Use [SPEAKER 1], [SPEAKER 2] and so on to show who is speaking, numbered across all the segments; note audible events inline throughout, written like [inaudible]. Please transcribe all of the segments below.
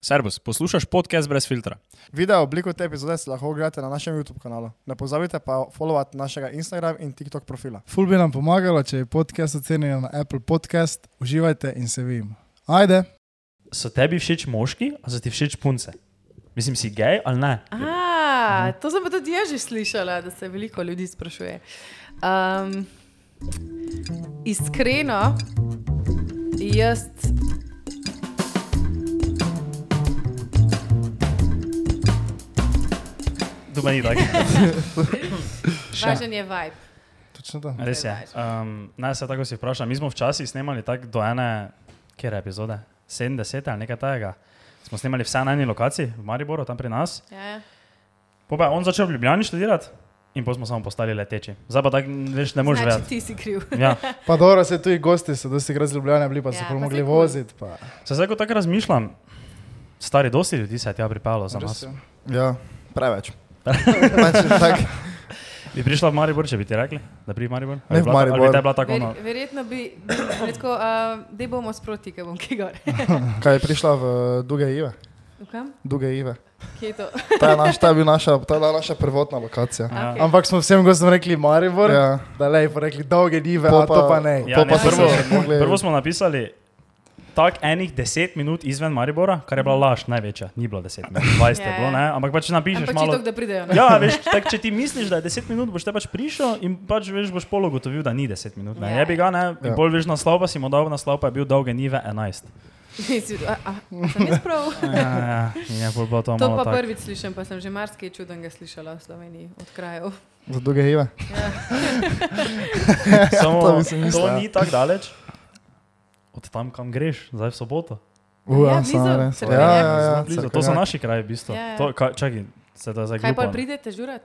[SPEAKER 1] Servus, poslušaš podcast brez filtra.
[SPEAKER 2] Video obliko te epizode si lahko ogledate na našem YouTube kanalu. Ne pozabite pa followati našega Instagram in TikTok profila.
[SPEAKER 3] Ful bi nam pomagalo, če je podcast ocenjen na Apple Podcast, uživajte in se vidimo. Ajde!
[SPEAKER 4] so tebi všeč moški, ali so ti všeč punce? Mislim, si gej ali ne? Mhm.
[SPEAKER 5] A, to sem pa tudi jaz že slišala, da se veliko ljudi sprašuje. Um, iskreno, jaz.
[SPEAKER 4] Doma [laughs] ni tako.
[SPEAKER 5] Važen je vibe.
[SPEAKER 3] Točno to.
[SPEAKER 4] Res je. Um, naj se tako si vprašam. Mi smo včasih snemali tako do ene, kjer epizode, 70 ali nekaj takega. Smo snemali vse na eni lokaciji, v Mariboru, tam pri nas.
[SPEAKER 5] Ja.
[SPEAKER 4] Po pa je on začel v Ljubljani študirati in pa smo samo postali leteči. Zdaj pa tako več ne moreš
[SPEAKER 5] Znači,
[SPEAKER 4] vedeti.
[SPEAKER 5] ti si kriv.
[SPEAKER 4] Ja.
[SPEAKER 3] Pa dobro, se tudi gosti so dosti krat zljubljeni bili, pa so
[SPEAKER 5] Ja,
[SPEAKER 3] ja,
[SPEAKER 5] pa
[SPEAKER 3] mogli
[SPEAKER 5] saj kul.
[SPEAKER 3] voziti. Pa.
[SPEAKER 4] Se zdaj ko tako razmišljam, stari dosti ljudi se je tja pripeljalo za nas.
[SPEAKER 2] Ja, preveč. [laughs] pač, tak,
[SPEAKER 4] Bi prišla v Maribor, če bi ti rekli, da pri Maribor?
[SPEAKER 2] Ne v Maribor.
[SPEAKER 4] Da je bila tako
[SPEAKER 5] Ver,
[SPEAKER 4] ono.
[SPEAKER 5] verjetno bi bi rekel, uh, da bomo sproti, ker bom kaj gor.
[SPEAKER 4] Ja.
[SPEAKER 2] kaj je prišla v eh, Duge Ive?
[SPEAKER 5] V Kam?
[SPEAKER 2] Duge Ive.
[SPEAKER 5] Kje je to?
[SPEAKER 2] Ta je, naš, ta je, bil naša, ta je bila naša prvotna lokacija.
[SPEAKER 4] Ja.
[SPEAKER 5] Okay.
[SPEAKER 3] Ampak smo vsem gostom rekli Maribor, ja.
[SPEAKER 2] Ja.
[SPEAKER 3] da le pa rekli dolge dive,
[SPEAKER 2] Pol
[SPEAKER 3] a to pa ne.
[SPEAKER 4] Ja,
[SPEAKER 2] pol
[SPEAKER 4] ne,
[SPEAKER 2] pa so
[SPEAKER 4] prvo-
[SPEAKER 2] se še mogli-
[SPEAKER 4] Prvo smo napisali tako enih 10 minut izven Maribora, kar je bila laž največja. Ni bilo 10 minut, 20 je
[SPEAKER 5] Mhm. Ja,
[SPEAKER 4] bilo,
[SPEAKER 5] ja.
[SPEAKER 4] ne? ampak pač napišeš
[SPEAKER 5] Ampak
[SPEAKER 4] malo.
[SPEAKER 5] čitok, da pridejo. no. ne?
[SPEAKER 4] Ja, veš, tak, če ti misliš, da je 10 minut, boš te pač prišel in pač veš, boš polo ugotovil, da ni 10 minut. Ne,
[SPEAKER 5] Ja.
[SPEAKER 4] je bi ga, ne, in
[SPEAKER 2] Ja.
[SPEAKER 4] bolj veš naslov, pa si mu dal naslov, pa je bil dolge nive 11.
[SPEAKER 5] Nisi- a, a, sem jaz prav?
[SPEAKER 4] [laughs] Ja, ja, in je pol bilo to,
[SPEAKER 5] To
[SPEAKER 4] malo
[SPEAKER 5] pa
[SPEAKER 4] tako.
[SPEAKER 5] prvič slišim, pa sem že marsikaj čudenega slišala v Sloveniji, od krajev.
[SPEAKER 2] Za Duge Ive.
[SPEAKER 4] [laughs]
[SPEAKER 3] Ja,
[SPEAKER 4] Samo
[SPEAKER 2] to
[SPEAKER 4] to,
[SPEAKER 2] bi si mislil, ja.
[SPEAKER 4] ni tako daleč. Od tam, kam greš, zdaj v soboto.
[SPEAKER 5] Ja,
[SPEAKER 2] Uja,
[SPEAKER 5] blizu,
[SPEAKER 2] samo ne.
[SPEAKER 5] se
[SPEAKER 2] Ja, ja,
[SPEAKER 5] pravi,
[SPEAKER 2] ja.
[SPEAKER 4] Blizu, to so
[SPEAKER 2] Cerkvenjak.
[SPEAKER 4] naši kraji, v bistvu.
[SPEAKER 5] Ja, ja.
[SPEAKER 4] To, kaj, čakaj, se da zdaj
[SPEAKER 5] Kaj pa
[SPEAKER 4] glupo, ne?
[SPEAKER 5] pridete žurat?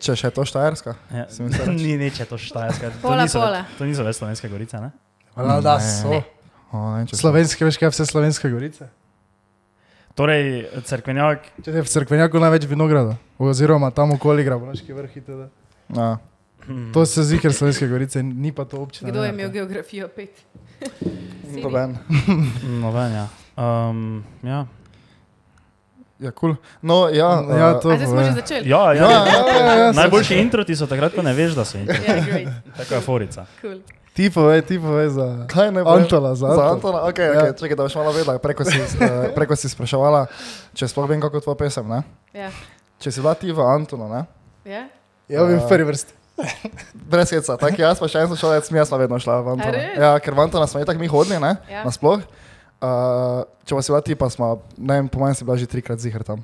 [SPEAKER 2] Če še je to Štajerska.
[SPEAKER 4] Ja.
[SPEAKER 2] Sem
[SPEAKER 4] [laughs]
[SPEAKER 2] mislil pač- reči.
[SPEAKER 4] Ni nič, je to štajerska. to
[SPEAKER 5] Pola,
[SPEAKER 4] niso, ve-
[SPEAKER 5] pola.
[SPEAKER 4] To niso več slovenske gorice, ne?
[SPEAKER 3] Hvala, da so.
[SPEAKER 2] O, ne, vem, če so.
[SPEAKER 3] Slovenske, veš kaj, vse slovenske gorice.
[SPEAKER 4] Torej, crkvenjak,
[SPEAKER 3] Če je v Cerkvenjaku največ vinograda, oziroma tam okoli Grabonoški vrh. itd.
[SPEAKER 2] Ja.
[SPEAKER 4] hmm,
[SPEAKER 3] To so zikr slovenske gorice, ni pa to občina.
[SPEAKER 5] Kdo
[SPEAKER 3] ne,
[SPEAKER 5] je imel
[SPEAKER 3] to.
[SPEAKER 5] geografijo pet? Siri.
[SPEAKER 2] Doben.
[SPEAKER 4] noben, ja. Um, ja.
[SPEAKER 2] Ja, kul. Cool. No, ja,
[SPEAKER 3] Ja,
[SPEAKER 2] eh,
[SPEAKER 3] to
[SPEAKER 5] A zdaj smo že
[SPEAKER 3] je.
[SPEAKER 5] začeli?
[SPEAKER 4] Ja, ja,
[SPEAKER 2] Ja, ja,
[SPEAKER 4] ja,
[SPEAKER 2] ja, ja, sem-
[SPEAKER 4] Najboljši intro ti so takrat, ko ne veš, da so intro.
[SPEAKER 5] Ja, great,
[SPEAKER 4] Tako je forica.
[SPEAKER 5] cool.
[SPEAKER 3] Ti povej, ti povej za
[SPEAKER 2] eh, Kaj ne bo?
[SPEAKER 3] Antola.
[SPEAKER 2] Za
[SPEAKER 3] Za Antola. Ja.
[SPEAKER 2] Antona, okay, okay, čekaj, da boš malo vedela, preko si, eh, preko si spraševala, če sploh vem, kako je tvoja pesem. Ne?
[SPEAKER 5] Ja.
[SPEAKER 2] Če si bila ti v Antonu, ne?
[SPEAKER 5] Ja?
[SPEAKER 3] Ja, bi v prvi vrsti.
[SPEAKER 2] brez heca, tako jaz pa še en sošolec, mi smo vedno šla v
[SPEAKER 5] A
[SPEAKER 2] Antona.
[SPEAKER 5] res?
[SPEAKER 2] Ja, ker v Antona smo tako mi hodili, ne?
[SPEAKER 5] Ja.
[SPEAKER 2] Nasploh. Uh, če pa si bila ti, pa smo, ne vem, po mojem si bila že trikrat zihar tam.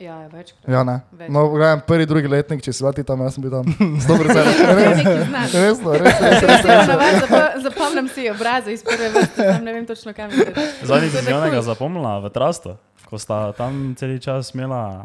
[SPEAKER 5] ja,
[SPEAKER 2] [laughs]
[SPEAKER 5] večkrat.
[SPEAKER 2] Ja, ne.
[SPEAKER 5] Več.
[SPEAKER 2] No, gledam prvi, drugi letnik, če si bila ti tam, jaz sem bil
[SPEAKER 5] [laughs]
[SPEAKER 2] tam. Dobro,
[SPEAKER 5] Ja,
[SPEAKER 2] res,
[SPEAKER 5] nekaj znaš.
[SPEAKER 2] resno, res, res, res.
[SPEAKER 5] Ja, navadno zapa- Zapomnim si obraze iz prve vrste, tam ne vem točno kam. gledam.
[SPEAKER 4] Zadnji
[SPEAKER 5] Tako
[SPEAKER 4] si
[SPEAKER 5] da
[SPEAKER 4] njenega
[SPEAKER 5] cool.
[SPEAKER 4] zapomnila v trastu, ko sta tam cel čas imela.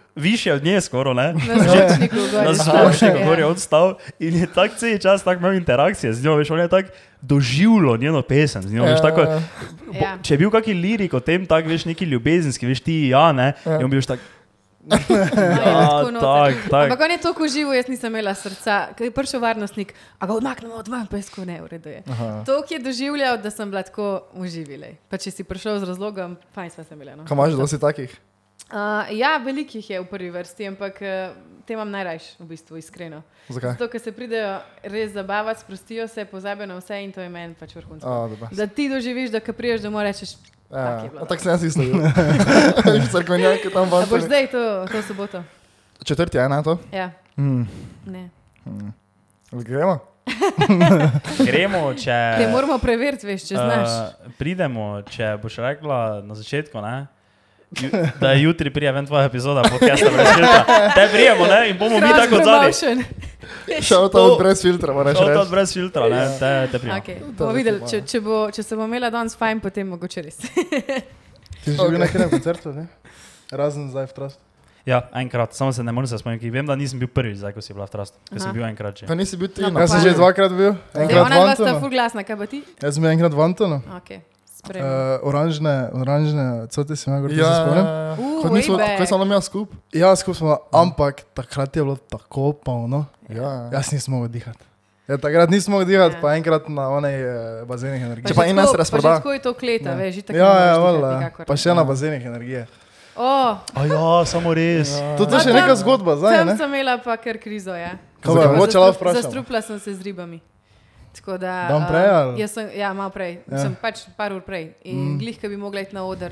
[SPEAKER 4] više od nje skoro, ne?
[SPEAKER 5] Na zvočniku Ja. gor.
[SPEAKER 4] Na splošnem, kako je on stal in je tak cel čas tak imel interakcije z njo, veš, on je tak doživljal njeno pesem z njo, veš, tako,
[SPEAKER 5] Ja.
[SPEAKER 4] če je bil kaki lirik o tem, tak, veš, neki ljubezenski, veš, ti, ja, ne, in on bi bil tak, ja, tak, tak.
[SPEAKER 5] Ampak on je tako živo, jaz nisem imela srca. Ko je prišel varnostnik, a ga odmaknemo od vam, pa je tako ne ureduje. To, ki je doživljal, da sem bila tako uživila. Pa če si prišel z razlogom, fajn sva se imela. No.
[SPEAKER 2] Kaj imaš, dosti takih?
[SPEAKER 5] Uh, ja, velikih je v prvi vrsti, ampak uh, te imam najrajš, v bistvu, iskreno.
[SPEAKER 2] Zakaj?
[SPEAKER 5] Zato, ker se pridejo res zabavati, sprostijo se, pozabijo na vse in to je meni pač vrhunsko.
[SPEAKER 2] A, dobro.
[SPEAKER 5] Da ti doživiš, da ko priješ domov, rečeš, tak je bilo.
[SPEAKER 2] Ja, Tako sem jaz isto.
[SPEAKER 5] [laughs]
[SPEAKER 2] [laughs] Cerkvenjak je tam v
[SPEAKER 5] da boš
[SPEAKER 2] Antonu.
[SPEAKER 5] zdaj to, to soboto.
[SPEAKER 2] Četrti, ena to.
[SPEAKER 5] Ja,
[SPEAKER 2] Mm.
[SPEAKER 5] ne.
[SPEAKER 2] Gremo?
[SPEAKER 4] Gremo, če...
[SPEAKER 5] Te moramo preveriti, veš, če znaš.
[SPEAKER 4] Uh, pridemo, če boš rekla na začetku, ne, ju, da je jutri prijaven tvoja epizoda, podcasta brez filtra. Te prijemo ne, in bomo mi
[SPEAKER 5] Cross
[SPEAKER 4] tako zadnji.
[SPEAKER 5] promotion.
[SPEAKER 2] Šel
[SPEAKER 4] To-
[SPEAKER 2] tam brez filtra, moraš
[SPEAKER 4] Šel
[SPEAKER 2] reči.
[SPEAKER 4] to brez filtra, ne, te, te prijemo.
[SPEAKER 5] Okay.
[SPEAKER 2] To
[SPEAKER 5] Bomo
[SPEAKER 2] je
[SPEAKER 5] videli,
[SPEAKER 2] lepo,
[SPEAKER 5] če,
[SPEAKER 2] ja.
[SPEAKER 5] če, bo, če se bo imela danes fajn, potem mogoče res.
[SPEAKER 3] Ti si že bil na katerem koncertu, ne? Razen zdaj v trastu.
[SPEAKER 4] Ja, enkrat, samo se ne morem se spomniti. Vem, da nisem bil prvi, zdaj, ko si bila v trastu, ker sem
[SPEAKER 5] Aha.
[SPEAKER 4] bil enkrat že.
[SPEAKER 2] Pa nisi bil ti.
[SPEAKER 5] No, pa
[SPEAKER 3] Jaz sem
[SPEAKER 5] pa-
[SPEAKER 3] že dvakrat bil,
[SPEAKER 5] Ja,
[SPEAKER 3] enkrat no. v
[SPEAKER 5] ona dva sta
[SPEAKER 3] Antonu.
[SPEAKER 5] ful glasna, kaj pa ti?
[SPEAKER 3] Jaz sem bil enkrat v Antonu.
[SPEAKER 5] Okay, uh,
[SPEAKER 3] Uh, oranžne, oranžne, cote si imel, ja. se spomnim.
[SPEAKER 2] Ja,
[SPEAKER 5] Uh,
[SPEAKER 2] kot nismo,
[SPEAKER 5] way back.
[SPEAKER 2] kot sem imel skup.
[SPEAKER 3] Ja, skupaj smo, ampak takrat je bilo tako polno.
[SPEAKER 2] Ja.
[SPEAKER 3] Jaz nisem mogel dihati. Ja, takrat nisem mogel dihati,
[SPEAKER 5] Ja.
[SPEAKER 3] ja. pa enkrat na onej eh, bazenih
[SPEAKER 2] Če
[SPEAKER 3] energije.
[SPEAKER 2] pa
[SPEAKER 5] že
[SPEAKER 2] en nas
[SPEAKER 5] tako-
[SPEAKER 2] razproda.
[SPEAKER 5] Pa že tako je to
[SPEAKER 3] Ja.
[SPEAKER 5] kleta, veš, že tako.
[SPEAKER 3] ja, ja, valjda. ja. Pa še na bazenih energije.
[SPEAKER 5] Oh,
[SPEAKER 4] A ja, samo res.
[SPEAKER 3] To, to je še
[SPEAKER 5] A No, tam-
[SPEAKER 3] neka zgodba, zdaj
[SPEAKER 5] tam
[SPEAKER 3] ne?
[SPEAKER 5] sem imela pa kar krizo, ja.
[SPEAKER 3] Kaj pa, moče
[SPEAKER 5] Zastru-
[SPEAKER 3] lahko vprašam.
[SPEAKER 5] Zastrupila sem se z ribami. Tako da,
[SPEAKER 3] Dan prej
[SPEAKER 5] um,
[SPEAKER 3] ali?
[SPEAKER 5] jaz sem, ja, malo prej, ja. sem pač par ur prej in mm. glih, ki bi mogla iti na oder.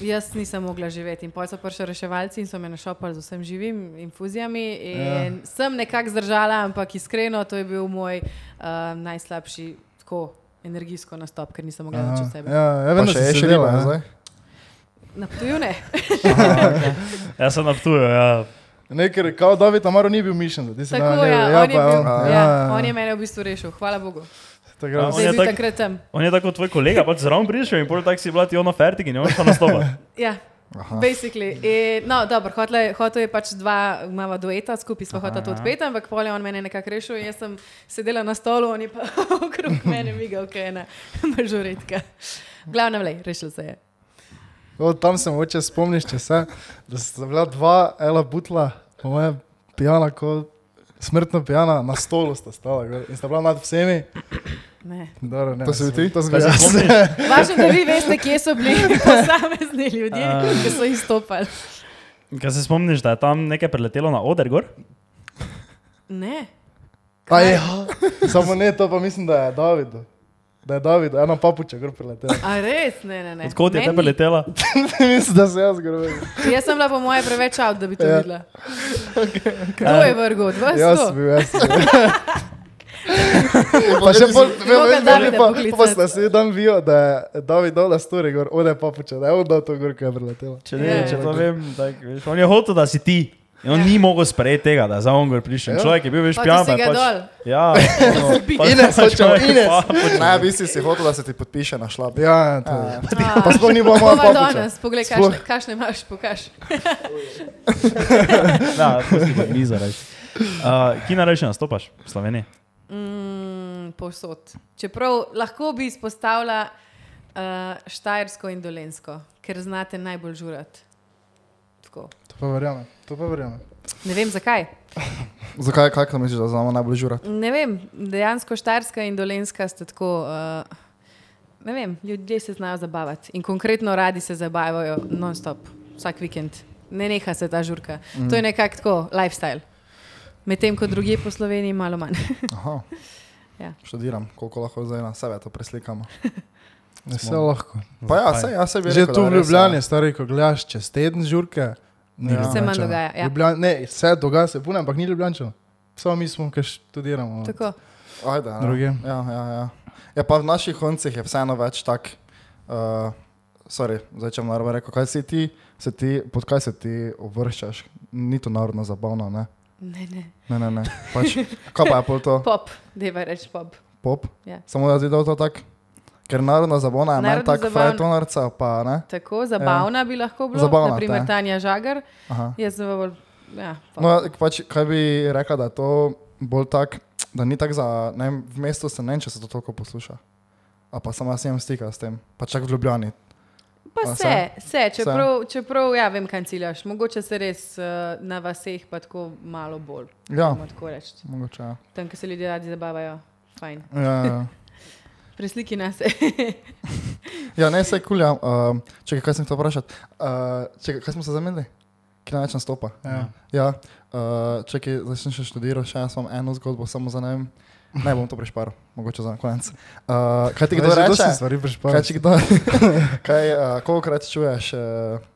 [SPEAKER 5] Jaz nisem mogla živeti in potem so prišli reševalci in so me našopali z vsem živim, infuzijami. In ja. Sem nekako zdržala, ampak iskreno, to je bil moj uh, najslabši tako, energijsko nastop, ker nisem mogla več od sebe. Ja.
[SPEAKER 3] Ja, ja,
[SPEAKER 2] Pa
[SPEAKER 3] vem, da
[SPEAKER 2] še
[SPEAKER 3] si
[SPEAKER 2] je še
[SPEAKER 3] sedela,
[SPEAKER 2] riba,
[SPEAKER 3] ne?
[SPEAKER 2] zdaj.
[SPEAKER 5] Na tuju ne.
[SPEAKER 4] Jaz sem na tuju, ja.
[SPEAKER 3] Ne, ker kao David Amaro ni bil mišljen, da ti si
[SPEAKER 5] Tako
[SPEAKER 3] dal njega,
[SPEAKER 5] ja, ja, on, je
[SPEAKER 3] pa
[SPEAKER 5] bil, ja, ja,
[SPEAKER 3] ja.
[SPEAKER 5] on je mene v bistvu rešil, hvala Bogu.
[SPEAKER 3] Takrat
[SPEAKER 4] On
[SPEAKER 5] Zdaj
[SPEAKER 4] je
[SPEAKER 5] je bil
[SPEAKER 4] tak-
[SPEAKER 5] takrat tam.
[SPEAKER 4] On je tako kot tvoj kolega, pač zraven prišel in potem tak si bila ti ono fertik in ne moreš pa nastopati.
[SPEAKER 5] Ja, basically. E, no, dobro, hotel je- hotel je pač dva, imamo dueta, skupaj smo hoteli to odpeti, ampak pol je on mene nekako rešil in jaz sem sedela na stolu, on je pa [laughs] okrog mene migal, kaj je ena [laughs] mažoretka. Glavno, lej, rešil se je.
[SPEAKER 3] O, tam se moče spomniš, če se, da sta bila dva ela butla, po mojem, pijana, ko, smrtno pijana, na stolu sta stala gor in sta bila nad vsemi.
[SPEAKER 5] Ne.
[SPEAKER 3] Dobro, ne,
[SPEAKER 2] To si bil ti?
[SPEAKER 3] To si
[SPEAKER 4] Kaj se
[SPEAKER 3] bil jaz.
[SPEAKER 4] spomniš?
[SPEAKER 5] Važno, da vi veste, kje so bili [laughs] posamezni ljudje, ki so izstopali.
[SPEAKER 4] Kaj se spomniš, da je tam nekaj preletelo na oder gor?
[SPEAKER 5] Ne.
[SPEAKER 3] A ja, samo ne, to pa mislim, da je David. Da je David, ena papuča gor preletela.
[SPEAKER 5] A res, ne, ne, ne.
[SPEAKER 4] Odkot je te
[SPEAKER 5] Meni-
[SPEAKER 4] preletela?
[SPEAKER 3] [laughs] mislim, da se jaz gor vedel.
[SPEAKER 5] Jaz sem bila po moje preveč out, da bi to
[SPEAKER 3] Ja.
[SPEAKER 5] videla. Kdo je vrgel? Od vas?
[SPEAKER 3] Jaz
[SPEAKER 5] to?
[SPEAKER 3] sem bil, jaz
[SPEAKER 2] [laughs]
[SPEAKER 3] sem bil. pa še bolj, ne
[SPEAKER 5] Moga
[SPEAKER 3] vem,
[SPEAKER 5] Davida
[SPEAKER 3] ne pa,
[SPEAKER 5] poklicati.
[SPEAKER 3] pa sta se dan vijo, da je David dol na stori gor, ode papuča, da je on dal to gor, ko je preletela.
[SPEAKER 4] Če ne,
[SPEAKER 5] Ja.
[SPEAKER 4] če to vem, tako veš. On je hotel, da si ti. In on ni mogel sprejeti tega, da je za on gor prišel.
[SPEAKER 3] Ja.
[SPEAKER 4] Človek je bil veš
[SPEAKER 5] Pa ti
[SPEAKER 4] pijan,
[SPEAKER 5] si ga
[SPEAKER 4] [laughs]
[SPEAKER 5] dol.
[SPEAKER 4] Ja, no, pa
[SPEAKER 3] Ines,
[SPEAKER 4] pa
[SPEAKER 3] hočemo,
[SPEAKER 4] človek
[SPEAKER 3] Ines.
[SPEAKER 4] pa-
[SPEAKER 2] Ne, bi si si hotel, da se ti podpiše na šlap.
[SPEAKER 3] Ja, ja, to je.
[SPEAKER 5] A.
[SPEAKER 3] Pa sploh ni
[SPEAKER 5] [laughs]
[SPEAKER 3] bila moja
[SPEAKER 5] Koma
[SPEAKER 3] papuča.
[SPEAKER 5] danes, poglej,
[SPEAKER 3] Sploh.
[SPEAKER 5] kakšne- kakšne imaš, pokaž.
[SPEAKER 4] Da, pusti pod mizo reči. Uh, Kje najraje nastopaš v Sloveniji?
[SPEAKER 5] Mm, povsod. Čeprav lahko bi izpostavila uh, Štajersko in Dolensko, ker znate najbolj žurat. Tako.
[SPEAKER 3] To pa verjamem, to pa verjamem.
[SPEAKER 5] Ne vem zakaj.
[SPEAKER 2] Zakaj, kaj misliš, da znamo najbolj žurati?
[SPEAKER 5] Ne vem, dejansko Štajerska in Dolenska sta tako. Uh, ne vem, ljudje se znajo zabavati in konkretno radi se zabavajo non-stop, vsak vikend. Ne neha se ta žurka. Mm. To je nekako tako, lifestyle. Medtem ko druge po Sloveniji malo manj. [laughs]
[SPEAKER 2] Aha.
[SPEAKER 5] Ja.
[SPEAKER 2] Študiram, koliko lahko zdaj na sebe to preslikamo.
[SPEAKER 3] Ne, Vse lahko.
[SPEAKER 2] Pa ja,
[SPEAKER 4] Zakaj?
[SPEAKER 2] sej, jaz sem
[SPEAKER 3] Že tu v Ljubljani, stari, ko gledaš čez teden žurke, ni
[SPEAKER 2] Ja.
[SPEAKER 3] Ljubljančana.
[SPEAKER 5] Se manj dogaja, ja.
[SPEAKER 3] Ljubljan, ne, vse dogaja se, puno, ampak ni Ljubljančana. Samo mi smo, ki študiramo.
[SPEAKER 5] Tako.
[SPEAKER 2] Ajde, ja.
[SPEAKER 3] Drugi.
[SPEAKER 2] Ja, ja, ja. ja, pa v naših koncih je vseeno več tak. Uh, sorry, zdaj če bom narobe rekel, kaj si ti, se ti, pod kaj se ti obrščaš? Ni to narodno zabavno, ne?
[SPEAKER 5] Ne, ne.
[SPEAKER 2] Ne, ne, ne. Pač, kaj pa je pol
[SPEAKER 5] [laughs]
[SPEAKER 2] to?
[SPEAKER 5] Pop, deva reči pop.
[SPEAKER 2] Pop?
[SPEAKER 5] Ja.
[SPEAKER 2] Samo da ti dol to tak. Ker narodna zabavna je manj
[SPEAKER 5] Narodno
[SPEAKER 2] tak,
[SPEAKER 5] zabavna-
[SPEAKER 2] frajtonarca pa ne.
[SPEAKER 5] Tako zabavna ja. bi lahko bila,
[SPEAKER 2] Zabavna,
[SPEAKER 5] naprimer
[SPEAKER 2] ta.
[SPEAKER 5] Tanja Žagar.
[SPEAKER 2] Aha.
[SPEAKER 5] Jaz sem pa bolj. Ja, pop.
[SPEAKER 2] No, pač, kaj bi rekla, da je to bolj tak, da ni tako za, ne vem, v mestu se ne vem, če se to toliko posluša. A pa sama sem stika s tem, pa čak v Ljubljani.
[SPEAKER 5] pa
[SPEAKER 2] a
[SPEAKER 5] se,
[SPEAKER 2] se?
[SPEAKER 5] se, čeprav, čeprav ja, vem, kaj ciljaš. Mogoče se res uh, na vaseh pa tako malo bolj.
[SPEAKER 2] Ja,
[SPEAKER 5] bomo Tako reči.
[SPEAKER 2] mogoče. Ja.
[SPEAKER 5] Tam, kjer se ljudje radi zabavajo, fajn.
[SPEAKER 2] Ja, ja.
[SPEAKER 5] Presliki nas.
[SPEAKER 2] ja ne, se kulja. Uh, čekaj, kaj sem to vprašal? Uh, čekaj, kaj smo se zamenili? Kaj največ nastopa?
[SPEAKER 3] Ja.
[SPEAKER 2] Ja, uh, čekaj, zdaj sem še študiral, še jaz imam eno zgodbo, samo za ne vem. Ne bom to prešparil, mogoče za na konec. Uh, kaj ti kdo
[SPEAKER 3] Zdaj Pač. že dosti
[SPEAKER 2] reče?
[SPEAKER 3] Stvari prišparaš.
[SPEAKER 2] Kaj, če kdo, [laughs] kaj, uh, kolikokrat čuješ, uh,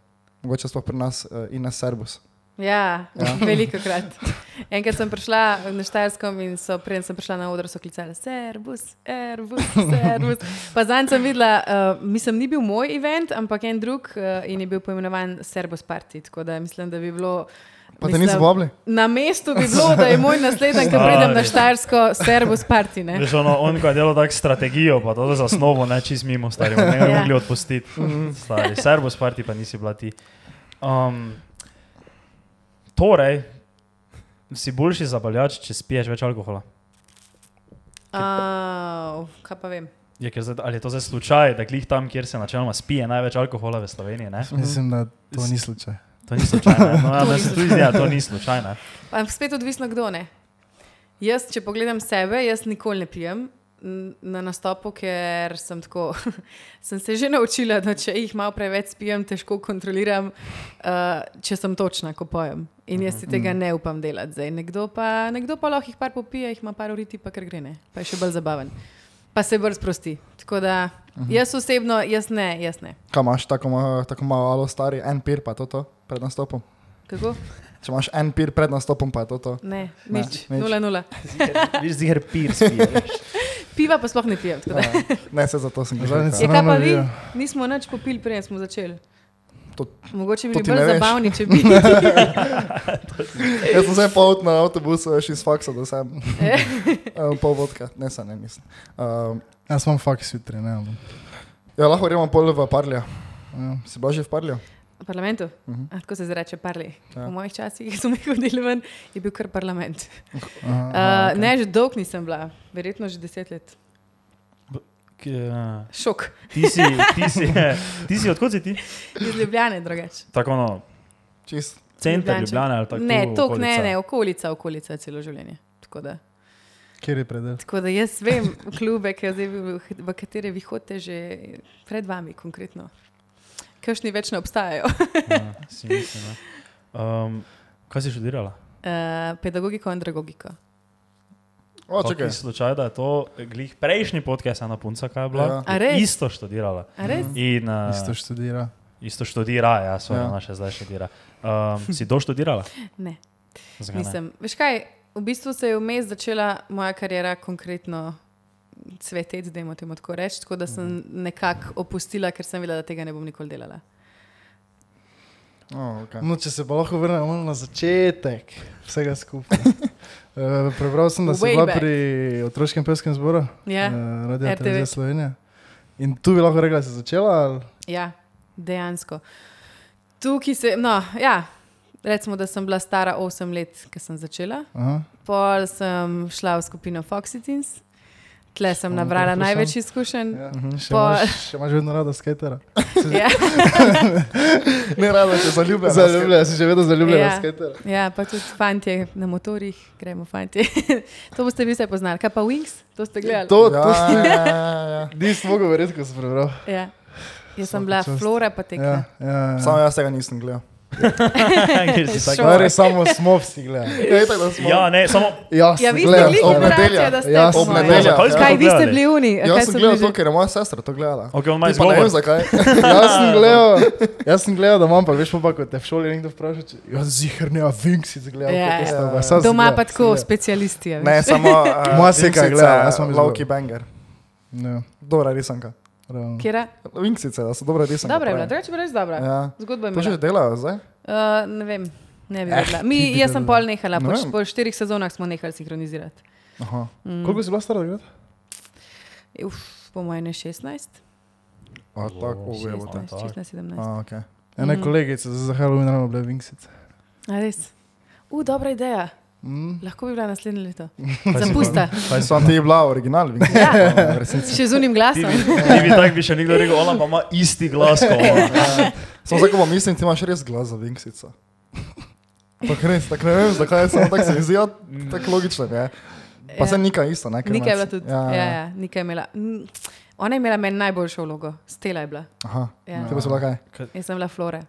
[SPEAKER 2] mogoče sploh pri nas uh, in na Serbus?
[SPEAKER 5] ja, [laughs] ja. veliko krat. Enkrat sem prišla na Štajerskom in so, preden sem prišla na odr, so klicali Serbus,
[SPEAKER 2] [laughs]
[SPEAKER 5] Airbus, Serbus. Pa zanj sem videla, uh, mislim, ni bil moj event, ampak en drug uh, in je bil poimenovan Serbus Party. Tako da mislim, da bi bilo.
[SPEAKER 2] Pa te
[SPEAKER 5] mislim,
[SPEAKER 2] niso povabili?
[SPEAKER 5] Na mestu bi bilo, da je moj naslednji,
[SPEAKER 2] [laughs]
[SPEAKER 5] ko pridem na Štajersko, Serbus Party. Ne?
[SPEAKER 4] Veš, ono, on ko je delal tako strategijo, pa to za osnovo, ne čist mimo starih, ne bi
[SPEAKER 5] Ja.
[SPEAKER 4] mogli odpustiti. Stari, Serbos parti pa nisi bila ti. Um, Torej, si boljši zapaljač, če spiješ več alkohola.
[SPEAKER 5] Uh, kaj pa vem?
[SPEAKER 4] Je, Ja, ker zdaj, ali je to zdaj slučaj, da glih tam, kjer se načeloma spije največ alkohola v Sloveniji? Ne?
[SPEAKER 3] Mislim, da to ni slučaj.
[SPEAKER 4] To ni slučaj. ne? No,
[SPEAKER 5] [laughs]
[SPEAKER 4] ja, meni se tudi zdi, da to ni slučaj. Ne?
[SPEAKER 5] Ampak spet odvisno, kdo ne. Jaz, če pogledam sebe, jaz nikoli ne pijem n- na nastopu, ker sem tako. [laughs] sem se že naučila, da če jih malo preveč spijem, težko kontroliram, uh, če sem točna, ko pojem. In jaz si tega ne upam delati zdaj. Nekdo pa, nekdo pa lahko jih par popije, jih ima par uriti, pa kar gre ne. Pa je še bolj zabaven. Pa se brz prosti. Tako da jaz osebno, jaz ne, jaz ne.
[SPEAKER 2] Kaj imaš tako, ma- tako malo alo stari, en pir pa je to, to pred nastopom?
[SPEAKER 5] Kako?
[SPEAKER 2] Če imaš en pir pred nastopom, pa je to. to.
[SPEAKER 5] Ne,
[SPEAKER 2] Ne,
[SPEAKER 5] nič,
[SPEAKER 2] nič.
[SPEAKER 5] nula, nula.
[SPEAKER 4] Viš ziger pir spiješ.
[SPEAKER 5] Piva pa sploh ne pijem. tako da.
[SPEAKER 2] Ja, ne, se zato sem
[SPEAKER 3] Žal
[SPEAKER 2] gledal.
[SPEAKER 3] nisem.
[SPEAKER 5] Je kaj pa
[SPEAKER 3] Ravno
[SPEAKER 5] vi?
[SPEAKER 3] vijo.
[SPEAKER 5] Nismo nič popili, prej smo začeli.
[SPEAKER 2] To-
[SPEAKER 5] Mogoče bi
[SPEAKER 2] to ti
[SPEAKER 5] bili
[SPEAKER 2] ne
[SPEAKER 5] bolj
[SPEAKER 2] veš.
[SPEAKER 5] zabavni, če bi.
[SPEAKER 2] [laughs] Jaz sem se pol na avtobusu, veš iz faksa, da
[SPEAKER 5] [laughs]
[SPEAKER 2] sem. um, pol vodka, ne, se ne mislim. Um,
[SPEAKER 3] Jaz imam faks jutri, ne. ampak-
[SPEAKER 2] ja, lahko gremo pol v parlja. Eh,
[SPEAKER 3] Ja.
[SPEAKER 2] Si bila že v parlju?
[SPEAKER 5] V parlamentu, uh -huh. tako se zreče, parli. Ja. V mojih časih, ki smo jih hodili ven, je bil kar parlament.
[SPEAKER 3] Aha,
[SPEAKER 5] Uh, okay. Ne, že dolg nisem bila, verjetno že deset let. Šok,
[SPEAKER 4] eh, Ti si, ti si, [laughs] ti si, odkud si ti?
[SPEAKER 5] iz Ljubljane drugače.
[SPEAKER 4] Tako no,
[SPEAKER 2] Čist.
[SPEAKER 4] center
[SPEAKER 5] Ljubljančan.
[SPEAKER 4] Ljubljana ali tako.
[SPEAKER 5] Ne, tok ne,
[SPEAKER 4] okolica.
[SPEAKER 5] ne, okolica, okolica celo življenje. Tako da,
[SPEAKER 3] Kjer je predel?
[SPEAKER 5] tako da jaz vem klube, ki zdaj v- v katere vi hodite že pred vami konkretno. Kakšni več ne obstajajo.
[SPEAKER 4] Ja, si mislim, ne. Um, kaj si študirala?
[SPEAKER 5] Uh, pedagogiko in andragogiko.
[SPEAKER 2] O,
[SPEAKER 4] Kakšen
[SPEAKER 2] čakaj.
[SPEAKER 4] Slučaj, da je to glih prejšnji podcast, ena punca, kaj je bila.
[SPEAKER 2] Ja.
[SPEAKER 4] Ja.
[SPEAKER 5] A res?
[SPEAKER 4] Isto študirala.
[SPEAKER 5] A res?
[SPEAKER 3] Mhm.
[SPEAKER 4] In, uh,
[SPEAKER 3] Isto študira.
[SPEAKER 4] isto študira, ja, svoje
[SPEAKER 2] Ja.
[SPEAKER 4] ja. naše zdaj študira. Um, si doštudirala?
[SPEAKER 5] Ne,
[SPEAKER 4] Zakaj ne?
[SPEAKER 5] nisem. Veš kaj, v bistvu se je vmes začela moja karjera konkretno cveteti, da jim temu tako reči, tako da sem
[SPEAKER 3] Mhm.
[SPEAKER 5] nekako opustila, ker sem vedela, da tega ne bom nikoli delala.
[SPEAKER 2] O,
[SPEAKER 5] Ja.
[SPEAKER 2] okay.
[SPEAKER 3] No, če se pa lahko vrnemo malo na začetek vsega
[SPEAKER 5] [laughs]
[SPEAKER 3] skupaj. Eh, Prebral sem, da si
[SPEAKER 5] Way
[SPEAKER 3] bila
[SPEAKER 5] back.
[SPEAKER 3] pri otroškem pevskem zboru,
[SPEAKER 5] Ja,
[SPEAKER 3] eh, Radio
[SPEAKER 5] RTV.
[SPEAKER 3] Televizija Slovenija. In tu bi lahko rekla, da si začela. ali?
[SPEAKER 5] ja dejansko. Tukaj se, no, ja, recimo, da sem bila stara 8 let, ko sem začela.
[SPEAKER 3] Aha.
[SPEAKER 5] Pol sem šla v skupino Foxy Teens, tle sem
[SPEAKER 3] Samo
[SPEAKER 5] nabrala
[SPEAKER 3] vprašam.
[SPEAKER 5] največ izkušenj.
[SPEAKER 3] Ja. Še,
[SPEAKER 5] Pol-
[SPEAKER 3] imaš, še imaš vedno rada skatera.
[SPEAKER 5] Ja.
[SPEAKER 2] Ne, rada če zaljubljena.
[SPEAKER 3] [laughs] Zaljubljena, si še vedno zaljubljena
[SPEAKER 5] Ja.
[SPEAKER 3] ja. skatera.
[SPEAKER 5] Ja, pa tudi fanti na motorjih, gremo fanti. [laughs] to boste vi vse poznali. Kaj pa Wings, to ste gledali?
[SPEAKER 3] To,
[SPEAKER 2] Ja,
[SPEAKER 3] to si.
[SPEAKER 2] ja, ja, ja.
[SPEAKER 3] Nisem mogel verjeti, ko sem prebral.
[SPEAKER 5] Ja. Jaz sem
[SPEAKER 3] Vsaka
[SPEAKER 5] bila
[SPEAKER 3] čast.
[SPEAKER 5] flora, pa tekla.
[SPEAKER 3] Ja, ja,
[SPEAKER 2] Samo
[SPEAKER 3] ja.
[SPEAKER 2] jaz tega nisem gledal.
[SPEAKER 4] [laughs] Ker si tako-
[SPEAKER 5] Šok.
[SPEAKER 3] Stari samo smo vsi gledali.
[SPEAKER 2] Ja, itak, da smo-
[SPEAKER 4] Ja, ne, samo
[SPEAKER 3] Ja,
[SPEAKER 5] Ja, vi ste
[SPEAKER 3] gledam,
[SPEAKER 5] bili
[SPEAKER 2] ob
[SPEAKER 3] stari.
[SPEAKER 2] nedeljah.
[SPEAKER 5] generacija, da ste
[SPEAKER 3] Ja,
[SPEAKER 5] po
[SPEAKER 3] ob
[SPEAKER 5] moje.
[SPEAKER 2] nedeljah.
[SPEAKER 4] Zakaj
[SPEAKER 2] Ja.
[SPEAKER 4] ste
[SPEAKER 5] Kaj
[SPEAKER 4] to
[SPEAKER 5] vi ste
[SPEAKER 4] gledali?
[SPEAKER 5] bili uni?
[SPEAKER 2] Jaz
[SPEAKER 5] Kaj
[SPEAKER 2] sem
[SPEAKER 5] so
[SPEAKER 2] gledal
[SPEAKER 5] bili že?
[SPEAKER 2] to, ker je moja sestra to gledala.
[SPEAKER 4] Ok, on ima
[SPEAKER 2] Ti pa ne
[SPEAKER 4] izgovor.
[SPEAKER 2] vem zakaj.
[SPEAKER 3] Jaz sem gledal, jaz sem gledal, da imam, pa veš pa, pa ko te v šoli nekdo vpraša, če jaz zihar ne, a vinksi zgledal.
[SPEAKER 5] [laughs] Ja,
[SPEAKER 3] Yeah.
[SPEAKER 5] ja.
[SPEAKER 3] Stava, sam sem
[SPEAKER 5] Doma
[SPEAKER 3] gledal,
[SPEAKER 5] pa
[SPEAKER 3] sem
[SPEAKER 5] tako
[SPEAKER 3] gledal.
[SPEAKER 5] specialisti. a veš.
[SPEAKER 2] Ne, samo uh,
[SPEAKER 3] Moja seka je gledala, jaz sem izgubil.
[SPEAKER 2] Lauki Banger.
[SPEAKER 3] Ne,
[SPEAKER 2] Dobra risanka.
[SPEAKER 3] ravno.
[SPEAKER 5] Kjera?
[SPEAKER 2] Vinksice, da so dobra risanka.
[SPEAKER 5] Dobra je bila,
[SPEAKER 2] pravim.
[SPEAKER 5] drugače pa res dobra.
[SPEAKER 2] Ja.
[SPEAKER 5] Zgodba je
[SPEAKER 2] To že
[SPEAKER 5] bila.
[SPEAKER 2] delajo zdaj?
[SPEAKER 5] Uh, ne vem. Ne bi
[SPEAKER 3] Eh,
[SPEAKER 5] vedela.
[SPEAKER 3] ti
[SPEAKER 5] Mi,
[SPEAKER 3] bi
[SPEAKER 5] jaz sem pol nehala,
[SPEAKER 2] Ne
[SPEAKER 5] po,
[SPEAKER 2] vem.
[SPEAKER 5] po štirih sezonah smo nehali sinhronizirati. Mm.
[SPEAKER 2] Aha.
[SPEAKER 3] Koliko si bila stara takrat?
[SPEAKER 5] Uf, po mojem je 16,
[SPEAKER 2] A, tako, ujebote.
[SPEAKER 5] 16, 16, 17.
[SPEAKER 2] A, okay.
[SPEAKER 5] Mm.
[SPEAKER 3] Ene kolegice za Halloween ravno bile vinksice.
[SPEAKER 5] A res? U, dobra ideja.
[SPEAKER 3] Mm.
[SPEAKER 5] Lahko bi bila naslednje leto.
[SPEAKER 4] Kaj si
[SPEAKER 5] Zapusta.
[SPEAKER 3] Ja.
[SPEAKER 4] Kaj si-
[SPEAKER 2] Sam ti je bila original,
[SPEAKER 3] [laughs]
[SPEAKER 2] vidiš?
[SPEAKER 5] [laughs] Ja.
[SPEAKER 2] v resnici.
[SPEAKER 5] Še z unim
[SPEAKER 4] Ti
[SPEAKER 5] glasom.
[SPEAKER 4] bi, ti bi tako bi še nekdo rekel, ona pa ima isti glas kot ona.
[SPEAKER 2] Ja. Samo tako pa mislim, ti imaš res glas za
[SPEAKER 5] [laughs]
[SPEAKER 2] vinksico. Tako res, tako ne vem, zakaj sem tako se mi zdi, ja, tako logično je. Pa
[SPEAKER 5] Mm. Ja.
[SPEAKER 2] se nika isto, ne? ker
[SPEAKER 5] Nika je
[SPEAKER 2] ima-
[SPEAKER 5] bila tudi. Ja, ja. Ja, Nika je imela. Mm, Ona je imela meni najboljšo vlogo, stela je bila.
[SPEAKER 2] Aha.
[SPEAKER 5] Ja.
[SPEAKER 2] Ti pa si bila kaj?
[SPEAKER 5] Jaz sem bila flora,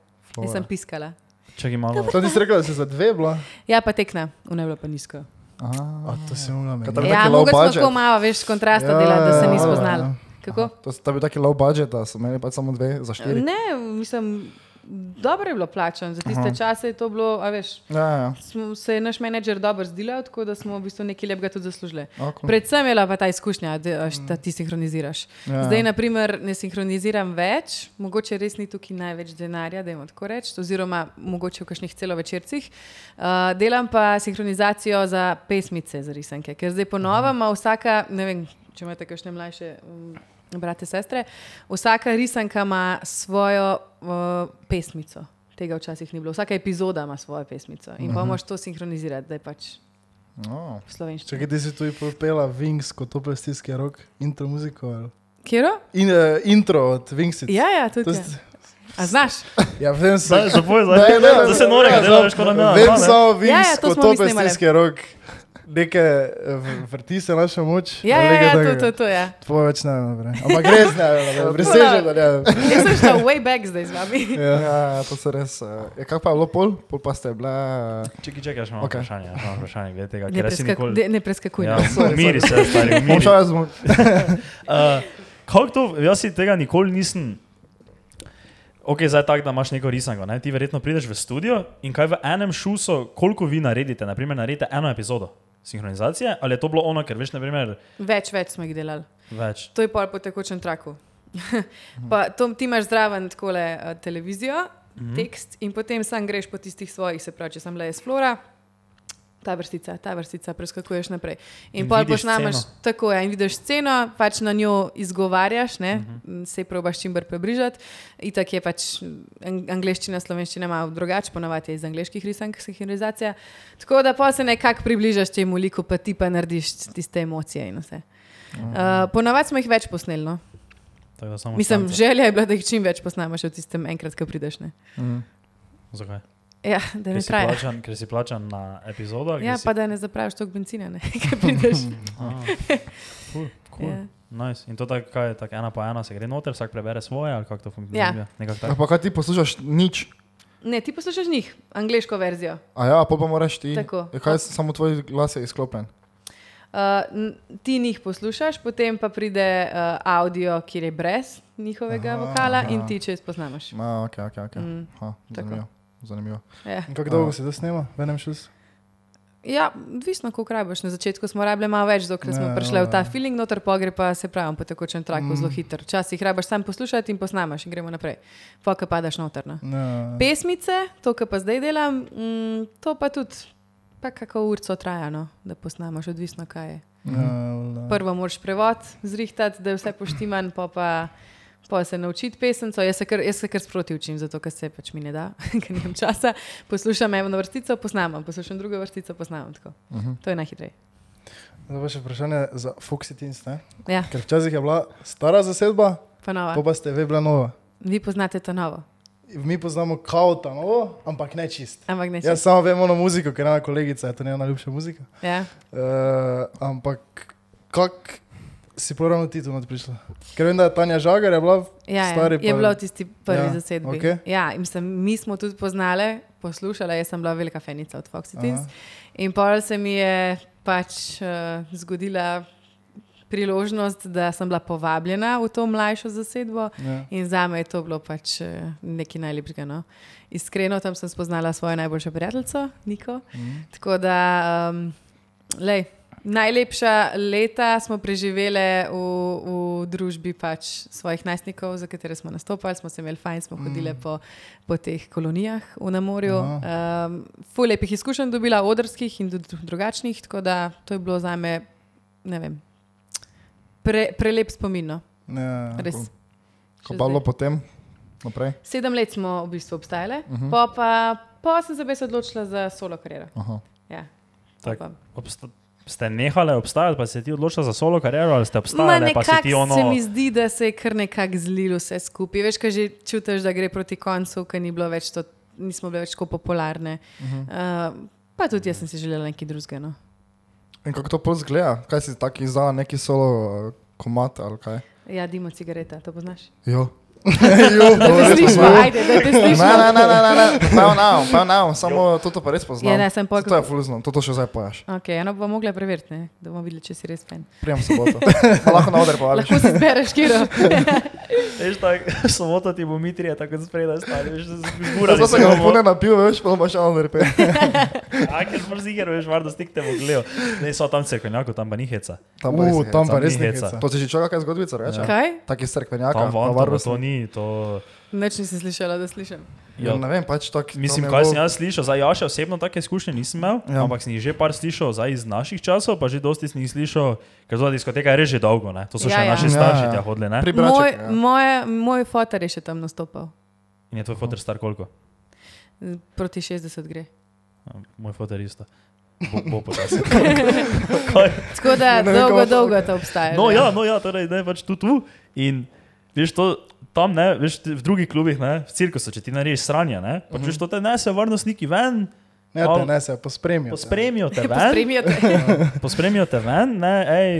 [SPEAKER 5] jaz sem piskala.
[SPEAKER 4] Čakaj malo.
[SPEAKER 3] To nisi rekla, da si za dve bila?
[SPEAKER 5] Ja, pa tekna, ona je bila pa nizko.
[SPEAKER 2] Aha.
[SPEAKER 3] A, to si mogla meni.
[SPEAKER 2] Katero- Tako
[SPEAKER 5] Ja,
[SPEAKER 2] taki low
[SPEAKER 5] mogoče smo
[SPEAKER 2] budget.
[SPEAKER 5] tako malo več kontrasta ja, delali, da se
[SPEAKER 3] ja,
[SPEAKER 5] nismo
[SPEAKER 3] ja,
[SPEAKER 5] znali.
[SPEAKER 3] ja.
[SPEAKER 5] Kako?
[SPEAKER 2] To je bil taki low budget, da so imeli pač samo dve za štiri.
[SPEAKER 5] Ne, mislim, dobro je bilo plačano. Za tiste Aha. čase je to bilo, a veš,
[SPEAKER 2] Ja, ja, ja.
[SPEAKER 5] smo, se je naš menedžer dobro zdelal, tako da smo v bistvu nekaj lepega tudi zaslužili.
[SPEAKER 2] A, cool.
[SPEAKER 5] Predvsem je bila pa ta izkušnja, da, a, da ti sinhroniziraš.
[SPEAKER 2] Ja.
[SPEAKER 5] Ja. Zdaj, naprimer, ne sinhroniziram več, mogoče res ni tukaj največ denarja, da jim tako rečem, oziroma mogoče v kakšnih celovečercih. Uh, delam pa sinhronizacijo za pesmice, za risanke, ker zdaj ponovno ima vsaka, ne vem, če imate kakšne mlajše. Um, Brate, sestre, vsaka risanka ima svojo uh, pesmico, Tega včasih ni bilo. Vsaka epizoda ima svojo pesmico in pa moš to sinhronizirati, da je pač
[SPEAKER 2] No.
[SPEAKER 5] v slovenščini.
[SPEAKER 3] Čakaj, ti si tu popela Wings kot topel stisk je rok, intro muziko. ali?
[SPEAKER 5] Kjero?
[SPEAKER 3] In uh, intro od Wingsit.
[SPEAKER 5] Ja, ja,
[SPEAKER 3] To
[SPEAKER 5] tudi.
[SPEAKER 3] je-
[SPEAKER 5] je. A znaš?
[SPEAKER 3] Ja, vem se.
[SPEAKER 4] Zdaj, zapoj, zdaj.
[SPEAKER 3] Ne, ne, ne,
[SPEAKER 4] Zdaj se
[SPEAKER 3] ne,
[SPEAKER 4] norega
[SPEAKER 3] ne,
[SPEAKER 4] delaš,
[SPEAKER 3] ne,
[SPEAKER 4] kot nam je.
[SPEAKER 3] Vem samo
[SPEAKER 5] Ja,
[SPEAKER 3] Wings
[SPEAKER 5] ja, to
[SPEAKER 3] kot
[SPEAKER 5] smo mi
[SPEAKER 3] topel
[SPEAKER 5] snemali.
[SPEAKER 3] stisk je rok. Neke eh, v- vrti se naša moč.
[SPEAKER 5] Ja, ja, ja, to, to, to, [laughs] ja.
[SPEAKER 3] Tvoje več ne vem, naprej. ampak res ne vem, presežem, da ne vem.
[SPEAKER 5] Jaz sem šla way back zdaj z vami.
[SPEAKER 2] Ja, ja, to so res.
[SPEAKER 3] e,
[SPEAKER 2] eh, Ja, kaj pa je bilo pol, pol pa ste bile.
[SPEAKER 4] Čekaj, čekaj, še imamo
[SPEAKER 2] Okej.
[SPEAKER 4] vprašanje. še imamo Vprašanje glede tega,
[SPEAKER 5] Ne,
[SPEAKER 4] ker jaz si
[SPEAKER 5] preskaku,
[SPEAKER 4] nikoli.
[SPEAKER 5] de, ne preskakuj.
[SPEAKER 4] Ja,
[SPEAKER 5] no.
[SPEAKER 2] sorry.
[SPEAKER 4] miri se,
[SPEAKER 3] [laughs]
[SPEAKER 4] stari,
[SPEAKER 2] Bom
[SPEAKER 4] miri.
[SPEAKER 2] šel jaz, bom-
[SPEAKER 4] Uh, kako to, jaz si tega nikoli nisem. Ok, zdaj je tako, da imaš neko risanko. Ne? Ti verjetno prideš v studio in kaj v enem šusu, koliko vi naredite, naprimer, naredite eno epizodo sinhronizacije, ali je to bilo ono, ker veš, naprimer,
[SPEAKER 5] Več, več smo jih delali.
[SPEAKER 4] več.
[SPEAKER 5] To je pol po tekočem traku. [laughs] pa to, ti imaš zraven takole eh, televizijo,
[SPEAKER 4] Mhm.
[SPEAKER 5] tekst in potem sam greš po tistih svojih, se pravi, če sem le iz flora. Ta vrstica, ta vrstica, preskakuješ naprej.
[SPEAKER 4] In
[SPEAKER 5] In, in pol
[SPEAKER 4] vidiš
[SPEAKER 5] posnameš
[SPEAKER 4] sceno.
[SPEAKER 5] tako, ja, in vidiš sceno, pač na njo izgovarjaš, ne, uh
[SPEAKER 4] Mhm.
[SPEAKER 5] -huh. se probaš čim bolj približati. Itak je pač ang- angleščina, slovenščina malo drugače, ponavadi je iz angleških risank, sinhronizacija. Tako da pa se nekako približaš temu liku, pa ti pa narediš tiste emocije in vse. Uh, ponavadi smo jih več posneli. No?
[SPEAKER 4] Tako da samo
[SPEAKER 5] Mislim,
[SPEAKER 4] štanco.
[SPEAKER 5] želja je bila, da jih čim več posnameš v tistem enkrat, ko prideš. Ne?
[SPEAKER 3] Mm,
[SPEAKER 4] Zakaj?
[SPEAKER 5] Ja, da
[SPEAKER 4] Ker
[SPEAKER 5] ne
[SPEAKER 4] si,
[SPEAKER 5] traja.
[SPEAKER 4] plačan, ker si plačan na epizodo.
[SPEAKER 5] Ja,
[SPEAKER 4] si...
[SPEAKER 5] pa da ne zapraviš toliko benzina, ne? [laughs] ko prideš.
[SPEAKER 4] Ah, cool, cool.
[SPEAKER 5] Ja.
[SPEAKER 4] Yeah. Nice. In to tako, kaj je tako ena po ena, se gre noter, vsak prebere svoje, ali kako to funkcionira.
[SPEAKER 5] Ja.
[SPEAKER 2] Ja,
[SPEAKER 4] Yeah.
[SPEAKER 2] pa kaj ti poslušaš, nič.
[SPEAKER 5] Ne, ti poslušaš njih, angliško verzijo.
[SPEAKER 2] A ja, pol pa moraš ti.
[SPEAKER 5] Tako.
[SPEAKER 2] Ja, kaj samo tvoj glas je izklopljen.
[SPEAKER 5] Uh, n- ti njih poslušaš, potem pa pride uh, audio, kjer je brez njihovega aha, vokala aha. in ti če izpoznamaš.
[SPEAKER 2] Ma, ok, ok, ok.
[SPEAKER 5] Mm,
[SPEAKER 2] Ha, zanimivo. zanimivo.
[SPEAKER 5] ja.
[SPEAKER 3] In Kako dolgo se to snema v enem šusu?
[SPEAKER 5] ja, odvisno, koliko rabiš. Na začetku smo rabili malo več, dokler smo
[SPEAKER 3] Ja,
[SPEAKER 5] prišli v
[SPEAKER 3] ja.
[SPEAKER 5] ta feeling, noter pa gre pa se pravi po tekočem traku mm. zelo hiter. Včasih rabiš sam poslušati in posnamaš in gremo naprej. Pa ka padaš noter. No.
[SPEAKER 3] Ne.
[SPEAKER 5] Pesmice, to, kar pa zdaj delam, mm, to pa tudi, pa kako urco traja, no, da posnamaš, odvisno kaj je.
[SPEAKER 2] Ja,
[SPEAKER 3] ne,
[SPEAKER 5] Prvo moraš prevod zrihtati, da je vse poštiman, pa pa. Pa se naučiti pesnico, jaz se kar, jaz se kar sproti učim, zato ker se pač mi ne da, [laughs] ker nimam časa. Poslušam eno vrstico, posnamem, poslušam drugo vrstico, posnamem. tako. To je najhitreje.
[SPEAKER 3] Zdaj pa še vprašanje za Foxy Teens, ne?
[SPEAKER 5] Ja,
[SPEAKER 3] Ker včasih je bila stara zasedba,
[SPEAKER 5] pa
[SPEAKER 3] pa
[SPEAKER 5] nova.
[SPEAKER 3] pa ste vi bila nova.
[SPEAKER 5] Vi poznate to novo,
[SPEAKER 3] Mi poznamo kao ta novo, ampak ne čist.
[SPEAKER 5] ampak ne
[SPEAKER 3] Jaz
[SPEAKER 5] čez.
[SPEAKER 3] samo vem ono muziko, ker ena kolegica je to njena najljubša muzika.
[SPEAKER 5] Ja.
[SPEAKER 3] Uh, ampak kak si pravno ti tu not prišla? Ker vem, da je Tanja Žagar je bila
[SPEAKER 5] Ja,
[SPEAKER 3] stari
[SPEAKER 5] ja, je
[SPEAKER 3] pa-
[SPEAKER 5] bilo v tisti prvi
[SPEAKER 3] Ja,
[SPEAKER 5] ja, zasedbi.
[SPEAKER 3] okej.
[SPEAKER 5] Okay. Ja, in mislim, mi smo tudi poznali, poslušali, jaz sem bila velika fenica od Foxy Teens. In pol se mi je pač uh, zgodila priložnost, da sem bila povabljena v to mlajšo zasedbo.
[SPEAKER 3] Ja.
[SPEAKER 5] In za me je to bilo pač eh, nekaj najlepšega. No? Iskreno, tam sem spoznala svojo najboljšo prijateljico, Niko. Mm. Tako da, um, lej, najlepša leta smo preživele v, v družbi pač svojih najstnikov, za katere smo nastopali, smo se imeli fajn, smo hodile mm. po, po teh kolonijah v namorju. Um, ful lepih izkušenj dobila, odrskih in tudi drugačnih, tako da to je bilo za me, ne vem, pre, prelep spomin. No?
[SPEAKER 3] Ja.
[SPEAKER 5] Res.
[SPEAKER 2] Ko
[SPEAKER 5] Še
[SPEAKER 2] pa je bilo
[SPEAKER 5] zdaj.
[SPEAKER 2] potem, naprej.
[SPEAKER 5] Sedem let smo v bistvu obstajali, uh
[SPEAKER 4] Mhm.
[SPEAKER 5] -huh. pa, pa, pa sem se res odločila za solo kariero.
[SPEAKER 2] Aha.
[SPEAKER 5] Ja.
[SPEAKER 4] Tak,
[SPEAKER 5] Pa-
[SPEAKER 4] obsta ste nehali obstajati, pa si ti odločila za solo kariero, ali ste obstajali, pa si ti
[SPEAKER 5] nekako
[SPEAKER 4] ono.
[SPEAKER 5] se mi zdi, da se je kar nekako zlilo vse skupaj. Veš, kaj že čutiš, da gre proti koncu, ker ni bilo več to, nismo bile več tako popularne. Uh
[SPEAKER 4] Mhm.
[SPEAKER 5] -huh. uh, pa tudi jaz sem si želela nekaj drugega. No.
[SPEAKER 2] In kako to pol zgleda? Kaj si tako izdala neki solo eh, komad ali kaj?
[SPEAKER 5] Ja, dimo cigareta, to poznaš.
[SPEAKER 2] [laughs] Jo.
[SPEAKER 5] Da te slišimo, ajde, da te
[SPEAKER 2] Ne,
[SPEAKER 5] slišimo.
[SPEAKER 2] ne, ne, ne, ne, ne. pa ne, pa ne, samo to pa res poznam.
[SPEAKER 5] Ja, ne, sem pol-
[SPEAKER 2] To je fulzno, to še zdaj pojaš.
[SPEAKER 5] Okay, eno bomo mogli preveriti, ne, da bomo videli, če si res pen.
[SPEAKER 2] Prijem
[SPEAKER 5] [laughs]
[SPEAKER 2] soboto. Pa lahko na oder povališ.
[SPEAKER 5] Lahko si zbereš,
[SPEAKER 4] [laughs]
[SPEAKER 5] kjer.
[SPEAKER 4] Veš, tako, [laughs] samo to ti bo mitrije, tako spredaj stari, veš,
[SPEAKER 2] [laughs]
[SPEAKER 4] da si zgural.
[SPEAKER 2] Zdaj se ga pune napil, veš, pa imaš na oder. pe-
[SPEAKER 4] A, ker smo ziger, veš, varno stikte v gledo. Ne, so tam cerkvenjako, tam pa ni heca.
[SPEAKER 2] Tam pa res
[SPEAKER 3] Uh,
[SPEAKER 2] je
[SPEAKER 3] tam
[SPEAKER 2] heca.
[SPEAKER 3] pa res
[SPEAKER 4] ni
[SPEAKER 3] ne
[SPEAKER 4] heca.
[SPEAKER 3] heca.
[SPEAKER 2] To si že čakal, kaj zgodovica reče.
[SPEAKER 4] Ja.
[SPEAKER 5] Kaj?
[SPEAKER 2] Taki strkvenjak,
[SPEAKER 4] Tam
[SPEAKER 2] pa
[SPEAKER 4] vam, tam pa
[SPEAKER 2] varnost.
[SPEAKER 4] to ni, to...
[SPEAKER 5] Noč nisem slišala, da slišim.
[SPEAKER 2] Ja, ne vem, pač tako.
[SPEAKER 4] Mislim, kaj sem jaz slišal, zdaj jaz še osebno take izkušnje nisem imel, ja. ampak sem jih že par slišal zdaj iz naših časov, pa že dosti sem jih slišal, ker ta diskoteka je res že dolgo, ne? to so ja, še
[SPEAKER 5] Ja,
[SPEAKER 4] ja.
[SPEAKER 5] ja.
[SPEAKER 4] naši
[SPEAKER 2] Ja,
[SPEAKER 4] starši
[SPEAKER 2] ja.
[SPEAKER 4] tja hodili. Ne?
[SPEAKER 2] Pri ja.
[SPEAKER 5] Moj,
[SPEAKER 2] braču.
[SPEAKER 5] moje, moj fotor je še tam nastopal.
[SPEAKER 4] In je tvoj fotor star koliko? Ja,
[SPEAKER 5] proti 60 gre.
[SPEAKER 4] Moj fotor isto. Bo, bo [laughs] počasi.
[SPEAKER 2] [laughs]
[SPEAKER 5] Tako da
[SPEAKER 2] Ne vem,
[SPEAKER 5] dolgo,
[SPEAKER 2] kako-
[SPEAKER 5] dolgo to obstaja.
[SPEAKER 4] No,
[SPEAKER 5] že.
[SPEAKER 4] ja, no, ja, torej, ne, pač tu, tu. In veš, to, tam, ne, veš, ti v drugih klubih, ne, v cirkusu, če ti narediš sranje, ne, pač
[SPEAKER 2] Mhm.
[SPEAKER 4] veš, to te nese varnostniki ven,
[SPEAKER 3] Ne, ja
[SPEAKER 4] Al-
[SPEAKER 3] te ne se,
[SPEAKER 2] Ja.
[SPEAKER 3] pospremijo. te.
[SPEAKER 4] pospremijo [laughs] te ven,
[SPEAKER 5] Pospremite.
[SPEAKER 4] pospremijo te ven, ne, hej,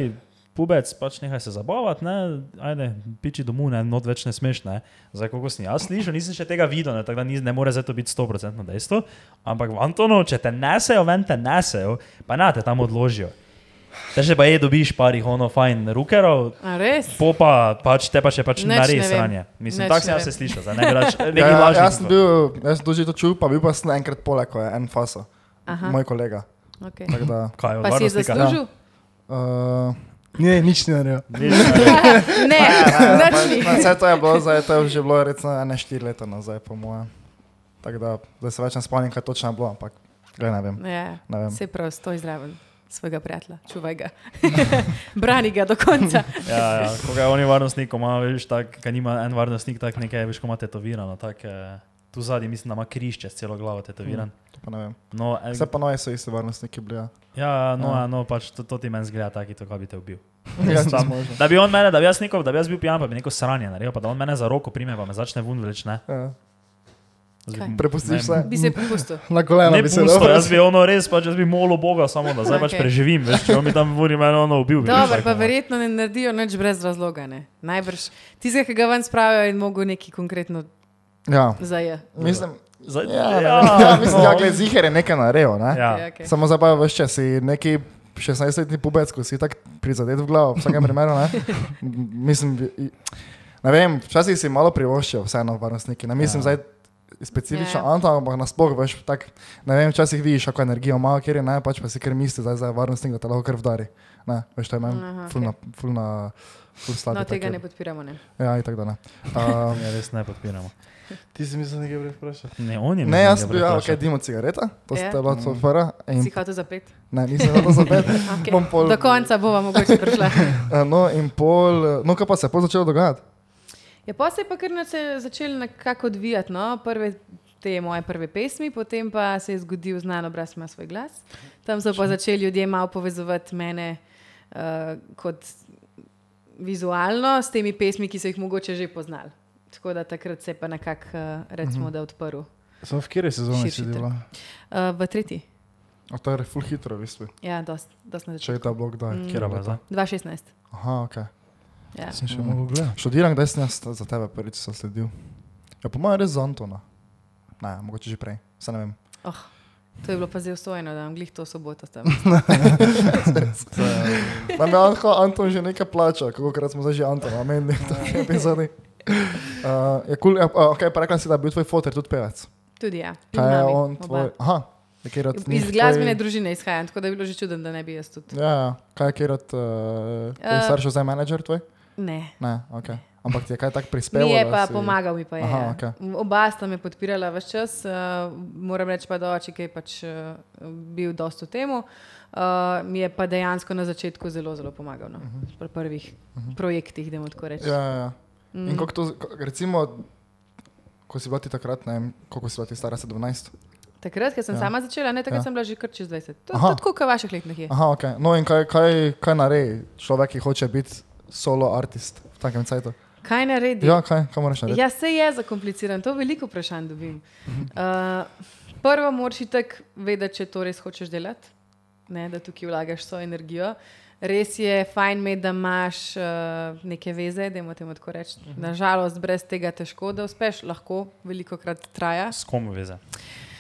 [SPEAKER 4] pubec, pač nehaj se zabavati, ne, ajde, piči domov, ne, not več ne smeš, ne. Zdaj, koliko sem jaz slišal, nisem še tega videl, ne, tako da ni, ne more zdaj to biti 100% dejstvo, ampak v Antonu, če te nesejo ven, te nesejo, pa na te tam odložijo. Te še pa je dobiš parih ono fajn rukerov,
[SPEAKER 5] A res?
[SPEAKER 4] Popa, pač te pa še pač
[SPEAKER 5] Nič ne
[SPEAKER 4] naredi
[SPEAKER 5] vem.
[SPEAKER 4] sranje. Mislim,
[SPEAKER 5] Nič
[SPEAKER 4] tako sem
[SPEAKER 5] ne
[SPEAKER 4] jaz se
[SPEAKER 5] vem.
[SPEAKER 4] slišal, zdaj
[SPEAKER 2] [laughs]
[SPEAKER 4] ne bi rač,
[SPEAKER 2] Ja,
[SPEAKER 4] neki
[SPEAKER 2] ja,
[SPEAKER 4] lažni.
[SPEAKER 2] jaz sem bil, jaz sem doživel to čutil, pa bil pa sem enkrat poleg, ko je en fasa,
[SPEAKER 5] Aha,
[SPEAKER 2] moj kolega.
[SPEAKER 5] okay.
[SPEAKER 2] Tako Da,
[SPEAKER 4] Kaj je ja. od
[SPEAKER 5] Pa si je
[SPEAKER 4] varnostnika?
[SPEAKER 5] zaslužil?
[SPEAKER 2] uh,
[SPEAKER 3] Ne, nič ni naredil.
[SPEAKER 4] Nič,
[SPEAKER 5] Ne,
[SPEAKER 4] ja,
[SPEAKER 5] nič Pač ni.
[SPEAKER 2] Vse to je bilo, zdaj, to je že bilo recimo ne štiri leta nazaj, po mojem. Tako da, zdaj se več ne spomnim, kaj točno je bilo, ampak glej, ne vem.
[SPEAKER 5] Ja,
[SPEAKER 2] Ne vem.
[SPEAKER 5] se prav, stoj zraven svojega prijatelja, čuvaj ga. [laughs] Brani ga do konca.
[SPEAKER 4] Ja, ja, ko ga je on je varnostnik, ko ima, veš, tak, ka nima en varnostnik, tak nekaj, veš, ko ima tetovirano, tak, eh, tu zadnji mislim, da ima krišče s celo glavo tetoviran.
[SPEAKER 2] to pa ne vem.
[SPEAKER 4] No, eh,
[SPEAKER 2] Vse pa nove so iste varnostniki bili. Hmm. ja.
[SPEAKER 4] ja, no, ja, no, pač to, to ti meni zgleda taki, to, ka bi te ubil.
[SPEAKER 2] [laughs] Ja,
[SPEAKER 4] Sam-
[SPEAKER 2] nismo možno.
[SPEAKER 4] Da bi on mene, da bi jaz neko, da bi jaz bil pijan, pa bi neko sranje naredil, pa da on mene za roko prime, pa me začne vun vleč, ne.
[SPEAKER 2] Ja.
[SPEAKER 4] Jaz bi-
[SPEAKER 5] Kaj?
[SPEAKER 2] Prepustiš
[SPEAKER 4] Ne,
[SPEAKER 2] se?
[SPEAKER 5] Bi se prepustil.
[SPEAKER 3] Na kolena
[SPEAKER 4] Ne,
[SPEAKER 3] bi se
[SPEAKER 4] pusto,
[SPEAKER 3] dal.
[SPEAKER 4] jaz bi ono res, pač jaz bi molil Boga samo, da zdaj pač
[SPEAKER 5] Okej.
[SPEAKER 4] preživim, veš, če on mi tam vuri, mene ono ubil. bi no.
[SPEAKER 5] Dobro,
[SPEAKER 4] veš,
[SPEAKER 5] pa
[SPEAKER 4] tako, ne.
[SPEAKER 5] verjetno ne naredijo nič brez razloga. Ne? Najbrž tistega, ki ga ven spravijo, je mogel neki konkretno
[SPEAKER 2] Ja.
[SPEAKER 5] zaje.
[SPEAKER 2] Mislim,
[SPEAKER 4] Zdaj, no.
[SPEAKER 2] ja, ne vem. ja, mislim, ja, gled, ziher je nekaj naredil, ne?
[SPEAKER 4] Ja.
[SPEAKER 5] Ja, okay.
[SPEAKER 2] Samo zabava, veš, če si neki 16-letni pubec, ko si tako prizadet v glavo, v vsakem primeru. Ne? [laughs] M- Mislim, bi- i- ne vem, včasih si malo privoščijo, vseeno varnostniki. Ne mislim,
[SPEAKER 4] Ja.
[SPEAKER 2] ja. zdaj specifično
[SPEAKER 5] Ja, ja.
[SPEAKER 2] ja. Anton, ampak nasploh veš, tak, ne vem, včasih vidiš, kako energijo ima, ker je ne, pač pa si ker misli, da je zdaj varnostnik, da te lahko krv dari. Ne, veš, to je meni
[SPEAKER 5] Aha,
[SPEAKER 2] fulna, fulna, fulna slaba.
[SPEAKER 5] No, tega ne podpiramo. Ne?
[SPEAKER 2] Ja, in tako [laughs] da ne. Um,
[SPEAKER 4] Ja, res ne podpiramo.
[SPEAKER 3] Ti si mislil nekaj vprašati.
[SPEAKER 4] Ne, on je.
[SPEAKER 2] ne, Mm. jaz sem bil, ja, ok, dimo cigareta, to
[SPEAKER 5] Ja.
[SPEAKER 2] ste bila to prva.
[SPEAKER 5] Si
[SPEAKER 2] in-
[SPEAKER 5] hotel zapet?
[SPEAKER 2] Ne, nisem hotel
[SPEAKER 5] [laughs]
[SPEAKER 2] zapet.
[SPEAKER 5] Okay.
[SPEAKER 2] Bom pol-
[SPEAKER 5] Do konca bova mogoče prišla. [laughs]
[SPEAKER 2] Eh, No, in pol, eh, no, kaj pa se je pol začelo dogajati?
[SPEAKER 5] Ja, pa se je pa kar nace- začelo nekako odvijati. No? Prve, te moje prve pesmi, potem pa se je zgodil znan obraz, ima svoj glas. Tam so pa začeli ljudje malo povezovati mene uh, kot vizualno s temi pesmi, ki so jih mogoče že poznali. Tako da takrat se je pa nekako, uh,
[SPEAKER 2] Mhm.
[SPEAKER 5] recimo, da odprl. Uh,
[SPEAKER 3] Sem v kateri sezoni
[SPEAKER 5] Širši
[SPEAKER 3] si
[SPEAKER 5] trg.
[SPEAKER 3] bila?
[SPEAKER 5] v tretji,
[SPEAKER 2] A to je ful hitro, v bistvu.
[SPEAKER 5] ja, dosti dost na
[SPEAKER 2] Če
[SPEAKER 5] začetku.
[SPEAKER 2] je ta blog daj.
[SPEAKER 5] Mm.
[SPEAKER 4] Kjer je zdaj?
[SPEAKER 5] 2016.
[SPEAKER 2] Aha, ok.
[SPEAKER 5] Ja.
[SPEAKER 3] Sem še mogel gledati.
[SPEAKER 2] Študiram, kdaj sem jaz za tebe prvič zasledil. Ja, po mojem res za Antona. Ne, mogoče že prej, se ne vem.
[SPEAKER 5] Oh, to je bilo pa zelo usvojeno, da imam glih to soboto
[SPEAKER 2] [laughs]
[SPEAKER 5] tam.
[SPEAKER 2] Nam je Anto, Anton že nekaj plača, kako krat smo zdaj že Antona, meni v
[SPEAKER 5] [laughs]
[SPEAKER 2] tej epizodi. Uh, je kul, cool, uh, ok, pa rekla si, da je bil tvoj foter tudi pevec.
[SPEAKER 5] Tudi ja. in
[SPEAKER 2] Kaj je
[SPEAKER 5] mami,
[SPEAKER 2] on
[SPEAKER 5] oba.
[SPEAKER 2] tvoj? Aha, je kjer od njih
[SPEAKER 5] Iz glasbene
[SPEAKER 2] tvoj-
[SPEAKER 5] družine izhajam, tako da je bilo že čudno, da ne bi jaz tudi.
[SPEAKER 2] Ja, ja. kaj je kjer od, uh,
[SPEAKER 5] Eh.
[SPEAKER 2] uh, staršev zdaj menedžer tvoj?
[SPEAKER 5] Ne.
[SPEAKER 2] Ne, ok. Ampak ti je kaj tak prispeval?
[SPEAKER 5] Mi je
[SPEAKER 2] da
[SPEAKER 5] pa
[SPEAKER 2] si-
[SPEAKER 5] pomagal, mi pa je.
[SPEAKER 2] Aha,
[SPEAKER 5] ja.
[SPEAKER 2] okej.
[SPEAKER 5] Oba sta me podpirala vse čas, uh, moram reči pa, da oče, ki je pač uh, bil dost v temu, uh, mi je pa dejansko na začetku zelo, zelo pomagal. No. Pri prvih projektih, da mu tako rečem.
[SPEAKER 2] Mhm. Ja, ja, ja. Mm. In kako to, ko- recimo, ko si bila ti takrat, ne vem, koliko si bila ti stara, 17?
[SPEAKER 5] Takrat, ko sem
[SPEAKER 2] Ja.
[SPEAKER 5] sama začela, ne, takrat
[SPEAKER 2] Ja.
[SPEAKER 5] sem bila že kar čez 20. To
[SPEAKER 2] Aha.
[SPEAKER 5] je tako, kot vaših let nekje.
[SPEAKER 2] Aha, ok. No in kaj, kaj, kaj naredi človek, ki hoče biti solo artist v takem cajtu?
[SPEAKER 5] Kaj naredi?
[SPEAKER 2] Ja, kaj, kaj moraš narediti?
[SPEAKER 5] Ja, se je zakompliciran, to veliko vprašanj dobim. Uh, prvo moraš itek vedeti, če to res hočeš delati, ne, da tukaj vlagaš svojo energijo. Res je fajn imeti, da imaš uh, neke veze, da imaš tako reči. Nažalost, brez tega težko, da uspeš, lahko veliko krat traja.
[SPEAKER 4] S kom veze?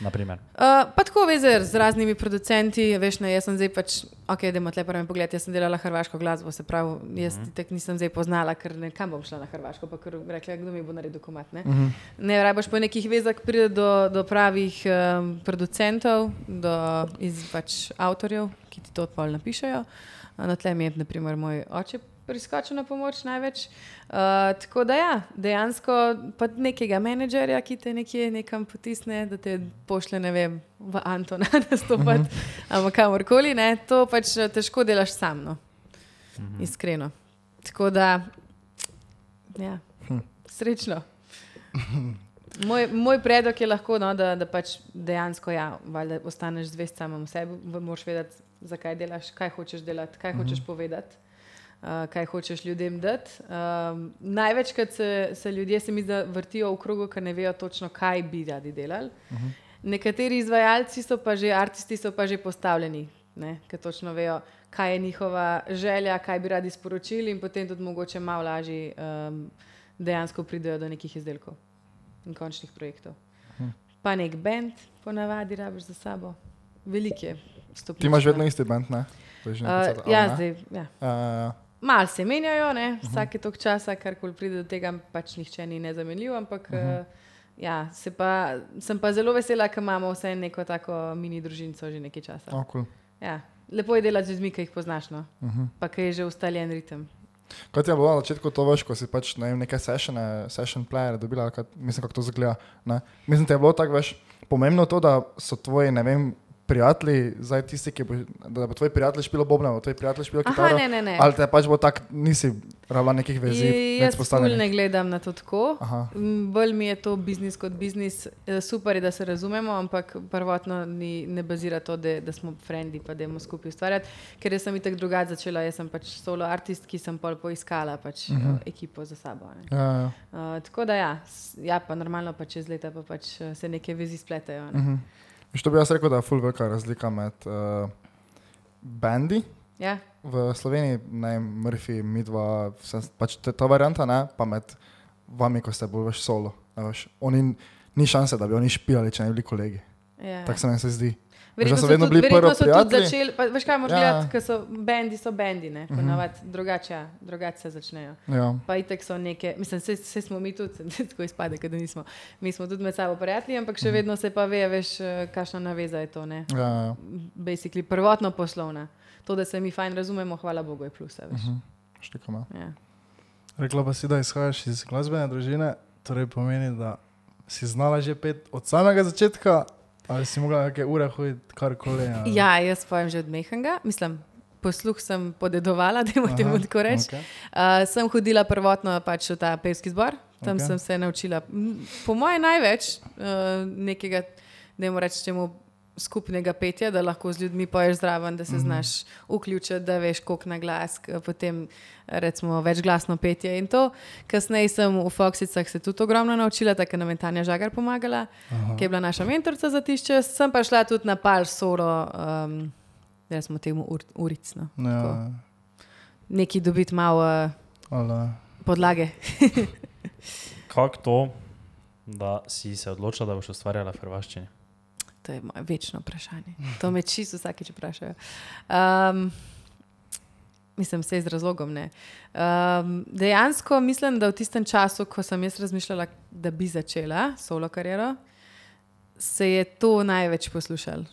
[SPEAKER 4] Naprimer.
[SPEAKER 5] Uh, pa tako veze z raznimi producenti, veš, ne, jaz sem zdaj pač, ok, da imaš le prvi pogled, jaz sem delala hrvaško glasbo, se pravi, jaz mm -hmm. tek nisem zdaj poznala, ker ne, kam bom šla na hrvaško, pa ker rekla, kdo mi bo naredil komat. Ne, mm -hmm. ne rabaš po nekih vezah pride do, do pravih um, producentov, do iz pač avtorjev, ki ti to odpol napišajo. Uh, Na tlem je, naprimer, moj oče priskočil na pomoč največ. Uh, tako da, ja, dejansko pa nekega menedžerja, ki te nekje nekam potisne, da te pošle, ne vem, v Antona [laughs] nastopati, uh -huh. ampak kamorkoli, ne, to pač eh, težko delaš sam, no. uh -huh. iskreno. Tako da, ja, hm. srečno. Moj, moj predlog je lahko, no, da, da pač dejansko ja, valjda ostaneš zvest samemu sebi, v- moraš vedeti, zakaj delaš, kaj hočeš delati,
[SPEAKER 2] Mhm.
[SPEAKER 5] kaj hočeš povedati. Uh, kaj hočeš ljudem dati. Um, največkrat se, se ljudje, se mi zdi, da vrtijo v krogu, ker ne vejo točno, kaj bi radi delali. Uh
[SPEAKER 2] Mhm.
[SPEAKER 5] -huh. Nekateri izvajalci so pa že, aristi so pa že postavljeni, ne, ker točno vejo, kaj je njihova želja, kaj bi radi sporočili, in potem tudi mogoče malo lažje um, dejansko pridejo do nekih izdelkov in končnih projektov.
[SPEAKER 2] Mhm.
[SPEAKER 5] Pa nek bend, ponavadi rabiš za sabo, velike stopnice.
[SPEAKER 2] Ti imaš vedno isti bend, ne? To je že
[SPEAKER 5] Uh,
[SPEAKER 2] na koncertu, ali
[SPEAKER 5] ja,
[SPEAKER 2] ne?
[SPEAKER 5] zdaj. Ja.
[SPEAKER 2] Ja, ja, ja.
[SPEAKER 5] Mal se menjajo, ne?
[SPEAKER 2] Mhm.
[SPEAKER 5] vsake tok časa, karkoli pride do tega, pač nihče ni nezamenljiv, ampak
[SPEAKER 2] Mhm.
[SPEAKER 5] uh -huh. ja, se pa, sem pa zelo vesela, ker imamo vse neko tako mini družinco že nekaj časa.
[SPEAKER 2] Oh, cool. Mhm.
[SPEAKER 5] Ja. Lepo je delati z ljudmi, ki jih poznaš, no? uh -huh. pa ki je že ustaljen ritem.
[SPEAKER 2] Kaj ti je bilo na začetku to veš, ko si pač ne vem, neke sessione, session playere dobila, ali kaj, mislim, kako to zgleda. Ne? Mislim, da je bilo tako veš, pomembno to, da so tvoji, ne vem, prijatelji, zdaj tisti, ki bo, da bo tvoj prijatelj špil bobne, bo tvoj prijatelj špil
[SPEAKER 5] Aha,
[SPEAKER 2] kitaro.
[SPEAKER 5] ne, ne, ne.
[SPEAKER 2] Ali te pač bo tako, nisi rabila nekih vezi,
[SPEAKER 5] I-
[SPEAKER 2] več
[SPEAKER 5] Jaz ful ne
[SPEAKER 2] postavljenih.
[SPEAKER 5] gledam na to tako.
[SPEAKER 2] Aha.
[SPEAKER 5] M, Bolj mi je to biznis kot biznis. E, Super je, da se razumemo, ampak prvotno ni, ne bazira to, da, da smo frendi pa da imamo skupaj ustvarjati. Ker jaz sem itak drugače začela, jaz sem pač solo artist, ki sem pol poiskala pač, uh
[SPEAKER 2] Mhm.
[SPEAKER 5] -huh. ekipo za sabo. ne.
[SPEAKER 2] Ja, ja.
[SPEAKER 5] Uh, tako da ja, s- ja, pa normalno pa čez leta pa pač eh, se neke vezi spletajo.
[SPEAKER 2] Mhm.
[SPEAKER 5] Ne? Uh -huh.
[SPEAKER 2] Veš, To bi jaz rekel, da je ful velika razlika med uh, bendi.
[SPEAKER 5] Ja,
[SPEAKER 2] v Sloveniji, ne, Murphy, midva, vse, pač te, ta varianta, ne, pa med vami, ko ste bolj veš solo. ne Veš, oni, ni šanse, da bi oni špijali, če ne bi bili kolegi.
[SPEAKER 5] ja.
[SPEAKER 2] Tako se meni se zdi.
[SPEAKER 5] Verjetno
[SPEAKER 2] da
[SPEAKER 5] so,
[SPEAKER 2] so vedno
[SPEAKER 5] tudi,
[SPEAKER 2] bili
[SPEAKER 5] verjetno
[SPEAKER 2] prvo
[SPEAKER 5] so tudi
[SPEAKER 2] prijatelji.
[SPEAKER 5] začeli, pa, veš kaj, morda,
[SPEAKER 2] Ja. Mhm.
[SPEAKER 5] ja. ker so bendi, so bendi, ne, ponavadi uh -huh. drugače, ja, drugače se začnejo.
[SPEAKER 2] Ja.
[SPEAKER 5] Pa itek so neke, mislim, vse, vse smo mi tudi, [laughs] tako izpade, kot da nismo. Mi smo tudi med sabo prijatelji, ampak še vedno se pa ve, veš, eh, kakšna naveza je to. Ne?
[SPEAKER 2] Ja, ja.
[SPEAKER 5] Basically, prvotno poslovna. To, da se mi fajn razumemo, hvala Bogu, je plus. a Veš.
[SPEAKER 2] Mhm. Še tako malo.
[SPEAKER 5] Ja.
[SPEAKER 3] Rekla pa si, da izhajaš iz glasbene družine, torej pomeni, da si znala že pet od samega začetka, ali si mogla nekaj ure hoditi karkoli. ali-
[SPEAKER 5] ja, jaz pojem že od mehanga, mislim. Posluh sem podedovala, [laughs] da jim temu tako rečem.
[SPEAKER 3] okej.
[SPEAKER 5] Okay. Uh, sem hodila prvotno pač v ta pevski zbor, tam
[SPEAKER 3] Okej.
[SPEAKER 5] okay. sem se naučila, m, po mojem, največ uh, nekega, da jim rečemo, skupnega petja, da lahko z ljudmi poješ zraven, da se mm -hmm. znaš vključiti, da veš, koliko na glas, k- potem recimo večglasno petje in to. Kasneje sem v Foxicah se tudi ogromno naučila, tako je nam je Tanja Žagar pomagala, Aha. ki je bila naša mentorica za tišče, sem pa šla tudi na pal solo. Um, Da smo temu ur, uricno. Ja.
[SPEAKER 3] Ja,
[SPEAKER 5] Nekaj dobiti malo uh,
[SPEAKER 3] ali,
[SPEAKER 5] podlage.
[SPEAKER 4] Kako to, da si se odločila, da boš ustvarjala v hrvaščini?
[SPEAKER 5] To je moje večno vprašanje. To me čisto vsakeč vprašajo. Um, mislim, vse z razlogom ne. Um, dejansko mislim, da v tistem času, ko sem jaz razmišljala, da bi začela solo kariero, se je to največ poslušal.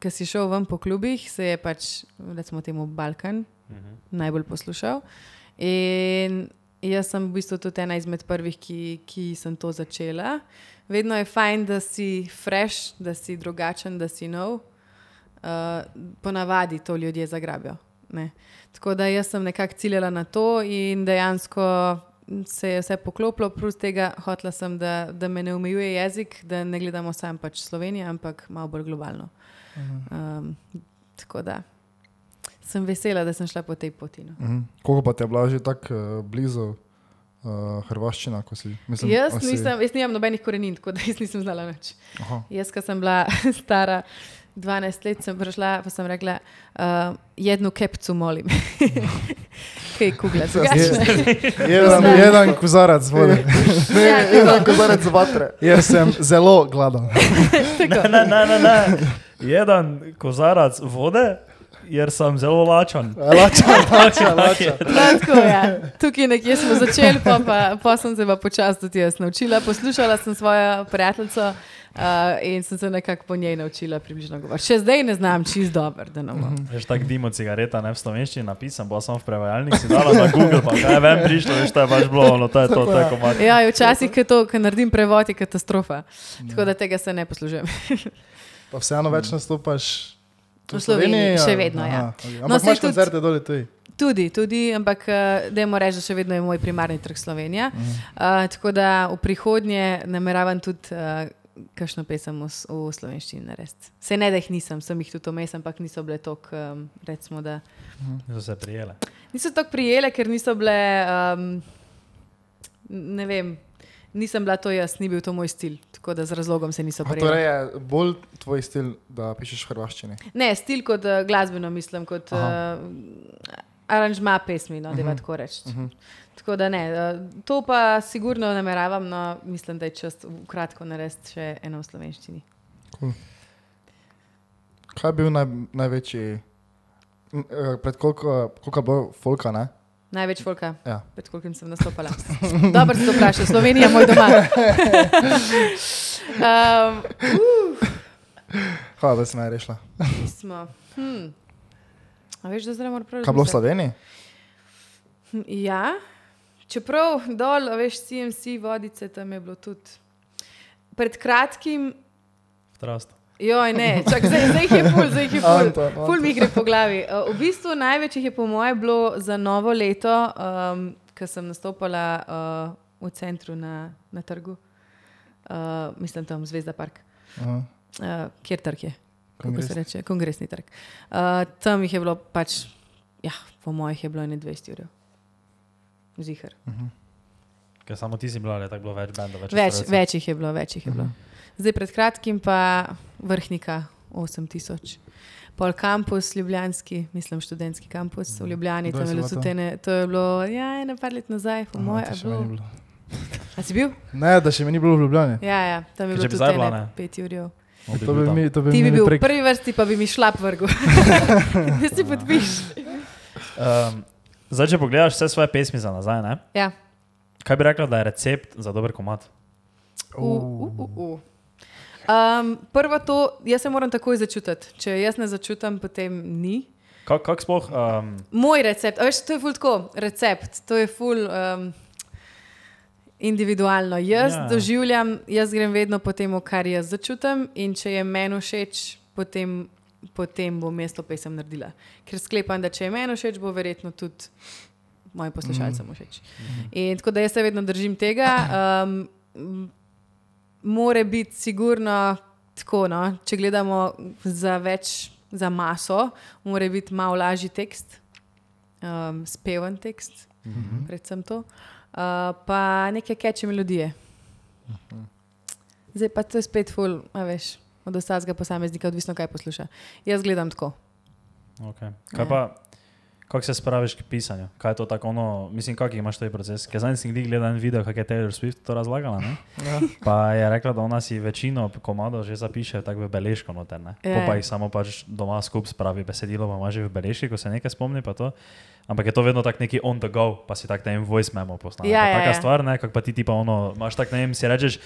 [SPEAKER 5] Ker si šel ven po klubih, se je pač, recimo, temu Balkan najbolj poslušal. In jaz sem v bistvu tudi ena izmed prvih, ki, ki sem to začela. Vedno je fajn, da si fresh, da si drugačen, da si nov. Uh, ponavadi to ljudje zagrabijo. Ne. Tako da jaz sem nekako ciljala na to in dejansko se je vse poklopilo, plus tega hotla sem, da, da me ne omejuje jezik, da ne gledamo samo pač Slovenijo, ampak malo bolj globalno.
[SPEAKER 3] Mhm.
[SPEAKER 5] Um, tako da sem vesela, da sem šla po tej poti. No.
[SPEAKER 2] Mhm. Koliko pa ti je bila že tako uh, blizu uh, hrvaščina, ko si? Mislim,
[SPEAKER 5] Jaz,
[SPEAKER 2] ali si-
[SPEAKER 5] nisem, jaz nimam nobenih korenin, tako da jaz nisem znala nič.
[SPEAKER 2] Aha.
[SPEAKER 5] Jaz, ko sem bila [laughs] stara 12 let, sem prišla pa sem rekla, uh, jednu kepcu molim. [laughs] Kaj kugla, drugačne.
[SPEAKER 3] jedan,
[SPEAKER 5] Poznam.
[SPEAKER 3] jedan kozarac
[SPEAKER 5] [laughs]
[SPEAKER 3] vode.
[SPEAKER 5] Ja,
[SPEAKER 2] Ja, ko zarec
[SPEAKER 3] [laughs]
[SPEAKER 2] vatre.
[SPEAKER 3] Jaz sem zelo gladen.
[SPEAKER 5] tako.
[SPEAKER 4] Ne, ne, ne, ne. Jedan kozarac vode, jer sem zelo lačen.
[SPEAKER 3] Lača,
[SPEAKER 4] [laughs]
[SPEAKER 3] lača, lača.
[SPEAKER 5] No, tako, ja. Tukaj nekje smo začeli, pa, pa, pa sem se pa počasi tudi jaz naučila. Poslušala sem svojo prijateljico uh, in sem se nekako po njej naučila približno govoriti. Še zdaj ne znam čist dober, da ne bom.
[SPEAKER 4] Veš, tako dimo cigareta, ne v slovenščini napisan, bo sem v prevajalnik si dala na Google, pa kaj vem, prišlo, veš, to je pač bilo, no to je to, to je komat.
[SPEAKER 5] Ja, in včasih, ko to, ko naredim prevod, je katastrofa. Tako da tega se ne poslužujem.
[SPEAKER 3] Pa vseeno več nastopaš. tu
[SPEAKER 5] V Sloveniji, še
[SPEAKER 3] ali-
[SPEAKER 5] vedno, ja.
[SPEAKER 3] ok.
[SPEAKER 5] No,
[SPEAKER 3] Ampak no,
[SPEAKER 5] saj
[SPEAKER 3] imaš
[SPEAKER 5] tudi-
[SPEAKER 3] koncerte dole tudi.
[SPEAKER 5] Tudi, tudi, ampak da jim rečem, da še vedno je moj primarni trg Slovenija.
[SPEAKER 2] Mhm.
[SPEAKER 5] Uh, tako da v prihodnje nameravam tudi uh, kakšno pesem v, s- v slovenščini narediti. Se ne, da jih nisem, sem jih tudi omes, ampak niso bile tako, um, recimo, da
[SPEAKER 4] So se prijele.
[SPEAKER 5] niso tako prijele, ker niso bile, um, ne vem, nisem bila to jaz, ni bil to moj stil. Tako da z razlogom se niso
[SPEAKER 2] A
[SPEAKER 5] prijele.
[SPEAKER 2] Torej je bolj tvoj stil, da pišeš v hrvaščini.
[SPEAKER 5] Ne, stil kot uh, glasbeno, mislim, kot uh, aranžma pesmi, no, da
[SPEAKER 2] Mhm.
[SPEAKER 5] je tako reči. Uh -huh. Tako da ne, uh, to pa sigurno nameravam, no, mislim, da je čas v kratko narediti še eno v slovenščini.
[SPEAKER 2] Kaj je bil naj, največji, m, eh, pred koliko, koliko bo folka, ne?
[SPEAKER 5] Največ folka,
[SPEAKER 2] Ja.
[SPEAKER 5] pred kolikim sem nastopala. [laughs] Dobro si to vprašal, Slovenija je moj
[SPEAKER 2] [laughs]
[SPEAKER 5] doma. um,
[SPEAKER 2] Hvala, da si
[SPEAKER 3] ja
[SPEAKER 2] me rešila.
[SPEAKER 5] mi smo, hm. A veš, da zdaj moramo prav.
[SPEAKER 2] Kaj je bilo v Sloveniji?
[SPEAKER 5] Hm, Ja, čeprav dol, a veš, CMC vodice tam je bilo tudi. Pred kratkim,
[SPEAKER 4] Trast.
[SPEAKER 5] joj, ne, čak, zdaj, zdaj jih je ful, zdaj jih je ful.
[SPEAKER 2] Anton,
[SPEAKER 5] Ful mi gre po glavi. Uh, V bistvu največ jih je po moje bilo za novo leto, um, ko sem nastopala uh, v centru na, na trgu, uh, mislim tam Zvezda Park.
[SPEAKER 2] Aha.
[SPEAKER 5] Uh, kjer trg je? Kako se
[SPEAKER 2] Kongres.
[SPEAKER 5] reče? Kongresni trg. Uh, tam jih je bilo pač, ja, po mojih je bilo ne 20 ur. Zihar.
[SPEAKER 4] Ker samo ti si bila, ali je tako bilo več bendov,
[SPEAKER 3] pač
[SPEAKER 4] več.
[SPEAKER 5] Več,
[SPEAKER 4] ustvarjalcev?
[SPEAKER 5] več jih je bilo, več jih je
[SPEAKER 3] Mhm.
[SPEAKER 5] bilo. Zdaj pred kratkim pa vrhnika 8000. Pol kampus, ljubljanski, mislim, študentski kampus v Ljubljani,
[SPEAKER 3] Kdaj
[SPEAKER 5] tam je
[SPEAKER 3] Mhm. si
[SPEAKER 5] bilo
[SPEAKER 3] bila
[SPEAKER 5] tudi
[SPEAKER 3] tam?
[SPEAKER 5] ene, to je bilo, ja, eno par let nazaj, po mojem.
[SPEAKER 3] to še meni bilo.
[SPEAKER 5] A si bil?
[SPEAKER 3] Ne, da še mi ni bilo v Ljubljani.
[SPEAKER 5] Ja, ja, tam je
[SPEAKER 4] Če
[SPEAKER 5] bilo
[SPEAKER 4] bi zdaj
[SPEAKER 5] tudi
[SPEAKER 4] bila,
[SPEAKER 5] ene
[SPEAKER 4] ne?
[SPEAKER 5] 5 ur.
[SPEAKER 4] No, bi
[SPEAKER 3] To bi
[SPEAKER 4] bil tam.
[SPEAKER 3] mi, to bi
[SPEAKER 5] Ti
[SPEAKER 3] mi
[SPEAKER 5] bi bil v
[SPEAKER 3] prek...
[SPEAKER 5] prvi vrsti, pa bi mi šla vrgu.
[SPEAKER 3] [laughs]
[SPEAKER 5] da si podpiš.
[SPEAKER 4] Um, zdaj, če pogledaš vse svoje pesmi za nazaj, ne?
[SPEAKER 5] Ja.
[SPEAKER 4] kaj bi rekla, da je recept za dober komat?
[SPEAKER 5] U, u, u, u. Um, prvo to, jaz se moram takoj začutiti. Če jaz ne začutim, potem ni.
[SPEAKER 4] Kako kak sploh? Um,
[SPEAKER 5] Moj recept, a veš, to je ful tako, recept, to je ful um, individualno. Jaz
[SPEAKER 4] Ja.
[SPEAKER 5] ja. doživljam, jaz grem vedno po tem, kar jaz začutim in če je meni všeč, potem, potem bom jaz to pesem naredila. Ker sklepam, da če je meni všeč, bo verjetno tudi mojim poslušalcem mm. všeč. In tako da jaz se vedno držim tega. Um, m, more biti sigurno tako, no? če gledamo za več, za maso, mora biti malo lažji tekst, um, speven tekst, mm -hmm. predvsem to, uh, pa neke keče melodije. Zdaj pa to je spet ful, a veš, od vsakega posameznika, odvisno kaj posluša. Jaz gledam tako.
[SPEAKER 4] okay. Kaj pa, kako se spraviš k pisanju? Kaj je to tako, ono, mislim, kak imaš taj proces? Ker zadnjič sem glih gledal en video, kako je Taylor Swift to razlagala, ne?
[SPEAKER 2] Ja.
[SPEAKER 4] Pa je rekla, da ona si večino komadov že zapiše tako v beležko noter, ne?
[SPEAKER 5] Ja,
[SPEAKER 4] Po pa
[SPEAKER 5] ja.
[SPEAKER 4] jih samo pač doma skupaj spravi besedilo, pa ima že v beležki, ko se nekaj spomni, pa to. Ampak je to vedno tako neki on the go, pa si tak na en voice memo postane.
[SPEAKER 5] Ja,
[SPEAKER 4] Pa
[SPEAKER 5] ja,
[SPEAKER 4] taka
[SPEAKER 5] ja.
[SPEAKER 4] stvar, ne, kako pa ti ti pa ono, imaš tak, ne vem, si rečeš,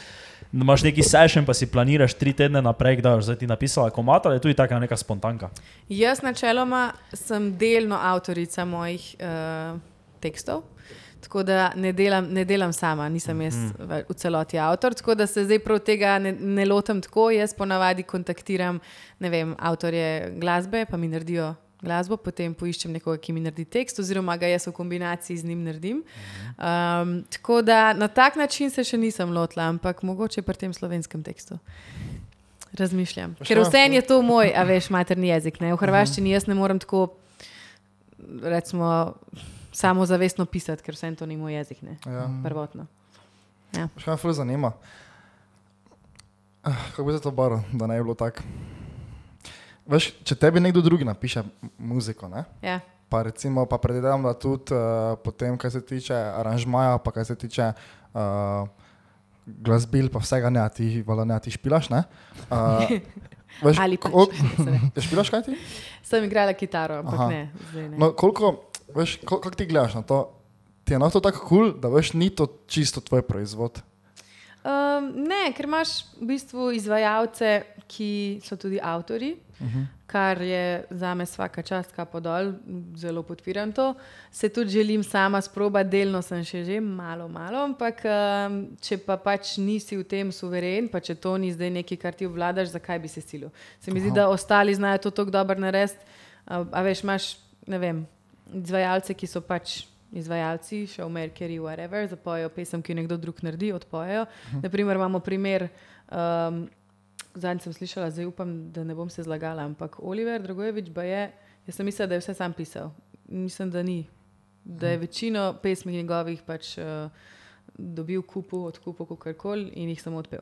[SPEAKER 4] da imaš neki session, pa si planiraš tri tedne naprej, da boš zdaj ti napisala komata, ali je tudi taka neka spontanka.
[SPEAKER 5] Jaz načeloma sem delno avtorica mojih uh, tekstov. Tako da ne delam, ne delam sama, nisem jaz v- v celoti avtor, tako da se zdaj prav tega ne, ne lotim tako. Jaz ponavadi kontaktiram ne vem, avtorje glasbe, pa mi naredijo glasbo, potem poiščem nekoga, ki mi naredi tekst, oziroma ga jaz v kombinaciji z njim naredim. Um, tako da na tak način se še nisem lotila, ampak mogoče pri tem slovenskem tekstu. Razmišljam. Ker
[SPEAKER 2] ja,
[SPEAKER 5] vse en je to moj, a veš, materni jezik. Ne? V hrvaščini jaz ne morem tako, recimo, samozavestno pisati, ker vse en to ni moj jezik. Ne?
[SPEAKER 2] Ja.
[SPEAKER 3] Mm.
[SPEAKER 5] Prvotno.
[SPEAKER 2] Še me ful zanima. Ah, Kako bi se to baro, da ne bi bilo tako? Veš, če tebi nekdo drugi napiše m- muziko, ne?
[SPEAKER 5] Ja.
[SPEAKER 2] pa recimo, pa predvidevam, da tudi uh, potem, kar se tiče aranžmaja, pa kar se tiče uh, glasbil, pa vsega ne, a ti, vala, ne, a ti špilaš, ne? Uh, veš,
[SPEAKER 5] [laughs] Ali pač.
[SPEAKER 2] kol-
[SPEAKER 5] se ne.
[SPEAKER 2] Ja, špilaš kaj ti?
[SPEAKER 5] Sem igrala kitaro, ampak
[SPEAKER 2] Aha.
[SPEAKER 5] Aha. ne. zdaj ne.
[SPEAKER 2] No, koliko, veš, kol- kako ti gledaš na to? Ti je enoto tako kul, cool, da veš, ni to čisto tvoj proizvod.
[SPEAKER 5] Um, ne, ker imaš v bistvu izvajalce, ki so tudi avtori, uh -huh. kar je za me vsaka čast, kaj podol, zelo podpiram to. Se tudi želim sama sproba, delno sem še že malo, malo, ampak um, če pa pač nisi v tem suveren, pa če to ni zdaj nekaj, kar ti obvladaš, zakaj bi se silil? Se mi zdi, da ostali znajo to tako dobro narediti, a, a veš, imaš, ne vem. izvajalce, ki so pač izvajalci, showmakeri, whatever, zapojejo pesem, ki jo nekdo drug naredi, odpojejo. Naprimer, imamo primer, um, zadnjič sem slišala, zdaj upam, da ne bom se zlagala, ampak Oliver Dragojevič pa je, jaz sem mislila, da je vse sam pisal. Mislim, da ni. Da je večino pesmi njegovih pač uh, dobil kupu, odkupu, kako koli in jih samo odpel.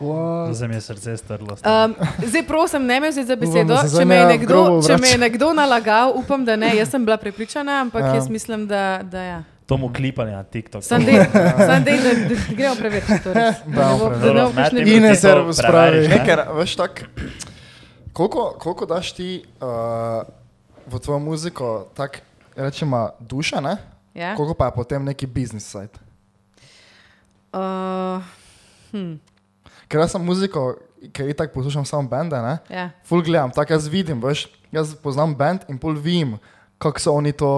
[SPEAKER 4] Zdaj se mi je srce strlo.
[SPEAKER 5] Um, zdaj, prosim, ne me vzeti za besedo.
[SPEAKER 3] Upam, da se
[SPEAKER 5] Če me, je
[SPEAKER 3] zdaj ne
[SPEAKER 5] nekdo,
[SPEAKER 3] grobo
[SPEAKER 5] če me je
[SPEAKER 3] vrača.
[SPEAKER 5] nekdo nalagal, upam, da ne. Jaz sem bila prepričana, ampak
[SPEAKER 2] Ja.
[SPEAKER 5] ja. jaz mislim, da, da ja.
[SPEAKER 4] Tomu klipanje na TikTok.
[SPEAKER 5] Sam dej, sam dej, da, da gremo preveriti. Torej. Da ne bo- da ne bo
[SPEAKER 4] Dobro,
[SPEAKER 5] kakšne-
[SPEAKER 4] Mati,
[SPEAKER 3] In-
[SPEAKER 4] ti to
[SPEAKER 3] servus
[SPEAKER 4] preveriš,
[SPEAKER 3] pravi.
[SPEAKER 4] ne?
[SPEAKER 2] Ker, veš, tako, koliko, koliko daš ti uh, v tvojo muziko, tako rečemo, duša, ne?
[SPEAKER 5] Ja.
[SPEAKER 2] Koliko pa je potem neki biznis sajt?
[SPEAKER 5] Uh, hm,
[SPEAKER 2] Ker jaz sem muziko, ker itak poslušam samo bende, ne?
[SPEAKER 5] ja.
[SPEAKER 2] Ful gledam, tako jaz vidim, veš, jaz poznam bend in pol vim, kako so oni to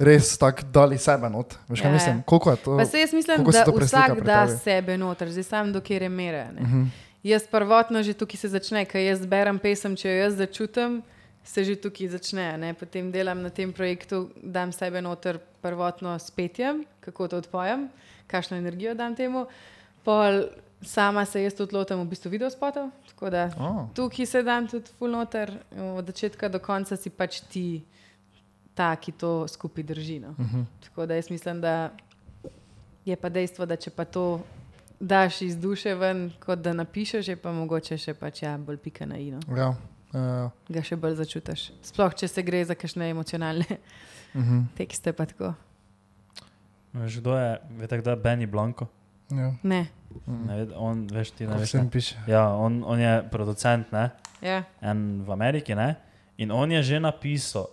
[SPEAKER 2] res tako dali sebe not. Veš, kaj
[SPEAKER 5] Ja, ja.
[SPEAKER 2] mislim? Koliko je to?
[SPEAKER 5] Pa se jaz mislim,
[SPEAKER 2] Oh, Kako se
[SPEAKER 5] da
[SPEAKER 2] to preslika Mhm.
[SPEAKER 5] vsak
[SPEAKER 2] pri
[SPEAKER 5] da
[SPEAKER 2] tebi?
[SPEAKER 5] sebe noter, zdaj sam do kjer je mere. Uh -huh. Jaz prvotno že tukaj se začne, ker jaz berem pesem, če jo jaz začutim, se že tukaj začne. a Ne? Potem delam na tem projektu, dam sebe noter prvotno s petjem, kako to odpojem, kakšno energijo dam temu. Pol sama se jaz tudi lotim v bistvu videospotov, tako da
[SPEAKER 2] Oh.
[SPEAKER 5] Tukaj se dan tudi fulnoter, od začetka do konca si pač ti ta, ki to skupaj drži. No. Uh
[SPEAKER 3] Mhm.
[SPEAKER 5] -huh. Tako da jaz mislim, da je pa dejstvo, da če pa to daš iz duše ven, kot da napišeš, je pa mogoče še pač ja, bolj pika na ino.
[SPEAKER 2] Ja, uh,
[SPEAKER 5] Ga še bolj začutiš. Sploh, če se gre za kakšne emocionalne uh -huh.
[SPEAKER 3] Mhm.
[SPEAKER 5] [laughs] tekste, pa tako.
[SPEAKER 4] Veš, kdo je, veš, kdo je Benny Blanco?
[SPEAKER 3] Ja,
[SPEAKER 5] Ne.
[SPEAKER 4] Ne, ve- on, veš, ti ne
[SPEAKER 3] kot
[SPEAKER 4] veš.
[SPEAKER 3] vsem
[SPEAKER 4] Ne?
[SPEAKER 3] piše.
[SPEAKER 4] Ja, on, on je producent, ne?
[SPEAKER 5] Ja.
[SPEAKER 4] En v Ameriki, ne? In on je že napisal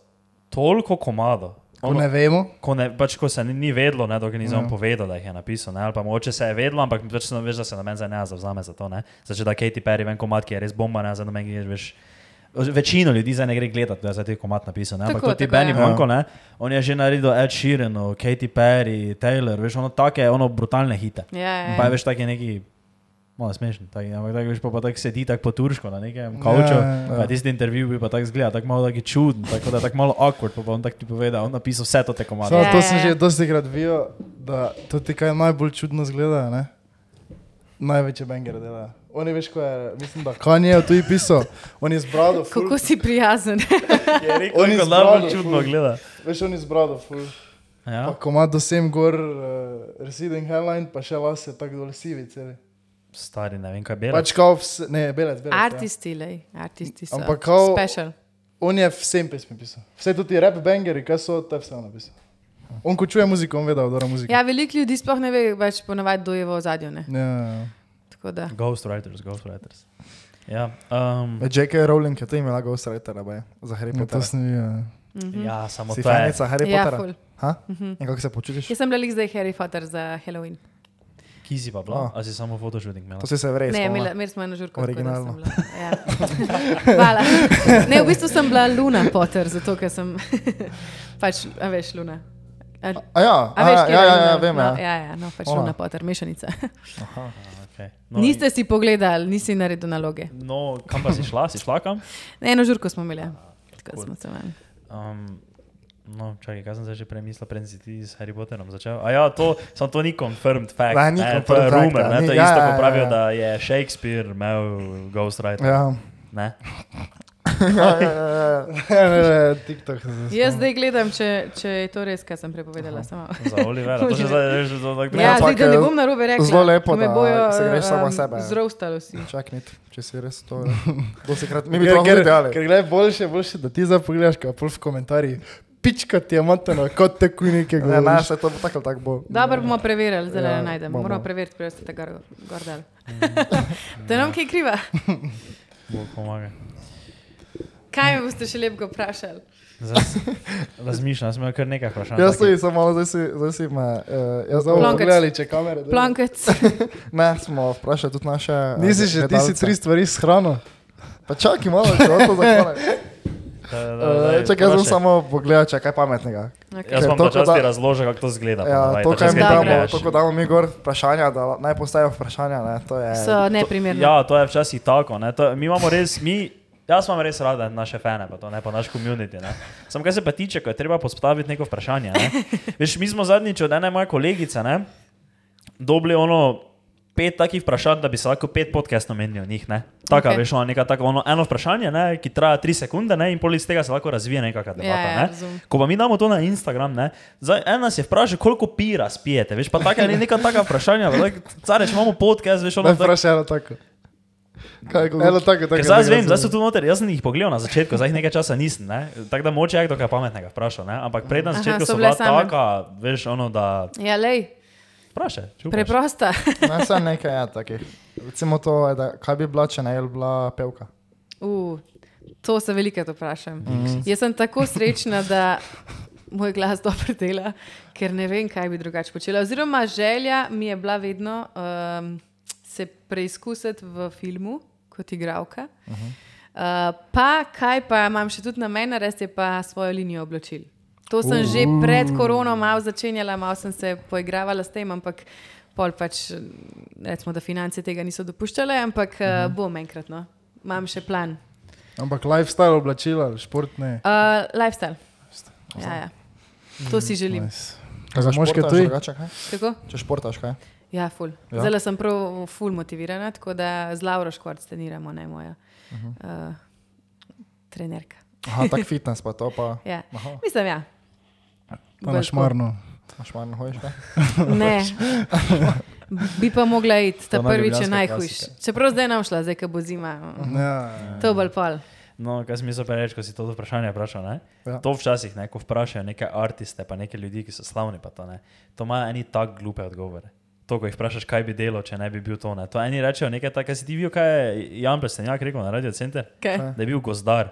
[SPEAKER 4] toliko komado.
[SPEAKER 3] Ko ne vemo,
[SPEAKER 4] ko, ne, pač, ko se ni, ni vedlo, ne, dokler nisem ja. povedal, da jih je napisal. Ne, ali pa mogoče se je vedlo, ampak pač, no, veš, da se na meni zdaj ne zavzame za to. ne. Zdaj, če da Katy Perry ven komat, ki je res bomba, ne, zdaj na meni greš, veš. Večino ljudi zdaj ne gre gledati, da je zdaj ti komat napisan. ne, Ampak
[SPEAKER 5] Tako,
[SPEAKER 4] kot ti
[SPEAKER 5] tako,
[SPEAKER 4] Benny
[SPEAKER 5] ja.
[SPEAKER 4] Blanco, ne, on je že naredil Ed Sheeran, Katy Perry, Taylor, veš, ono take, ono brutalne hite.
[SPEAKER 5] Ja, ja,
[SPEAKER 4] Pa je
[SPEAKER 5] ja.
[SPEAKER 4] veš, tak je neki. Malo smešen, tak, ampak tako veš, pa, pa tako sedi tako po turško na nekem kavču.
[SPEAKER 3] Ja, ja,
[SPEAKER 4] Yeah, yeah. Tisti intervju bi pa tako zgleda, tako malo taki čuden, tako da tako malo awkward, pa, pa on tako ti pove, da je on napisal vse to te komade.
[SPEAKER 3] Samo
[SPEAKER 5] Ja,
[SPEAKER 3] to
[SPEAKER 5] ja,
[SPEAKER 3] sem
[SPEAKER 5] ja.
[SPEAKER 3] že dosti krat videl, da to ti kaj najbolj čudno zgleda. Ne? Največje bengere delajo. Oni veš, ko je, mislim, da Kanye je tu pisal, on je zbral,
[SPEAKER 5] Kako si prijazen.
[SPEAKER 3] Ja, on je
[SPEAKER 4] Tako
[SPEAKER 3] zbral,
[SPEAKER 4] najbolj čudno gleda.
[SPEAKER 3] Veš, on je zbral, ful. Pa
[SPEAKER 4] Ja,
[SPEAKER 3] ko ima do sem gor uh, receding hairline, pa še las je tako dol sivi celi.
[SPEAKER 4] stari, ne vem kaj bi
[SPEAKER 3] Pač kao vse, ne, belec, belec. Ja.
[SPEAKER 5] Artisti, lej, artisti so.
[SPEAKER 3] Ampak kao-
[SPEAKER 5] Special.
[SPEAKER 3] On je vsem pesmi pisal. Vse tudi rap bangeri, kaj so, te vse on napisal. On ko čuje muziko, on ve, da odora muzika.
[SPEAKER 5] Ja, veliko ljudi sploh ne ve, več ponavadi dojevo v zadju. Ne?
[SPEAKER 3] Ja, ja.
[SPEAKER 5] Tako da.
[SPEAKER 4] Ghostwriters, ghostwriters. Ja, um,
[SPEAKER 2] J.K. Rowling je to imela ghostwritera, baj, za Harry
[SPEAKER 3] No, to
[SPEAKER 2] Potter.
[SPEAKER 3] sem videl.
[SPEAKER 4] ja, samo
[SPEAKER 2] Si
[SPEAKER 4] to je.
[SPEAKER 2] fanica Harry
[SPEAKER 5] Ja,
[SPEAKER 2] Pottera?
[SPEAKER 5] ful.
[SPEAKER 2] Ha? In kako se počutiš?
[SPEAKER 5] Jaz sem bila lih zdaj Harry Potter za Halloween.
[SPEAKER 4] Ki si pa
[SPEAKER 2] Oh.
[SPEAKER 4] bila,
[SPEAKER 3] Ah.
[SPEAKER 4] a si samo fotoshooting imela.
[SPEAKER 2] To si se vrej.
[SPEAKER 5] Ne,
[SPEAKER 2] spomnila.
[SPEAKER 5] imela- imeli smo eno žurko. tako da sem
[SPEAKER 2] Originalno.
[SPEAKER 5] bila- Ja. [laughs] Hvala. Ne, v bistvu sem bila Luna Potter, zato ker sem [laughs] pač, a veš, Luna. A,
[SPEAKER 2] A ja,
[SPEAKER 5] a
[SPEAKER 2] a,
[SPEAKER 5] veš,
[SPEAKER 2] ja,
[SPEAKER 5] katera
[SPEAKER 2] ja, ja, ja,
[SPEAKER 5] Luna?
[SPEAKER 2] vem.
[SPEAKER 5] No,
[SPEAKER 2] Ja.
[SPEAKER 5] ja, ja, no, pač
[SPEAKER 2] Ona.
[SPEAKER 5] Luna Potter, mešanica. [laughs]
[SPEAKER 4] Okay. No,
[SPEAKER 5] No, Niste si pogledali, nisi naredil naloge.
[SPEAKER 4] No, kam pa si šla, si šla kam?
[SPEAKER 5] Ne, eno žurko smo imeli. ja. Tako da smo se imeli.
[SPEAKER 4] Um, no, čakaj, kaj sem zdaj že premislil, preden si ti s Harry Potterom začel. A ja, to, samo to ni confirmed fact.
[SPEAKER 2] Da, ni
[SPEAKER 4] ne, to je
[SPEAKER 2] confirmed fact,
[SPEAKER 4] rumor,
[SPEAKER 2] ja,
[SPEAKER 4] ne,
[SPEAKER 2] ni-
[SPEAKER 4] to je
[SPEAKER 2] ja,
[SPEAKER 4] isto, ko
[SPEAKER 2] ja, ja,
[SPEAKER 4] pravijo,
[SPEAKER 2] ja.
[SPEAKER 4] da je Shakespeare imel ghostwriter.
[SPEAKER 2] [laughs] Ja.
[SPEAKER 4] Ne?
[SPEAKER 3] Ja, ne, ne, TikTok.
[SPEAKER 5] Jaz zdaj gledam, če, če je to res, kar sem prepovedala. Samo.
[SPEAKER 4] Za Olivera, to še zdaj že zelo tako.
[SPEAKER 5] Ja, zdaj,
[SPEAKER 2] ampak,
[SPEAKER 5] da ne
[SPEAKER 2] eh,
[SPEAKER 5] bom narobe rekla.
[SPEAKER 2] zelo lepo,
[SPEAKER 5] ko me
[SPEAKER 2] da
[SPEAKER 5] bojo,
[SPEAKER 2] se greš sama
[SPEAKER 5] em,
[SPEAKER 2] sebe.
[SPEAKER 5] Zrovstali vsi.
[SPEAKER 2] Čakaj, nit, če si res to. ne. Dostikrat, mi bi
[SPEAKER 3] Ker,
[SPEAKER 2] to
[SPEAKER 3] Ja, ker,
[SPEAKER 2] gledali.
[SPEAKER 3] ker gledaj, boljše, boljše, da ti zdaj pogledaš, kaj pol v komentarjih. Pička ti je matena, kot te kujnike
[SPEAKER 2] Ne, ne,
[SPEAKER 3] govoriš.
[SPEAKER 2] se to bo tako ali tako bo.
[SPEAKER 5] Dobro bomo preverili, zdaj ja,
[SPEAKER 2] Ja,
[SPEAKER 5] ne najdemo.
[SPEAKER 2] bomo.
[SPEAKER 5] Moramo preveriti, prej ste ga gor dali. [laughs] Da nam kaj kriva.
[SPEAKER 4] Bog pomaga.
[SPEAKER 5] Kaj me boste še lepko vprašali?
[SPEAKER 4] Zdaj s- Razmišljam, sem imel kar nekaj vprašanj.
[SPEAKER 2] Jaz
[SPEAKER 4] takih.
[SPEAKER 2] tudi sem malo, zdaj si, zdaj si me. Uh, jaz
[SPEAKER 3] Ja, Zdaj bomo
[SPEAKER 5] Plankec.
[SPEAKER 3] pogledali, če kamere. delajo.
[SPEAKER 5] Plankec. [laughs]
[SPEAKER 2] Ne, smo vprašali tudi naše. eh,
[SPEAKER 3] Nisi že, ti si
[SPEAKER 2] gledalce.
[SPEAKER 3] tri stvari s hrano.
[SPEAKER 2] Pa čakaj malo, če to zakone.
[SPEAKER 4] Da, da, da,
[SPEAKER 2] Eh,
[SPEAKER 4] [laughs] daj,
[SPEAKER 2] Čakaj, jaz bom
[SPEAKER 4] vprašaj.
[SPEAKER 2] samo pogledal, če je kaj pametnega.
[SPEAKER 5] Okay.
[SPEAKER 4] Jaz
[SPEAKER 2] Ker
[SPEAKER 4] vam Ja,
[SPEAKER 2] to,
[SPEAKER 4] pa
[SPEAKER 2] ko
[SPEAKER 4] časti
[SPEAKER 2] da-
[SPEAKER 4] razložil, kako to zgleda. pa
[SPEAKER 2] Ja,
[SPEAKER 4] naj,
[SPEAKER 2] to,
[SPEAKER 4] pač
[SPEAKER 2] kar
[SPEAKER 4] jaz
[SPEAKER 2] jim
[SPEAKER 4] gledam,
[SPEAKER 5] Dobro.
[SPEAKER 2] damo,
[SPEAKER 4] gledaš.
[SPEAKER 2] to, ko damo mi gor vprašanja, da naj postavijo vprašanja, ne, Ja, to je.
[SPEAKER 5] So
[SPEAKER 4] Ja, To-
[SPEAKER 5] neprimerni.
[SPEAKER 4] Ja, to je včasih tako. Ne, to, mi imamo res, mi Jaz imam res rada naše fane, pa to ne pa naš komunit. Sam kar se pa tiče, ko je treba postaviti neko vprašanje. Ne?
[SPEAKER 5] [laughs]
[SPEAKER 4] Veš, mi smo zadnjič od ene moje kolegice ne? dobili ono pet takih vprašanj, da bi se lahko pet podcastov menil o njih. Ne? Taka,
[SPEAKER 5] Okej.
[SPEAKER 4] okay. veš, ono, neka, taka, ono, eno vprašanje, ne? ki traja tri sekunde ne? in pol iz tega se lahko razvije nekakšna debata.
[SPEAKER 5] ja,
[SPEAKER 4] ne?
[SPEAKER 5] razumem.
[SPEAKER 4] Ko pa mi damo to na Instagram, ne, zdaj ena se vpraša, koliko pira spijete, veš, pa taka je neka taka vprašanja, pa tako, careš, imamo podcast, veš, ono,
[SPEAKER 3] Ne
[SPEAKER 4] tako,
[SPEAKER 3] vprašaj, eno tako.
[SPEAKER 2] Kaj, kako-
[SPEAKER 3] Eno tako, tako.
[SPEAKER 4] ker zdaj jaz
[SPEAKER 3] tako,
[SPEAKER 4] vem, zdaj
[SPEAKER 3] tako.
[SPEAKER 4] so tu noter, jaz sem jih pogledal na začetku, zdaj jih nekaj časa nisem, ne, tako da moče je kdo kaj pametnega vprašal, ne, ampak pred na
[SPEAKER 5] Aha,
[SPEAKER 4] začetku
[SPEAKER 5] so
[SPEAKER 4] so
[SPEAKER 5] bile
[SPEAKER 4] bila
[SPEAKER 5] same.
[SPEAKER 4] taka, veš, ono, da
[SPEAKER 5] Ja, lej,
[SPEAKER 4] vprašaj, če vprašaj.
[SPEAKER 5] preprosta.
[SPEAKER 2] Ne, sem nekaj ja, takih. Recimo to, da, kaj bi bila, če ne bi bila pevka.
[SPEAKER 5] Uh, to se velikrat vprašam. Mm. Jaz sem tako srečna, da moj glas dobro dela, ker ne vem, kaj bi drugače počela. Oziroma, želja mi je bila vedno um, se preizkusiti v filmu kot igralka. Uh -huh. uh, pa kaj pa imam še tudi na meni, narediti je pa svojo linijo oblačil. To sem uh. že pred korono malo začenjala, malo sem se poigravala s tem, ampak pol pač, recimo, da finance tega niso dopuščale, ampak uh -huh. uh, bom enkrat. No. Imam še plan.
[SPEAKER 3] Ampak lifestyle oblačila, športne.
[SPEAKER 5] Uh, lifestyle. Ja, ja. To
[SPEAKER 3] Mm,
[SPEAKER 5] si želim.
[SPEAKER 3] Nice.
[SPEAKER 2] Kaj
[SPEAKER 3] Za moške
[SPEAKER 2] športaš
[SPEAKER 3] tudi?
[SPEAKER 2] drugače, kaj?
[SPEAKER 5] Kako?
[SPEAKER 2] Če športaš, kaj?
[SPEAKER 5] Ja, ful.
[SPEAKER 2] Ja.
[SPEAKER 5] Ja. Zdaj sem prav ful motivirana, tako da z Lauro Škvarc treniramo, ne moja uh, trenerka.
[SPEAKER 2] Mhm. Aha, tak fitness pa to pa.
[SPEAKER 5] Ja.
[SPEAKER 2] Aha,
[SPEAKER 5] Mislim, ja.
[SPEAKER 3] Pa
[SPEAKER 5] Bolj
[SPEAKER 3] na šmarno.
[SPEAKER 2] šmarno hojiš, kaj?
[SPEAKER 5] tako. Ne. [laughs] Bi pa mogla iti, ta
[SPEAKER 2] To na
[SPEAKER 5] prvič je
[SPEAKER 2] ljubljanska
[SPEAKER 5] najhujš.
[SPEAKER 2] klasika.
[SPEAKER 5] Čeprav zdaj nam šla, zdaj ko bo zima.
[SPEAKER 3] Ja.
[SPEAKER 5] To bolj pol.
[SPEAKER 4] No, kaj sem mislil pa reči, ko si to vprašanje vprašal, ne,
[SPEAKER 2] Ja.
[SPEAKER 4] ja. to včasih, ne, ko vprašajo neke artiste, pa neke ljudi, ki so slavni, pa to ne, to imajo eni tak glupe odgovore. To, ko jih vprašaš, kaj bi delo, če ne bi bil to, ne, to eni rečejo nekaj takega, kaj si ti videl, kaj je Jan Plestenjak rekel na Radio Center,
[SPEAKER 5] Kaj?
[SPEAKER 4] da je bil gozdar.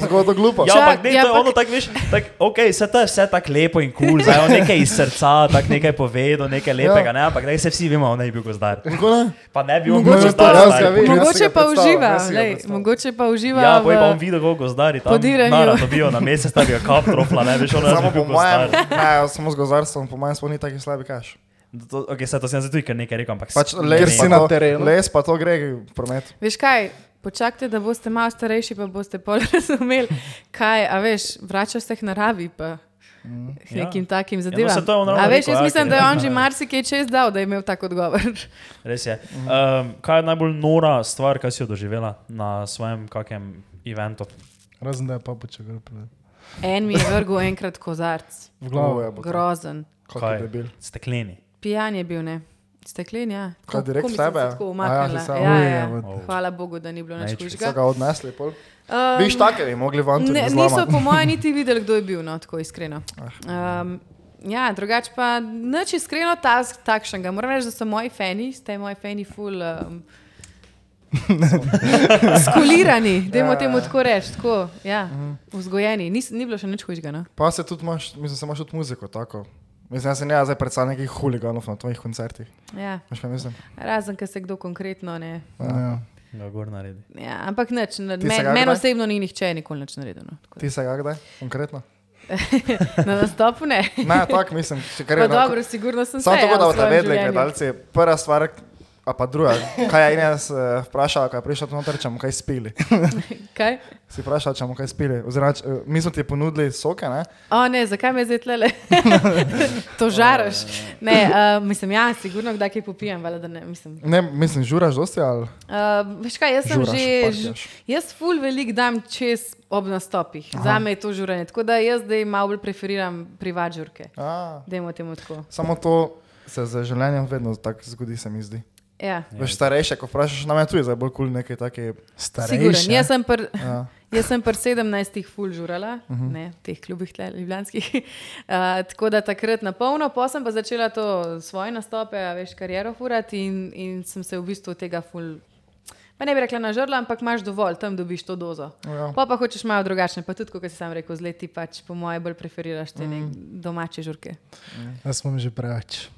[SPEAKER 2] Zgodno glupo.
[SPEAKER 4] Ja,
[SPEAKER 5] Čak,
[SPEAKER 4] ampak ne,
[SPEAKER 5] ja,
[SPEAKER 4] to je
[SPEAKER 5] ampak-
[SPEAKER 4] ono tako, veš, tak, okay, vse to je vse tako lepo in kul, cool, zdaj on nekaj iz srca, tako nekaj povedal, nekaj
[SPEAKER 2] Ja.
[SPEAKER 4] lepega, ne, ampak ne, se vsi vemo, on je bil gozdar. Pa ne bi on bil
[SPEAKER 2] Mogoče
[SPEAKER 4] gozdar.
[SPEAKER 2] pa-
[SPEAKER 4] stari.
[SPEAKER 2] Jaz ga vem. Jaz si
[SPEAKER 5] Mogoče
[SPEAKER 2] ga
[SPEAKER 5] pa
[SPEAKER 2] predstavljam,
[SPEAKER 5] uživa,
[SPEAKER 2] jaz si ga
[SPEAKER 5] lej,
[SPEAKER 2] predstavljam.
[SPEAKER 5] mogoče pa uživa.
[SPEAKER 4] Ja, poj pa on
[SPEAKER 5] v-
[SPEAKER 4] videl, kako gozdari tam.
[SPEAKER 5] podiranju.
[SPEAKER 4] Nara dobijo na mesec, tam bi ga kap trofla, ne veš, on je
[SPEAKER 2] Samo
[SPEAKER 4] bil
[SPEAKER 2] po mojem,
[SPEAKER 4] gozdar.
[SPEAKER 2] ne, samo z gozarstvom, po mojem smo ni taki slabi kaš.
[SPEAKER 4] To- Ok, saj to sem jaz tudi kar nekaj rekel, ampak
[SPEAKER 2] Pač
[SPEAKER 4] ne
[SPEAKER 2] les,
[SPEAKER 4] vem.
[SPEAKER 2] pa
[SPEAKER 3] si na
[SPEAKER 2] to-
[SPEAKER 3] terenu.
[SPEAKER 2] Les pa to gre v promet.
[SPEAKER 5] Veš kaj, počakajte, da boste malo starejši, pa boste bolj [laughs] razumeli, kaj, a veš, vračaš se k naravi. Pa. K
[SPEAKER 4] Ja.
[SPEAKER 5] nekim ja. takim
[SPEAKER 4] Ja,
[SPEAKER 5] zadevam.
[SPEAKER 4] no, saj to je on ravno
[SPEAKER 5] a veš,
[SPEAKER 4] rekel,
[SPEAKER 5] jaz
[SPEAKER 4] ja,
[SPEAKER 5] mislim,
[SPEAKER 4] ker
[SPEAKER 5] da je
[SPEAKER 4] je-
[SPEAKER 5] on že marsikaj čez dal, da je imel tak odgovor. [laughs]
[SPEAKER 4] Res je. Um, kaj je najbolj nora stvar, kaj si jo doživela na svojem kakem eventu?
[SPEAKER 3] Razen da je papuče gre pred.
[SPEAKER 5] En mi je vrgel enkrat kozarc,
[SPEAKER 3] V glavo
[SPEAKER 4] Ja,
[SPEAKER 3] je.
[SPEAKER 2] je bilo.
[SPEAKER 5] grozen.
[SPEAKER 2] Kaj je debil?
[SPEAKER 4] Stekleni.
[SPEAKER 5] Pijan je bil, ne. Steklen, ja.
[SPEAKER 2] Kaj, direkt
[SPEAKER 5] Ko- ko mi sem
[SPEAKER 2] v tebe?
[SPEAKER 5] se Tako
[SPEAKER 2] A ja,
[SPEAKER 5] umaknila.
[SPEAKER 2] si sama.
[SPEAKER 5] Ja, ja,
[SPEAKER 3] Ujebot.
[SPEAKER 5] ja. Hvala Bogu, da ni bilo nič
[SPEAKER 4] Najče.
[SPEAKER 2] So
[SPEAKER 5] hujšega.
[SPEAKER 2] ga odnesli pol.
[SPEAKER 5] Um,
[SPEAKER 2] Biš take, bi mogli van tudi
[SPEAKER 5] Ne,
[SPEAKER 2] zlomati.
[SPEAKER 5] niso, po mojem, niti videli, kdo je bil, no, tako iskreno.
[SPEAKER 2] Ah.
[SPEAKER 5] Um, ja, drugače pa nič iskreno ta, takšnega. Moram reči, da so moji fani, ste moji fani, ful.
[SPEAKER 2] [laughs]
[SPEAKER 5] Um, Skulirani, dajmo
[SPEAKER 2] Ja, Mhm.
[SPEAKER 5] temu
[SPEAKER 2] ja.
[SPEAKER 5] tako reči, tako, ja, vzgojeni. Nis, ni bilo še nič hujšega. No?
[SPEAKER 2] Pa se tudi imaš, mislim, se imaš tudi muziko tako. Mislim, jaz se ne zdaj predstavljam nekih huliganov na tvojih koncertih.
[SPEAKER 5] Ja,
[SPEAKER 2] Veš kaj mislim?
[SPEAKER 5] razen, ker se kdo konkretno ne.
[SPEAKER 3] Ja.
[SPEAKER 4] Ga gor naredi.
[SPEAKER 5] Ja, ampak nič, ne-
[SPEAKER 2] Ti se
[SPEAKER 5] men-
[SPEAKER 2] ga
[SPEAKER 5] meni
[SPEAKER 2] kdaj?
[SPEAKER 5] osebno ni nihče nikoli nič naredil. No?
[SPEAKER 2] [laughs]
[SPEAKER 5] tako da.
[SPEAKER 2] Ti se ga kdaj? Konkretno?
[SPEAKER 5] Na nastopu ne.
[SPEAKER 2] Ne, tako mislim. če Kar
[SPEAKER 5] Pa
[SPEAKER 2] je, na-
[SPEAKER 5] dobro, sigurno sem
[SPEAKER 2] Samo
[SPEAKER 5] se
[SPEAKER 2] tako,
[SPEAKER 5] ja,
[SPEAKER 2] da
[SPEAKER 5] v
[SPEAKER 2] boste
[SPEAKER 5] svojem
[SPEAKER 2] vedeli,
[SPEAKER 5] življenju.
[SPEAKER 2] gledalci, prva stvar, a pa druga, kaj je Ines eh, vprašala, kaj je prišla tu noter, če bomo kaj spili.
[SPEAKER 5] [laughs] Kaj?
[SPEAKER 2] Si vprašala, če bomo kaj spili. Oziroma, če, eh, mi smo ti ponudili soke, ne?
[SPEAKER 5] O, ne, zakaj me zdaj tlele? [laughs] to žaraš. Ne, uh, mislim, ja, sigurno kdaj kaj popijem, vele, da ne. Mislim.
[SPEAKER 2] ne mislim, žuraš dosti ali
[SPEAKER 5] Uh, veš kaj, jaz sem
[SPEAKER 2] žuraš,
[SPEAKER 5] že. ž-
[SPEAKER 2] partijaš?
[SPEAKER 5] Jaz ful velik dam čez ob nastopih. Aha. Za me je to žuranje. Tako da jaz zdaj malo bolj preferiram privat žurke.
[SPEAKER 2] A,
[SPEAKER 5] Dajmo temu tako.
[SPEAKER 2] Samo to se z življenjem vedno tako zgodi, se mi zdi.
[SPEAKER 5] Ja.
[SPEAKER 2] Veš, starejše, ko vprašaš, nam je tu zdaj bolj kul cool nekaj takega.
[SPEAKER 5] Sigurno.
[SPEAKER 3] Starejši.
[SPEAKER 5] Jaz sem pr...
[SPEAKER 2] Ja.
[SPEAKER 5] Jaz sem pri 17-ih ful žurala, uh -huh. ne, v teh klubih tle, ljubljanskih. [laughs] Uh, tako da takrat na polno, pa sem pa začela to svoje nastope, a veš, kariero furati in, in sem se v bistvu tega ful. Pa ne bi rekla na žrla, ampak imaš dovolj, tam dobiš to dozo. [laughs]
[SPEAKER 2] Ja.
[SPEAKER 5] Pa pa hočeš malo drugačne, pa tudi, kot si sam rekel, z leti pač po moje bolj preferiraš te mm. domače žurke.
[SPEAKER 3] Jaz sem že preveč.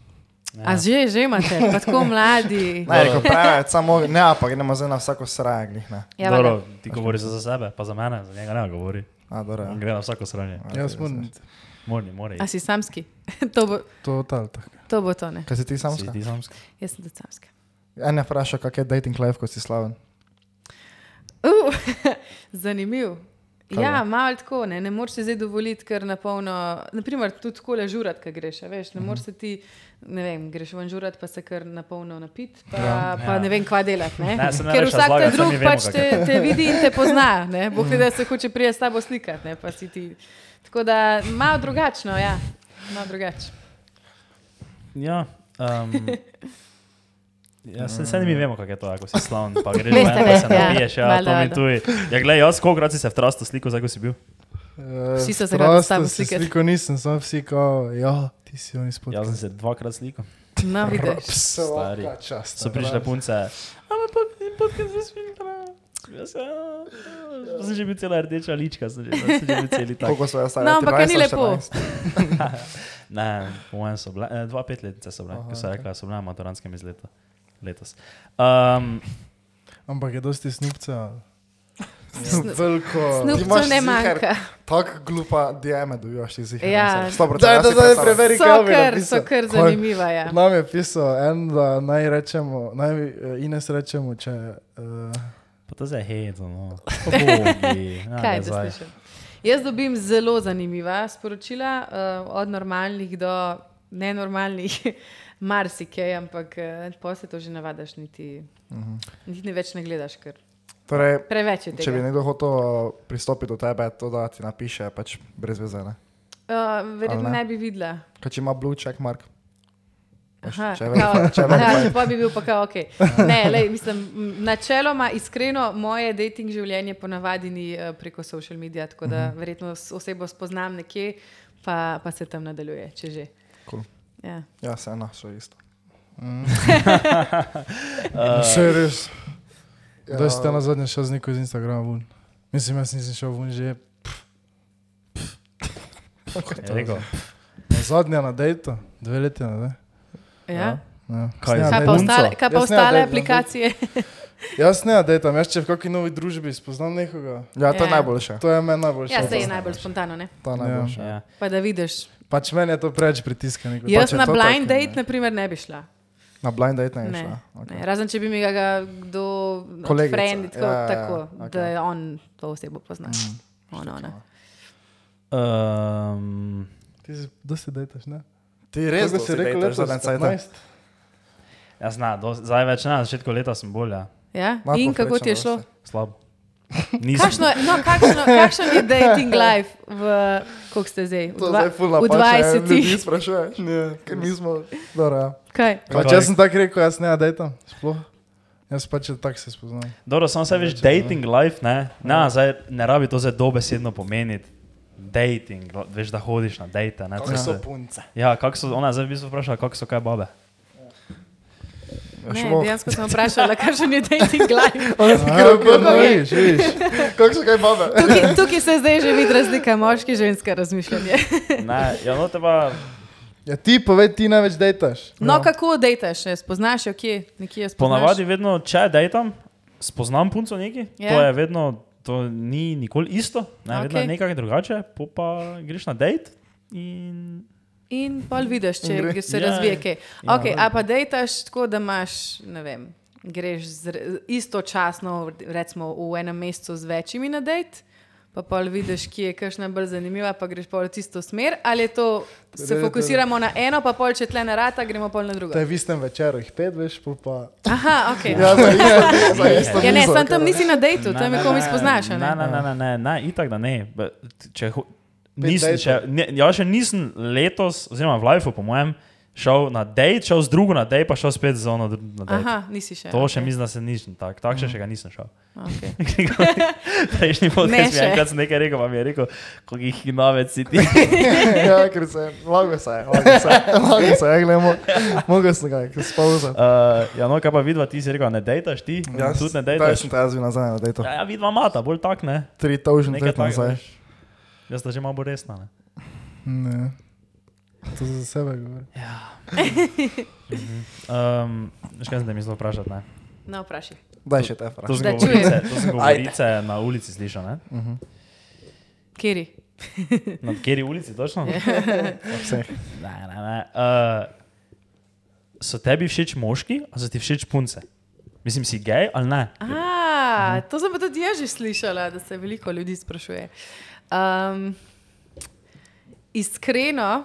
[SPEAKER 5] Ja. A že, že imate, pa tako mladi.
[SPEAKER 2] [laughs] Ne, rekel, pravi, samo ne, ampak gremo zdaj na vsako sraje, glih ne.
[SPEAKER 5] Ja, valjda.
[SPEAKER 4] Dobro, ti govoriš za sebe, pa za mene, za njega ne govori.
[SPEAKER 2] A, dobro, ja.
[SPEAKER 4] On gre na vsako sranje.
[SPEAKER 3] Jaz sem
[SPEAKER 4] Morni, mori.
[SPEAKER 5] A si samski? [laughs] to, bo,
[SPEAKER 3] to tal tak.
[SPEAKER 5] to bo to, ne.
[SPEAKER 2] Kaj si ti sam?
[SPEAKER 4] Si ti samska?
[SPEAKER 5] Jaz sem tudi samska.
[SPEAKER 2] Ena vpraša, kak je dating life, ko si slaven.
[SPEAKER 5] Uh, [laughs] zanimiv.
[SPEAKER 2] Kaj
[SPEAKER 5] Ja, malo tako, ne, ne moreš si zdaj dovoliti, ker na polno, naprimer, tudi tako le žurat, ki greš, a veš, ne moreš se ti, ne vem, greš ven žurat, pa se kar na polno napit, pa, ja, pa ja. ne vem, kva delati. Ne?
[SPEAKER 4] Ne, saj ne
[SPEAKER 5] [laughs] ker
[SPEAKER 4] rabiš
[SPEAKER 5] vsak ta
[SPEAKER 4] razlagati, saj
[SPEAKER 5] drug
[SPEAKER 4] mi vemo,
[SPEAKER 5] pač
[SPEAKER 4] kako
[SPEAKER 5] te, te vidi in te pozna, ne, boh ve, da se hoče prije s tabo slikati, ne, pa si ti. Tako da malo drugačno, ja, malo drugače.
[SPEAKER 4] Ja,
[SPEAKER 2] [laughs]
[SPEAKER 4] um, ja se, se ne mi vemo, kako je to, ako si slaven, pa greš
[SPEAKER 5] [laughs] Veste,
[SPEAKER 4] ven, pa se
[SPEAKER 5] ne, ja,
[SPEAKER 4] napiješ, ja,
[SPEAKER 5] valjda,
[SPEAKER 4] to mi
[SPEAKER 5] valjda.
[SPEAKER 4] tuj. Ja, gledaj, jaz kolikrat si se v trastu sliko, zdaj ko si bil?
[SPEAKER 5] Vsi so se
[SPEAKER 3] Eh,
[SPEAKER 5] radi
[SPEAKER 3] prosto
[SPEAKER 5] s tabo
[SPEAKER 3] se
[SPEAKER 5] slikati.
[SPEAKER 3] Sliko nisem, sem vsi kao, ja, ti si oni spod.
[SPEAKER 4] Jaz sem se dvakrat sliko.
[SPEAKER 5] No, vidiš.
[SPEAKER 4] Stari.
[SPEAKER 3] čast.
[SPEAKER 4] So prišle punce. Ampak podcast brez filtra. Jaz sem- jaz sem že bil cela rdeča lička, sem že, sem že bil celi tak.
[SPEAKER 2] Koliko so jaz stari?
[SPEAKER 5] No, ampak ni
[SPEAKER 2] 23,
[SPEAKER 5] lepo.
[SPEAKER 2] 14?
[SPEAKER 4] [laughs] Ne, po mojem so bile, eh, dva petletnice so bile,
[SPEAKER 2] Aha,
[SPEAKER 4] ki so
[SPEAKER 2] ok.
[SPEAKER 4] rekla, da so bile na maturantskem iz leta. Letos. Um,
[SPEAKER 3] Ampak je dosti Ja, snupca.
[SPEAKER 5] [laughs] Snu-
[SPEAKER 2] Veliko. Ti imaš
[SPEAKER 5] Snupcev ne
[SPEAKER 2] ziher
[SPEAKER 5] manjka.
[SPEAKER 2] Tako glupa DM-e dobivaš ti zihar.
[SPEAKER 5] Ja.
[SPEAKER 3] Daj, daj, daj, preveri. Erika
[SPEAKER 5] So
[SPEAKER 3] Ovi
[SPEAKER 5] kar,
[SPEAKER 3] napisal.
[SPEAKER 5] so kar
[SPEAKER 3] Kaj?
[SPEAKER 5] zanimiva, ja.
[SPEAKER 3] Nam je pisal en, da naj rečemo, naj eh, Ines rečemo, če. Uh,
[SPEAKER 4] pa to zdaj hejto, [laughs] no. Ja,
[SPEAKER 5] Kaj da slišim? Jaz dobim zelo zanimiva sporočila, uh, od normalnih do nenormalnih, [laughs] marsikaj, ampak uh, posebej to že navadaš, niti, niti ne več ne gledaš, ker
[SPEAKER 2] Torej,
[SPEAKER 5] preveč je
[SPEAKER 2] Mhm. če bi
[SPEAKER 5] tega.
[SPEAKER 2] nekdo hotel uh, pristopiti do tebe, to da ti napiše, pač brez veze. Ne?
[SPEAKER 5] Uh, verjetno
[SPEAKER 2] Ali ne?
[SPEAKER 5] ne bi videla.
[SPEAKER 2] Kaj če ima blue check mark?
[SPEAKER 5] Aha, Ja.
[SPEAKER 2] če
[SPEAKER 5] če
[SPEAKER 2] je
[SPEAKER 5] bi,
[SPEAKER 2] velik- če je velik fajn.
[SPEAKER 5] če pa bi bil, pa kao, ok. Ne, lej, mislim, m, načeloma, iskreno, moje dating življenje ponavadi ni eh, preko social medija, tako da
[SPEAKER 2] Mhm.
[SPEAKER 5] verjetno s- osebo spoznam nekje, pa, pa se tam nadaljuje, če že.
[SPEAKER 2] Cool.
[SPEAKER 5] Ja.
[SPEAKER 2] Ja, se ena, še isto.
[SPEAKER 3] uh,
[SPEAKER 4] Eh,
[SPEAKER 3] še res.
[SPEAKER 2] Ja.
[SPEAKER 3] Da ste na zadnje šel z neko iz Instagrama ven. Mislim, jaz nisem šel ven že
[SPEAKER 4] Ja, Rekel,
[SPEAKER 3] na zadnje na dejto, dve leti nazaj.
[SPEAKER 5] Ja.
[SPEAKER 3] Ja.
[SPEAKER 4] Kaj je Daj,
[SPEAKER 3] Jaz ne
[SPEAKER 5] Kaj pa
[SPEAKER 3] na dejtu-
[SPEAKER 5] ostale, kaj pa
[SPEAKER 3] Jaz ne,
[SPEAKER 5] ostale
[SPEAKER 3] daj,
[SPEAKER 5] aplikacije? Ja,
[SPEAKER 3] Jaz ne na dejtam, jaz če v kakšni novi družbi spoznam nekoga.
[SPEAKER 2] Ja, to je
[SPEAKER 5] Ja.
[SPEAKER 2] najboljše.
[SPEAKER 3] To je meni najboljše.
[SPEAKER 5] Ja, se je najbolj spontano. Ne?
[SPEAKER 2] To je najboljše.
[SPEAKER 4] ja.
[SPEAKER 5] Pa da vidiš.
[SPEAKER 3] Pač meni je to preveč pritiska. nekako.
[SPEAKER 5] Jaz
[SPEAKER 2] je
[SPEAKER 5] na
[SPEAKER 2] to
[SPEAKER 5] blind
[SPEAKER 2] tako, ne.
[SPEAKER 5] date, na primer, ne bi šla.
[SPEAKER 2] Na blind date ne bi šla.
[SPEAKER 5] Ne,
[SPEAKER 2] Okay.
[SPEAKER 5] ne. Razen, če bi mi ga kdo
[SPEAKER 2] Kolegica,
[SPEAKER 5] friend, tako,
[SPEAKER 2] ja, ja, ja,
[SPEAKER 5] ja, tako
[SPEAKER 2] okej.
[SPEAKER 5] okay. da je on to osebo pozna. Mm, on, ona.
[SPEAKER 4] Um,
[SPEAKER 3] Ti si, da se dejtaš, ne?
[SPEAKER 2] Ti res
[SPEAKER 3] Koliko si rekel,
[SPEAKER 2] da
[SPEAKER 3] letos?
[SPEAKER 2] zadnje cajt.
[SPEAKER 3] 15?
[SPEAKER 4] jaz ja, zna, do, zdaj več ne, na začetku leta sem bolj, ja.
[SPEAKER 5] Ja?
[SPEAKER 2] Malo
[SPEAKER 5] In kako ti je
[SPEAKER 2] povprečno,
[SPEAKER 5] šlo?
[SPEAKER 4] slab. Nisem.
[SPEAKER 5] Kakšno, no, kakšno, kakšen je dating life, v, koliko ste zdaj? V,
[SPEAKER 2] To
[SPEAKER 5] dva,
[SPEAKER 2] zdaj ja, ful napače,
[SPEAKER 5] v 20-ih.
[SPEAKER 2] Ti sprašuješ, ker mi smo. Dobro, ja.
[SPEAKER 5] Kaj?
[SPEAKER 3] Pač jaz sem tako rekel, jaz ne na dejtam, sploh. Jaz pač tako se spoznam.
[SPEAKER 4] Dobro, samo se veš, dating life, ne, ne, zdaj, ne rabi to zdaj dobesedno pomeniti. Dating, lo- veš, da hodiš na dejte. ne, to se-
[SPEAKER 3] punce?
[SPEAKER 4] Ja, kako so, ona je zdaj v bistvu vprašala, kako so kaj babe.
[SPEAKER 5] Ne, dejansko sem vprašala, kakšen je dating
[SPEAKER 2] [laughs]
[SPEAKER 5] life.
[SPEAKER 3] Kako
[SPEAKER 5] je?
[SPEAKER 3] je, živiš?
[SPEAKER 2] Kako so kaj babe?
[SPEAKER 5] Tukaj, tukaj se zdaj že vidi razlika moški in ženska razmišljanje.
[SPEAKER 4] [laughs] Ne, ja, no, te pa
[SPEAKER 3] Ja, ti povej, ti največ dejtaš.
[SPEAKER 5] No, ja. kako dejtaš, ne? spoznaš jo kje, nekje jo spoznaš.
[SPEAKER 4] ponavadi vedno, če dejtam, spoznam punco neki,
[SPEAKER 5] Ja.
[SPEAKER 4] yeah. to je vedno, to ni nikoli isto, ne, okay. vedno je
[SPEAKER 5] Okej.
[SPEAKER 4] nekaj drugače, po pa greš na dejt in
[SPEAKER 5] In pol vidiš, če
[SPEAKER 2] gre.
[SPEAKER 5] se
[SPEAKER 4] Ja,
[SPEAKER 5] razvije
[SPEAKER 4] ja.
[SPEAKER 5] kaj. Okay, a pa dejtaš tako, da imaš, ne vem, greš z- istočasno, recimo v enem mestu z večjimi na dejt. Pa pa vidiš, ki je kakšna bolj zanimiva, pa greš pol v tisto smer, ali je to, se
[SPEAKER 3] Torej,
[SPEAKER 5] fokusiramo na eno, pa pol če tle ne rata, gremo pol na drugo.
[SPEAKER 3] To je v istem večeru, jih pet, veš, pol pa.
[SPEAKER 5] Aha, ok.
[SPEAKER 2] Ja, za isto, za isto.
[SPEAKER 5] Ja, ne,
[SPEAKER 2] mizo,
[SPEAKER 5] sam tam
[SPEAKER 2] ker-
[SPEAKER 5] nisi na dejtu,
[SPEAKER 4] Ne,
[SPEAKER 5] tam
[SPEAKER 4] ne,
[SPEAKER 5] je komi
[SPEAKER 4] ne,
[SPEAKER 5] spoznaš. a
[SPEAKER 4] Ne,
[SPEAKER 5] Ne?
[SPEAKER 4] ne, ne, ne, ne, ne itak da ne. B- Če, ho- nisem,
[SPEAKER 3] dejtov.
[SPEAKER 4] če, ne jaz še nisem letos, oziroma v Lifeu, po mojem, šel na dejt, šel z drugo na dejt, pa šel spet z ono dru- na dejt.
[SPEAKER 5] Aha, nisi še.
[SPEAKER 4] To še
[SPEAKER 5] okej, Mhm.
[SPEAKER 4] mislim, da se nič ni tako. Tak še, še ga nisem šel.
[SPEAKER 5] okej.
[SPEAKER 4] [laughs] Prejšnji podcast mi je
[SPEAKER 5] še.
[SPEAKER 4] enkrat nekaj rekel, pa mi je rekel, kako jih navec si ti. [laughs]
[SPEAKER 2] Ja, ker
[SPEAKER 3] [laughs]
[SPEAKER 2] se, lago se, je, lago se, je, lago se, ja, je, gledamo. Mogoče sem ga, ker spavza.
[SPEAKER 4] Uh, ja, no, kaj pa vidva, ti si rekel, ne dejtaš ti,
[SPEAKER 3] Ja,
[SPEAKER 2] Jaz
[SPEAKER 4] tudi ne
[SPEAKER 2] Ja, Jaz
[SPEAKER 4] dejtaš.
[SPEAKER 2] sem te jaz bil nazaj na dejto.
[SPEAKER 4] Ja, ja, vidva mata, bolj tak ne.
[SPEAKER 2] Tri tavžen
[SPEAKER 4] Nekaj
[SPEAKER 2] dejt nazaj.
[SPEAKER 4] takega. veš. Jaz sta že malo bolj resna. Ne?
[SPEAKER 3] Ne. To za sebe govori.
[SPEAKER 4] Um, še kaj sem te mislil vprašati, ne?
[SPEAKER 5] No, vprašaj.
[SPEAKER 2] Daj še
[SPEAKER 4] To
[SPEAKER 2] te vprašaj.
[SPEAKER 4] so
[SPEAKER 5] Da
[SPEAKER 4] govorice,
[SPEAKER 5] čujem.
[SPEAKER 4] to so govorice na ulici slišal, ne?
[SPEAKER 5] Kjeri?
[SPEAKER 4] Na kateri ulici točno? ne,
[SPEAKER 5] Ja.
[SPEAKER 2] Vse.
[SPEAKER 4] ne, ne. Uh, so tebi všeč moški, ali so ti všeč punce? Mislim, si gej ali ne?
[SPEAKER 5] Ah, Ja, to sem pa tudi jaz že slišala, da se veliko ljudi sprašuje. Um, iskreno,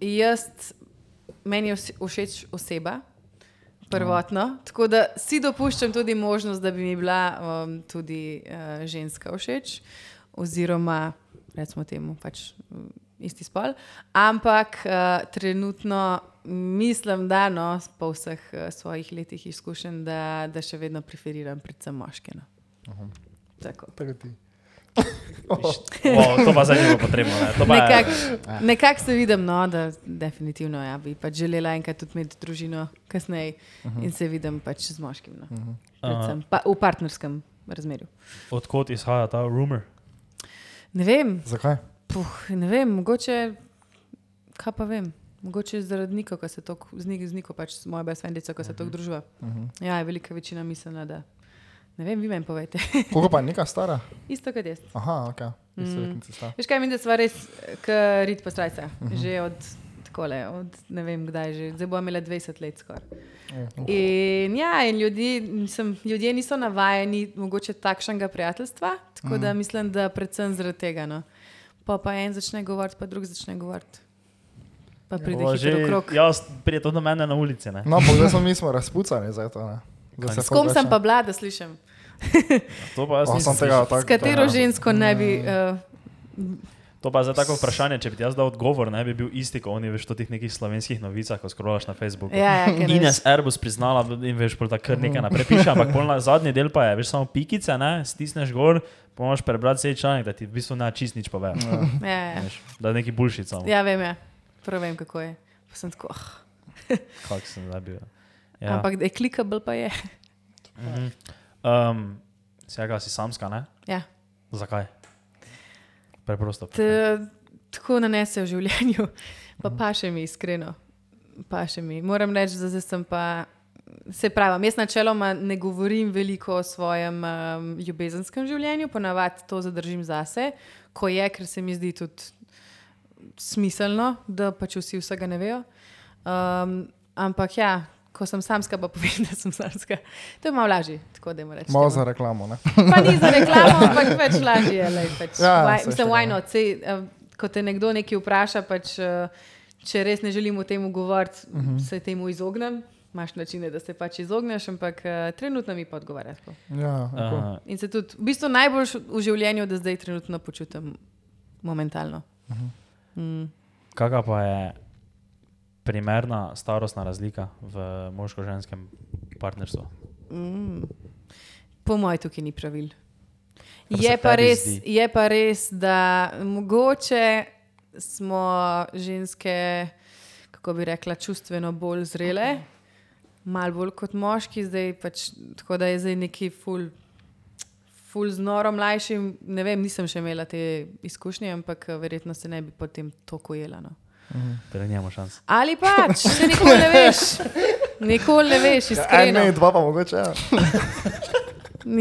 [SPEAKER 5] jaz, meni je vse- všeč oseba, prvotno, tako da si dopuščam tudi možnost, da bi mi bila um, tudi uh, ženska všeč, oziroma recimo temu pač mm, isti spol. Ampak uh, trenutno mislim, da no, po vseh uh, svojih letih izkušenj, da, da še vedno preferiram predvsem moške. No. Tako.
[SPEAKER 3] Tako ti.
[SPEAKER 4] [laughs] O, to pa zdaj ni bilo potrebno. Ne? To pa je- eh, Ah.
[SPEAKER 5] Nekako nekak se vidim, no, da definitivno ja, bi pač želela enkrat tudi imeti družino, kasneje uh
[SPEAKER 4] Mhm.
[SPEAKER 5] -huh. in se vidim pač z moškim. No. Uh -huh. pa, v partnerskem razmerju.
[SPEAKER 4] Odkot izhaja ta rumor?
[SPEAKER 5] Ne vem,
[SPEAKER 2] Zakaj?
[SPEAKER 5] puh, ne vem, mogoče, kaj pa vem. Mogoče zaradi Niko, ki se tako z Niko, z Niko pač s mojo besvendico,
[SPEAKER 4] Mhm.
[SPEAKER 5] ki se tako družuje. Uh
[SPEAKER 2] Mhm.
[SPEAKER 5] -huh. Ja, je velika večina mislila, da. Ne vem, vi meni povejte.
[SPEAKER 2] Koliko pa je neka stara?
[SPEAKER 5] [laughs] Isto kot jaz.
[SPEAKER 2] Aha, ok. Mm.
[SPEAKER 5] Veš kaj, mi da smo res, kot rit postrajca, uh -huh. že od takole, od ne vem kdaj, že. zdaj bo imela 20 let skoraj. In ja, in ljudi, mislim, ljudje niso navajeni mogoče takšnega prijateljstva, tako da mislim, da predvsem zaradi tega. No. Pa pa en začne govoriti, pa drug začne govoriti. Pa pride
[SPEAKER 4] Ja, Bo ja.
[SPEAKER 5] hitro krok.
[SPEAKER 4] jaz, pride to do mene na ulici. Ne?
[SPEAKER 2] No, pa zdaj smo mi smo razpucani za to. ne. Zdaj se
[SPEAKER 5] S kom sem
[SPEAKER 2] poveča.
[SPEAKER 5] pa bila, da slišim?
[SPEAKER 4] To pa jaz
[SPEAKER 2] O,
[SPEAKER 4] nisem
[SPEAKER 2] sem tega,
[SPEAKER 4] slišal.
[SPEAKER 2] tako,
[SPEAKER 5] S katero žensko ne bi. Uh,
[SPEAKER 4] To pa je zdaj tako vprašanje, če bi ti jaz dal odgovor, ne bi bil isti, kot oni veš v teh nekih slovenskih novicah, ko skrolaš na Facebooku.
[SPEAKER 5] ja, ja, kaj ne veš.
[SPEAKER 4] Ines Airbus priznala in veš, pol da kar nekaj naprej piše, ampak pol na zadnji del pa je, veš, samo pikice, ne, stisneš gor, pomoš prebrati vse članek, da ti v bistvu na čist nič pove.
[SPEAKER 5] Ja, ja.
[SPEAKER 4] Veš, Da je neki bullshit samo.
[SPEAKER 5] ja, vem, ja. Prav vem, kako je. Pa sem tako. Ah.
[SPEAKER 4] Kak sem zdaj bil.
[SPEAKER 5] Ja.
[SPEAKER 4] Ja.
[SPEAKER 5] Ampak da je klikabel, pa je.
[SPEAKER 4] Mhm. Um, Sega si samska, ne?
[SPEAKER 5] Ja.
[SPEAKER 4] Zakaj? Preprosto.
[SPEAKER 5] T, tako nanese v življenju, pa pa še mi iskreno. Pa še mi. Moram reči, da zdaj sem pa. Se pravi, jaz načeloma ne govorim veliko o svojem um, ljubezenskem življenju, ponavadi to zadržim zase, ko je, ker se mi zdi tudi smiselno, da pač vsi vsega ne vejo. Um, ampak ja, ko sem samska, pa povem, [laughs] da sem samska. To je malo lažje, tako da jim rečem.
[SPEAKER 2] Malo za reklamo, ne?
[SPEAKER 5] Pa ni za reklamo, ampak več lažje je. Lej, pač.
[SPEAKER 2] Ja,
[SPEAKER 5] ja,
[SPEAKER 2] saj
[SPEAKER 5] mislim,
[SPEAKER 2] še
[SPEAKER 5] why not? Sej, eh, ko te nekdo nekaj vpraša, pač, eh, če res ne želimo temu govoriti, uh
[SPEAKER 2] Mhm.
[SPEAKER 5] -huh. se temu izognem. Imáš načine, da se pač izogneš, ampak uh, trenutno mi podgovarja. tako.
[SPEAKER 2] Ja, uh,
[SPEAKER 4] Uh,
[SPEAKER 5] In se tudi, v bistvu najbolj v življenju, da zdaj trenutno počutim momentalno.
[SPEAKER 2] Mhm.
[SPEAKER 5] Mm.
[SPEAKER 4] Kakšna pa je primerna starostna razlika v moško-ženskem partnerstvu?
[SPEAKER 5] Po mojem, tukaj ni pravil.
[SPEAKER 4] Kar se
[SPEAKER 5] Je pa,
[SPEAKER 4] tebi
[SPEAKER 5] res,
[SPEAKER 4] zdi.
[SPEAKER 5] je pa res, da mogoče smo ženske, kako bi rekla, čustveno bolj zrele, malo bolj kot moški, zdaj pač tako da je zdaj neki ful. Ful z norom mlajšim, ne vem, nisem še imela te izkušnje, ampak eh, verjetno se ne bi potem to kojela. No.
[SPEAKER 4] Torej, nimamo šans.
[SPEAKER 5] Ali pač, se nikoli ne veš, nikoli ne veš,
[SPEAKER 2] en,
[SPEAKER 5] iskreno.
[SPEAKER 2] ne, Ja, dva pa mogoče. Ja.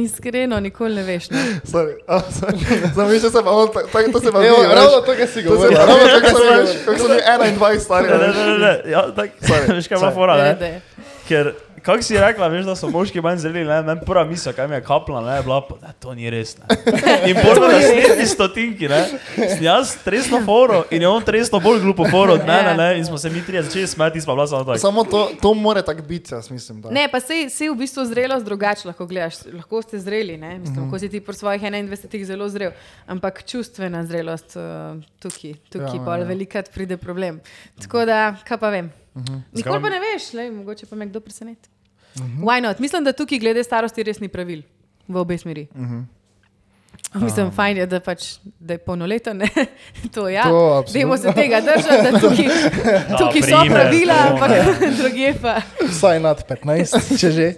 [SPEAKER 5] Iskreno, nikoli ne veš. no. Ne.
[SPEAKER 2] Sorry, a, [laughs] sorry. Zamišljal sem, o, to, to, to se pa
[SPEAKER 3] Evo,
[SPEAKER 2] vidi, veš.
[SPEAKER 3] ravno to, kar
[SPEAKER 2] To
[SPEAKER 3] si
[SPEAKER 2] se
[SPEAKER 3] govoril.
[SPEAKER 2] pa ravno tako se veš, kako sem bil 21 star.
[SPEAKER 4] Ne, ne,
[SPEAKER 2] veš.
[SPEAKER 4] ne, ne. Ja, tak, [laughs] veš, kaj je bila fora?
[SPEAKER 5] Ne,
[SPEAKER 4] Ne?
[SPEAKER 5] ne.
[SPEAKER 4] Ker, kako si rekla, veš, da so moški manj zreli, ne, meni prva misel, kaj mi je kapla, ne, je bila, pa, da to ni res. Ne. In bolj na naslednji stotinki, ne, sem jaz tresno foro in je on tresno bolj glupo foro od
[SPEAKER 5] Ja.
[SPEAKER 4] mene, ne, in smo se mi trije začeli smeti, smo bila samo tako.
[SPEAKER 2] Samo to, to more tako biti, jaz mislim. Da.
[SPEAKER 5] Ne, pa sej, sej v bistvu zrelost drugače lahko gledaš. Lahko ste zreli, ne? Mislim, mm -hmm. lahko si ti po svojih 21-ih zelo zrel, ampak čustvena zrelost uh, tukaj, tukaj ja,
[SPEAKER 2] ja,
[SPEAKER 5] bolj
[SPEAKER 2] ja.
[SPEAKER 5] ja. velikrat pride problem. Tako da, kaj pa vem. Mm -hmm. Nikoli
[SPEAKER 4] Zakaj
[SPEAKER 5] pa
[SPEAKER 4] vam-
[SPEAKER 5] ne veš, lej, mogoče pa me kdo preseneti. Mm -hmm. Why not? Mislim, da tukaj glede starosti res ni pravil v obe smeri. Mm -hmm. Mislim, um. fajn je, da, pač, da je polnoleten. ne. [laughs] to ja.
[SPEAKER 2] To
[SPEAKER 5] Dajmo se tega držati, da tukaj, tukaj so
[SPEAKER 4] primer,
[SPEAKER 5] pravila,
[SPEAKER 4] to,
[SPEAKER 5] ampak
[SPEAKER 4] ne.
[SPEAKER 5] [laughs] drugje pa.
[SPEAKER 3] Vsaj nad 15, če že.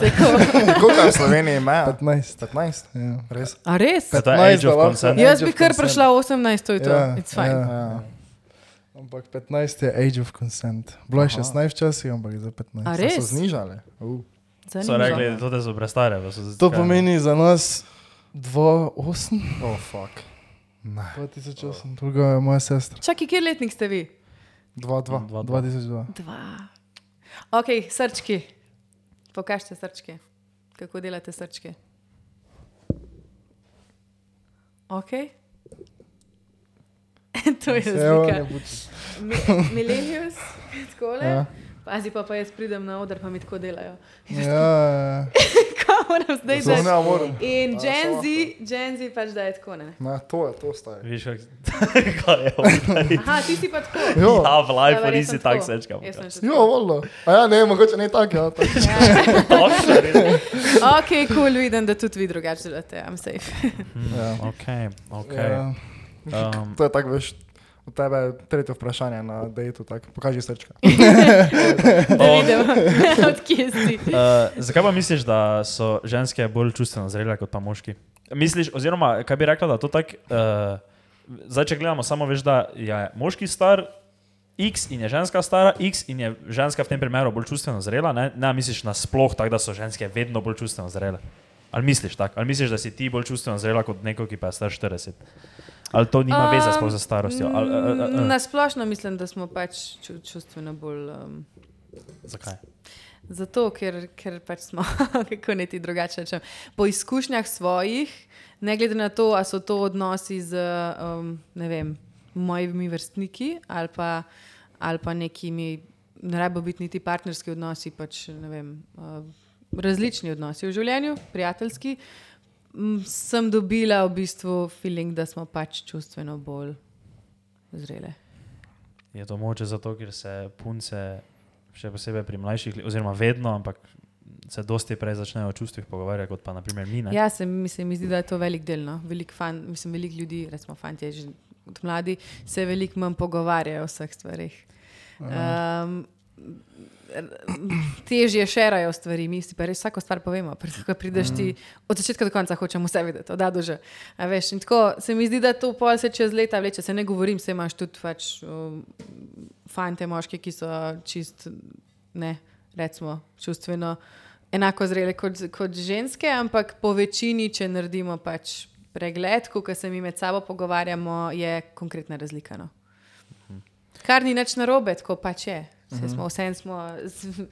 [SPEAKER 2] Koliko je v Sloveniji ima?
[SPEAKER 3] 15.
[SPEAKER 2] 15.
[SPEAKER 3] Ja.
[SPEAKER 2] Ja. Res.
[SPEAKER 5] A res?
[SPEAKER 4] To je age of
[SPEAKER 3] lahko-
[SPEAKER 4] consent.
[SPEAKER 3] Ja.
[SPEAKER 5] Jaz
[SPEAKER 3] Age
[SPEAKER 5] bi
[SPEAKER 3] of
[SPEAKER 5] kar
[SPEAKER 3] consent.
[SPEAKER 5] prišla 18, to je to.
[SPEAKER 3] Ja,
[SPEAKER 5] It's fine.
[SPEAKER 2] Ja.
[SPEAKER 3] Ampak 15 je age of consent. Bilo je 16 včasih, ampak za
[SPEAKER 5] A
[SPEAKER 3] 15.
[SPEAKER 2] Se so
[SPEAKER 5] res?
[SPEAKER 2] znižali. Uh.
[SPEAKER 4] So rekli,
[SPEAKER 5] Zanimivo.
[SPEAKER 4] to da so prestare. da so-
[SPEAKER 3] To
[SPEAKER 4] kaj,
[SPEAKER 3] pomeni za nas 2,8.
[SPEAKER 2] Oh, fuck. Ne.
[SPEAKER 3] 2008, druga je moja sestra.
[SPEAKER 5] Čakaj, kje letnik ste vi?
[SPEAKER 2] 2-2.
[SPEAKER 4] dva, dva.
[SPEAKER 3] 2002.
[SPEAKER 5] Dva. Ok, srčki. Pokažite srčke. Kako delate srčke? Okay. [laughs] to je
[SPEAKER 3] Evo, ne
[SPEAKER 5] razlika.
[SPEAKER 3] budi.
[SPEAKER 5] Mi- Millennials, takole.
[SPEAKER 3] Ja.
[SPEAKER 5] Ja. Pazi pa, pa jaz pridem na oder, pa mi tako delajo. [laughs]
[SPEAKER 3] Ja,
[SPEAKER 5] Kaj moram zdaj
[SPEAKER 2] Zelo
[SPEAKER 5] zdaj?
[SPEAKER 2] ne morem.
[SPEAKER 5] In
[SPEAKER 2] A,
[SPEAKER 5] Gen
[SPEAKER 2] samo
[SPEAKER 5] Z, Gen Z pač da je tako. Ne?
[SPEAKER 2] Na, to je, to staje.
[SPEAKER 4] Veš, kak- [laughs] kaj je on.
[SPEAKER 5] Aha, ti si pa tako.
[SPEAKER 2] Jo,
[SPEAKER 4] Ja, v
[SPEAKER 5] Ja,
[SPEAKER 4] life
[SPEAKER 5] verjetno
[SPEAKER 4] nisi
[SPEAKER 5] tako.
[SPEAKER 4] tak sečka.
[SPEAKER 5] Jaz
[SPEAKER 4] [laughs]
[SPEAKER 5] sem še
[SPEAKER 2] jo,
[SPEAKER 5] tako.
[SPEAKER 2] volno. A ja, ne, mogoče ne tako, ja. Tako.
[SPEAKER 5] Ok, kul, cool, vidim, da tudi vi drugače delate, I'm safe.
[SPEAKER 2] [laughs] Ja.
[SPEAKER 4] Ok, ok.
[SPEAKER 3] ja.
[SPEAKER 4] Um,
[SPEAKER 2] To je tako, veš, od tebe tretje vprašanje na dejtu, tako, pokaži srčka.
[SPEAKER 5] Da vidim, [laughs] odkje si.
[SPEAKER 4] Uh, zakaj pa misliš, da so ženske bolj čustveno zrele kot pa moški? Misliš, oziroma kaj bi rekla, da to tako. Uh, zdaj, če gledamo, samo veš, da je moški star. X in je ženska stara, X in je ženska v tem primeru bolj čustveno zrela, ne, ne misliš nasploh tako, da so ženske vedno bolj čustveno zrele. Ali misliš tako, ali misliš, da si ti bolj čustveno zrela kot neko, ki pa je star 40? Ali to nima um, veze
[SPEAKER 5] Um,
[SPEAKER 4] sploh za starostjo? Ali, uh, uh, uh,
[SPEAKER 5] Na splošno mislim, da smo pač ču, čustveno bolj. Um,
[SPEAKER 4] zakaj?
[SPEAKER 5] Zato, ker, ker pač smo, [laughs] kako ne ti drugače rečem, po izkušnjah svojih, ne glede na to, ali so to odnosi z um, ne vem, mojimi vrstniki ali pa, ali pa nekimi, ne rabo biti niti partnerski odnosi, pač ne vem, uh, različni odnosi v življenju, prijateljski. m, Sem dobila v bistvu feeling, da smo pač čustveno bolj zrele.
[SPEAKER 4] Je to moče zato, ker se punce, še posebej pri mlajših, li- oziroma vedno, ampak se dosti prej začnejo o čustvih pogovarjati, kot pa naprimer mi. Ne?
[SPEAKER 5] Ja, se mi, se mi zdi, da je to velik del. No. Velik fan, mislim, veliko ljudi, recimo fanti, že od mladi, se veliko manj pogovarjajo o vseh stvarih. Um, težje šerajo stvari, mi si pa res vsako stvar povemo. Pri- Ko prideš ti od začetka do konca, hočemo vse vedeti, da dože. Veš, in tako se mi zdi, da to pol se čez leta vleče, se ne govorim, se imaš tudi pač, um, fante, moške, ki so čist, ne, recimo, čustveno enako zrele kot, kot ženske, ampak po večini, če naredimo pač pregled, ko se mi med sabo pogovarjamo, je konkretna razlika. No. Kar ni nič narobe, tako pač je. Vse
[SPEAKER 4] Mhm.
[SPEAKER 5] smo, vsem smo z,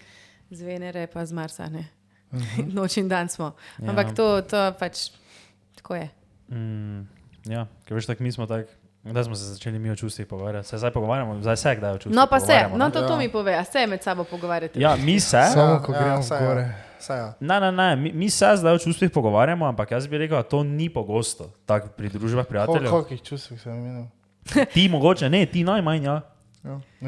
[SPEAKER 5] z Venere, pa z Marsa. ne. [laughs] Noč in dan smo.
[SPEAKER 4] Mhm. Ja.
[SPEAKER 5] Ampak to, to pač tako je.
[SPEAKER 4] Mm, ja, ker veš, tako mi smo tak. Da smo se začeli mi o čustvih pogovarjati, se zdaj pogovarjamo, zdaj se kdaj o čustvih.
[SPEAKER 5] No, pa se,
[SPEAKER 4] pogovarjamo,
[SPEAKER 5] no,
[SPEAKER 4] ne?
[SPEAKER 5] to, to mi pove, a se med sabo pogovarjate.
[SPEAKER 4] Ja, mi se.
[SPEAKER 3] Samo ko
[SPEAKER 2] Ja,
[SPEAKER 3] gremo
[SPEAKER 2] ja, saj ja.
[SPEAKER 3] gore.
[SPEAKER 2] Saj ja.
[SPEAKER 4] Ne, ne, ne, mi, mi se zdaj o čustvih pogovarjamo, ampak jaz bi rekel, da to ni pogosto. Tako pri družbah prijateljev.
[SPEAKER 3] Koliko jih čustvih sem imel?
[SPEAKER 4] Ti mogoče, ne, ti najmanj. Ja,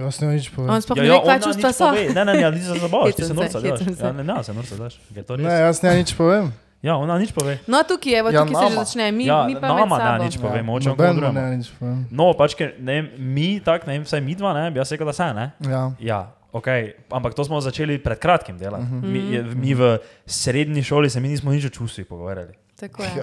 [SPEAKER 3] Jaz ne nič povedal.
[SPEAKER 5] On sploh
[SPEAKER 4] ja,
[SPEAKER 5] ne
[SPEAKER 4] ja
[SPEAKER 5] ve, kaj
[SPEAKER 4] ona
[SPEAKER 5] čustva
[SPEAKER 4] nič
[SPEAKER 5] so.
[SPEAKER 4] pove. Ne, ne, ne,
[SPEAKER 5] [laughs]
[SPEAKER 4] nisem zabaval, ti se
[SPEAKER 5] Hecam se,
[SPEAKER 4] norca daš.
[SPEAKER 5] hecam se.
[SPEAKER 4] Ja, ne, ne, se norca daš. Je to res?
[SPEAKER 3] Ne, jaz ne nič povem.
[SPEAKER 4] Ja, ona nič pove.
[SPEAKER 5] No, tukaj je, evo,
[SPEAKER 2] Ja,
[SPEAKER 5] tukaj se že
[SPEAKER 2] nama.
[SPEAKER 5] začne, mi,
[SPEAKER 4] ja,
[SPEAKER 5] mi pa
[SPEAKER 4] nama
[SPEAKER 5] med
[SPEAKER 4] ne
[SPEAKER 5] sabo.
[SPEAKER 4] nič pove, moče on
[SPEAKER 3] Noben mu
[SPEAKER 4] kontra.
[SPEAKER 3] Ja, ne nič povem.
[SPEAKER 4] No, pač ker ne, vem, mi tako, ne vem, vsaj mi dva, ne, bi jaz rekel, da se ne.
[SPEAKER 2] Ja.
[SPEAKER 4] Ja, ok, ampak to smo začeli pred kratkim delati. Uh -huh. mi, je- mi v srednji šoli se mi nismo nič o čustvih pogovarjali.
[SPEAKER 5] Tako je.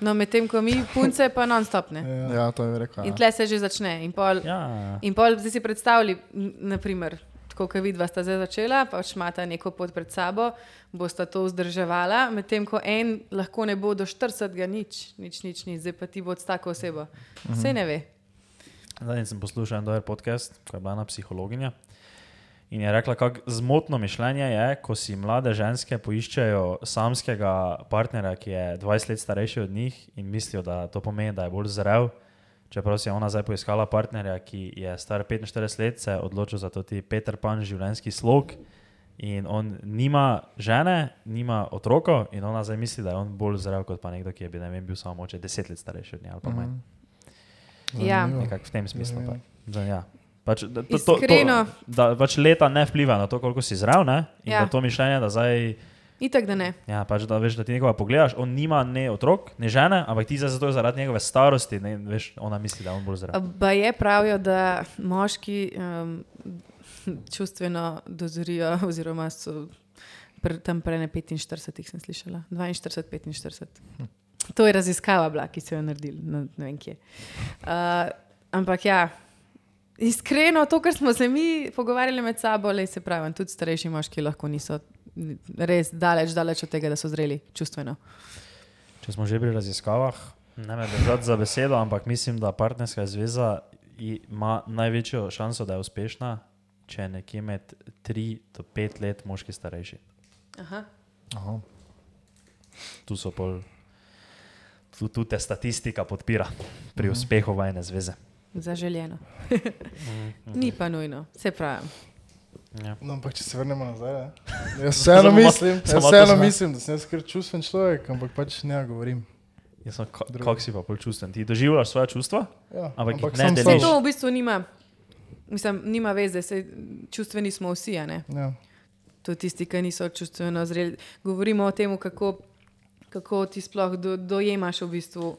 [SPEAKER 5] No, medtem ko mi punce pa non-stop ne.
[SPEAKER 2] ja, to je rekel.
[SPEAKER 5] In
[SPEAKER 2] Ja.
[SPEAKER 5] tle se že začne. In pol,
[SPEAKER 4] Ja.
[SPEAKER 5] In pol zdaj si predstavljaj, n- naprimer, tako kot vidva sta zdaj začela, pač imata neko pot pred sabo, bosta to vzdrževala, medtem ko en lahko ne bo do 40, nič, nič, nič, nič, zdaj pa ti bo s tako osebo. Vse ne ve.
[SPEAKER 4] Zadnji sem poslušal en dober podcast, ko je bila ena psihologinja. In je rekla, kako zmotno mišljenje je, ko si mlade ženske poiščejo samskega partnerja, ki je 20 let starejši od njih in mislijo, da to pomeni, da je bolj zrel. Čeprav si je ona zdaj poiskala partnerja, ki je star 45 let, se je odločil za to ti Peter Pan življenjski slog. In on nima žene, nima otroka, in ona zdaj misli, da je on bolj zrel kot pa nekdo, ki je bil, ne vem, bil samo moče 10 let starejši od nje ali pa manj.
[SPEAKER 5] Ja.
[SPEAKER 4] Nekako v tem smislu. Pa. Da, ja. pač, da, to, to, to,
[SPEAKER 5] Iskreno.
[SPEAKER 4] da pač leta ne vpliva na to, koliko si zdrav. Ne? In
[SPEAKER 5] Ja.
[SPEAKER 4] ja. da to mišljenje, da zdaj.
[SPEAKER 5] Itak da ne.
[SPEAKER 4] Ja, pač, da, veš, da ti nekoga pogledaš, on nima ne otrok, ne žene, ampak ti zdaj zato zaradi njegove starosti, ne, veš, ona misli, da je on bolj zdrav.
[SPEAKER 5] Pa je pravijo, da moški um, čustveno dozorijo, oziroma so pre, tam prej na 45, sem slišala, 42, 45. To je raziskava bila, ki so jo naredili, na, ne vem kje. Uh, ampak ja. Iskreno, to, kar smo se mi pogovarjali med sabo, le se pravi, tudi starejši moški lahko niso res daleč, daleč od tega, da so zreli čustveno.
[SPEAKER 4] Če smo že pri raziskavah, ne me držati za besedo, ampak mislim, da partnerska zveza i- ima največjo šanso, da je uspešna, če je nekje med 3 do 5 let moški starejši.
[SPEAKER 5] Aha.
[SPEAKER 4] Tu so pol. tu, tu te statistika podpira pri uspehu vajne zveze.
[SPEAKER 5] Zaželjeno. Ni pa nujno, se pravi.
[SPEAKER 3] No, ampak če se vrnemo nazaj, ne?
[SPEAKER 4] [laughs]
[SPEAKER 3] jaz vseeno mislim, jaz vseeno mislim, da sem jaz kar čustven človek, ampak pač ne govorim.
[SPEAKER 4] Jaz sem, ka- kako si pa bolj čustven? Ti doživljaš svoje čustva?
[SPEAKER 3] Ja,
[SPEAKER 4] Ampak jih ne
[SPEAKER 3] sam s
[SPEAKER 5] Vse
[SPEAKER 4] deliš.
[SPEAKER 3] sabo.
[SPEAKER 5] to v bistvu nima, mislim, nima veze, saj čustveni smo vsi, a ne?
[SPEAKER 3] Ja.
[SPEAKER 5] tudi tisti, ki niso čustveno zreli. Govorimo o tem, kako, kako ti sploh do, dojemaš v bistvu.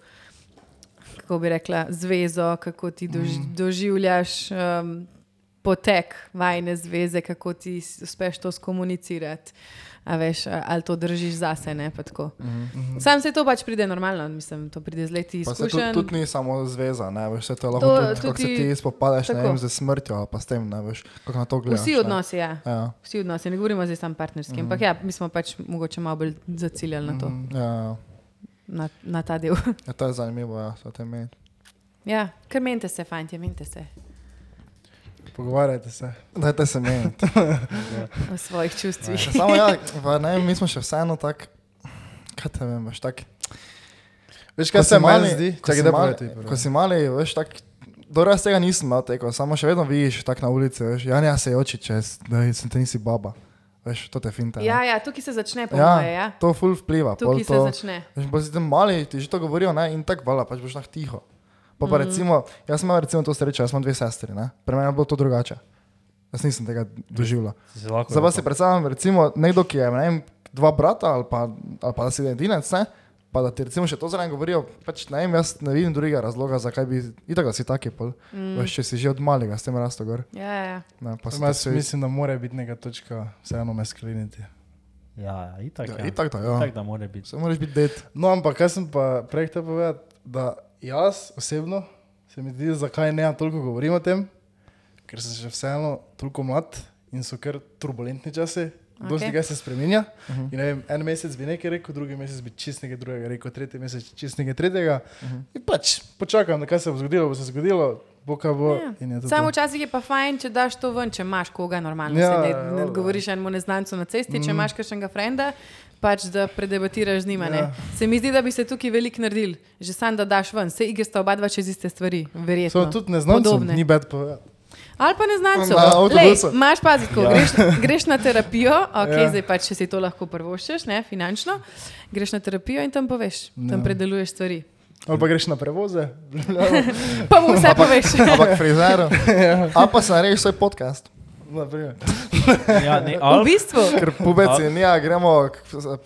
[SPEAKER 5] Kako bi rekla, zvezo, kako ti dož, mm. doživljaš um, potek vajne zveze, kako ti s- uspeš to skomunicirati. A veš, a- ali to držiš zase, ne pa tako. Mm
[SPEAKER 2] Mhm.
[SPEAKER 5] -hmm. Sam se to pač pride normalno, mislim, to pride z leti
[SPEAKER 2] Pa se tudi,
[SPEAKER 5] izkušenj.
[SPEAKER 2] tudi ni samo zveza, ne veš, vse to je lahko
[SPEAKER 5] To
[SPEAKER 2] to, tudi, kako se
[SPEAKER 5] tudi-
[SPEAKER 2] ti spopadaš ne
[SPEAKER 5] tako.
[SPEAKER 2] vem, z smrtjo ali pa s tem, ne veš, kako na to gledaš.
[SPEAKER 5] Vsi
[SPEAKER 2] ne.
[SPEAKER 5] odnosi, ja.
[SPEAKER 2] Ja,
[SPEAKER 5] Vsi odnosi, ne govorimo zdaj samo partnerski, mm.
[SPEAKER 3] Mhm.
[SPEAKER 5] ampak ja, mi smo pač mogoče malo bolj zaciljali na, to, mm.
[SPEAKER 2] ja, ja.
[SPEAKER 5] na, na ta del. [laughs]
[SPEAKER 2] ja, to je zanimivo, ja, se o tem meni.
[SPEAKER 5] ja, ker menite se, fanti, menite se
[SPEAKER 3] Pogovarjajte se.
[SPEAKER 2] Dajte se meni.
[SPEAKER 3] [laughs]
[SPEAKER 5] o svojih čustvih.
[SPEAKER 2] Še Samo ja, pa ne, vem, mi smo še vseeno tako, kaj te vem, veš, tako.
[SPEAKER 3] Veš,
[SPEAKER 2] Ko
[SPEAKER 3] kaj
[SPEAKER 2] si
[SPEAKER 3] se meni
[SPEAKER 2] mali-
[SPEAKER 3] zdi?
[SPEAKER 2] ko si
[SPEAKER 3] Čakaj, da
[SPEAKER 2] mali-
[SPEAKER 3] povedi.
[SPEAKER 2] Ko si mali, veš, tako. Dobro, jaz tega nisem imel, tako, samo še vedno vidiš tako na ulici, veš, Janja se oči čez, da sem te nisi baba, veš, to te finta. ne.
[SPEAKER 5] Ja, ja, tukaj se začne, po ja.
[SPEAKER 2] ja,
[SPEAKER 5] moje. Ja?
[SPEAKER 2] to ful vpliva. pol
[SPEAKER 5] Tukaj se
[SPEAKER 2] to,
[SPEAKER 5] začne.
[SPEAKER 2] Veš, bolj si tam mali, ti že to govorijo, ne, in tako vala, pač boš nah tiho. Pa pa recimo, jaz imam recimo to srečo, jaz imam dve sestri, ne, pri meni je bilo to drugače. Jaz nisem tega doživljal.
[SPEAKER 4] Si se lahko-
[SPEAKER 2] Zdaj pa si predstavljam, recimo, nekdo, ki je ne vem, dva brata ali pa, ali pa da si edinec, ne? pa da ti recimo še to zraven govorijo, pač ne vem, jaz ne vidim drugega razloga, zakaj bi itak da si taki pol. Mm. Veš, če si že od malega s tem rasto gor.
[SPEAKER 5] Ja, ja, ja.
[SPEAKER 2] Ne, pa se
[SPEAKER 3] Jaz mislim, da mora biti neka točka, vseeno me skleniti.
[SPEAKER 4] Ja, ja, itak.
[SPEAKER 2] Ja,
[SPEAKER 4] Ja.
[SPEAKER 2] itak da, ja.
[SPEAKER 4] Itak, da mora biti.
[SPEAKER 2] Se moraš biti det.
[SPEAKER 3] No, ampak kaj sem pa prej hotel povedati, da jaz osebno se mi zdi, zakaj ne toliko govorim o tem, ker sem še vseeno toliko mlad in so kar turbulentni časi. Okay. Dosti
[SPEAKER 5] Okej.
[SPEAKER 3] tega se spremenja. Uh
[SPEAKER 2] Mhm.
[SPEAKER 3] -huh. ne vem, en mesec bi nekaj rekel, drugi mesec bi čist nekaj drugega rekel, tretji mesec čist nekaj tretjega. Uh
[SPEAKER 2] Mhm.
[SPEAKER 3] -huh. In pač počakam, da kaj se bo zgodilo, bo se zgodilo, bo kaj bo.
[SPEAKER 5] Ja.
[SPEAKER 3] in je to
[SPEAKER 5] Samo
[SPEAKER 3] to.
[SPEAKER 5] včasih je pa fajn, če daš to ven, če imaš koga normalno.
[SPEAKER 3] Ja,
[SPEAKER 5] Ja, ne, ne
[SPEAKER 3] ja, Mhm.
[SPEAKER 5] odgovoriš enemu neznancu na cesti, mm. če imaš kakšnega frenda, pač da predebatiraš z njima. Ja. Se mi zdi, da bi se tukaj veliko naredil, že sam da daš ven. Se igre sta oba dva čez iste stvari, verjetno.
[SPEAKER 3] So tudi neznanci,
[SPEAKER 5] Podobne.
[SPEAKER 3] ni bed povedati.
[SPEAKER 5] Ali pa neznancev.
[SPEAKER 2] Na avtobusu.
[SPEAKER 5] Lej, Imaš paziti, ko ja. greš, greš na terapijo, okay,
[SPEAKER 3] Ja.
[SPEAKER 5] ja. zdaj pa če si to lahko prvoščeš, ne finančno, greš na terapijo in tam poveš, tam predeluješ stvari.
[SPEAKER 3] Ali pa greš na prevoze,
[SPEAKER 5] Pa mu vse poveš.
[SPEAKER 2] Ampak frizer. A pa se narediš svoj podcast.
[SPEAKER 3] na primer.
[SPEAKER 4] [laughs] Ja, ne,
[SPEAKER 5] V
[SPEAKER 4] ali,
[SPEAKER 5] bistvu.
[SPEAKER 2] Ker pubeci ni, a gremo k, k,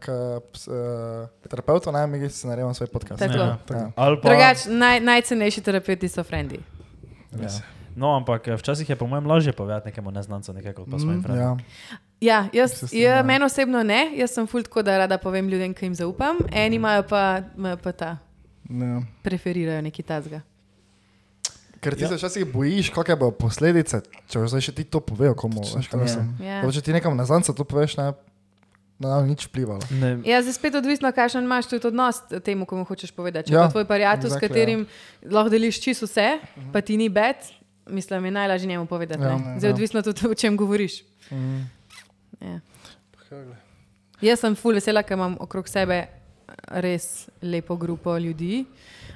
[SPEAKER 2] k, k, k terapeutu, naj mi si naredimo svoj podcast.
[SPEAKER 5] Tako.
[SPEAKER 4] Ja,
[SPEAKER 2] tako.
[SPEAKER 4] ali pa,
[SPEAKER 5] Drugač, naj, najcenejši terapeuti so frendi.
[SPEAKER 4] Ja. No, ampak eh, včasih je po mojem lažje povedati nekemu neznancu nekaj kot pa svojim prijateljem.
[SPEAKER 2] Ja.
[SPEAKER 5] Ja, jaz, ja, meni osebno ne, jaz sem ful tako, da rada povem ljudem, ki jim zaupam, eni imajo pa, imajo pa ta,
[SPEAKER 3] Ne.
[SPEAKER 5] preferirajo neki tazga.
[SPEAKER 2] Ker ti ja. se včasih bojiš, kakšne bodo posledice, če boš zdaj še ti to povedal komu. Veš, kaj mislim.
[SPEAKER 5] Ja.
[SPEAKER 2] Ja. Če ti nekam na zanca to poveš, ne, ne bo nič vplivalo.
[SPEAKER 4] Ne,
[SPEAKER 5] Ja, zdaj spet odvisno, kakšen imaš tudi odnos temu, komu hočeš povedati. Če
[SPEAKER 2] Ja,
[SPEAKER 5] ja, tvoj prijatelj, exactly, s
[SPEAKER 2] exactly,
[SPEAKER 5] katerim ja. lahko deliš čisto vse, uh -huh. pa ti ni bed, mislim, je najlažje njemu povedati.
[SPEAKER 2] Ja,
[SPEAKER 5] Ja,
[SPEAKER 2] ja.
[SPEAKER 5] zdaj je odvisno tudi, o čem govoriš. Ja.
[SPEAKER 3] kaj glej.
[SPEAKER 5] Jaz sem ful vesela, ker imam okrog sebe res lepo grupo ljudi,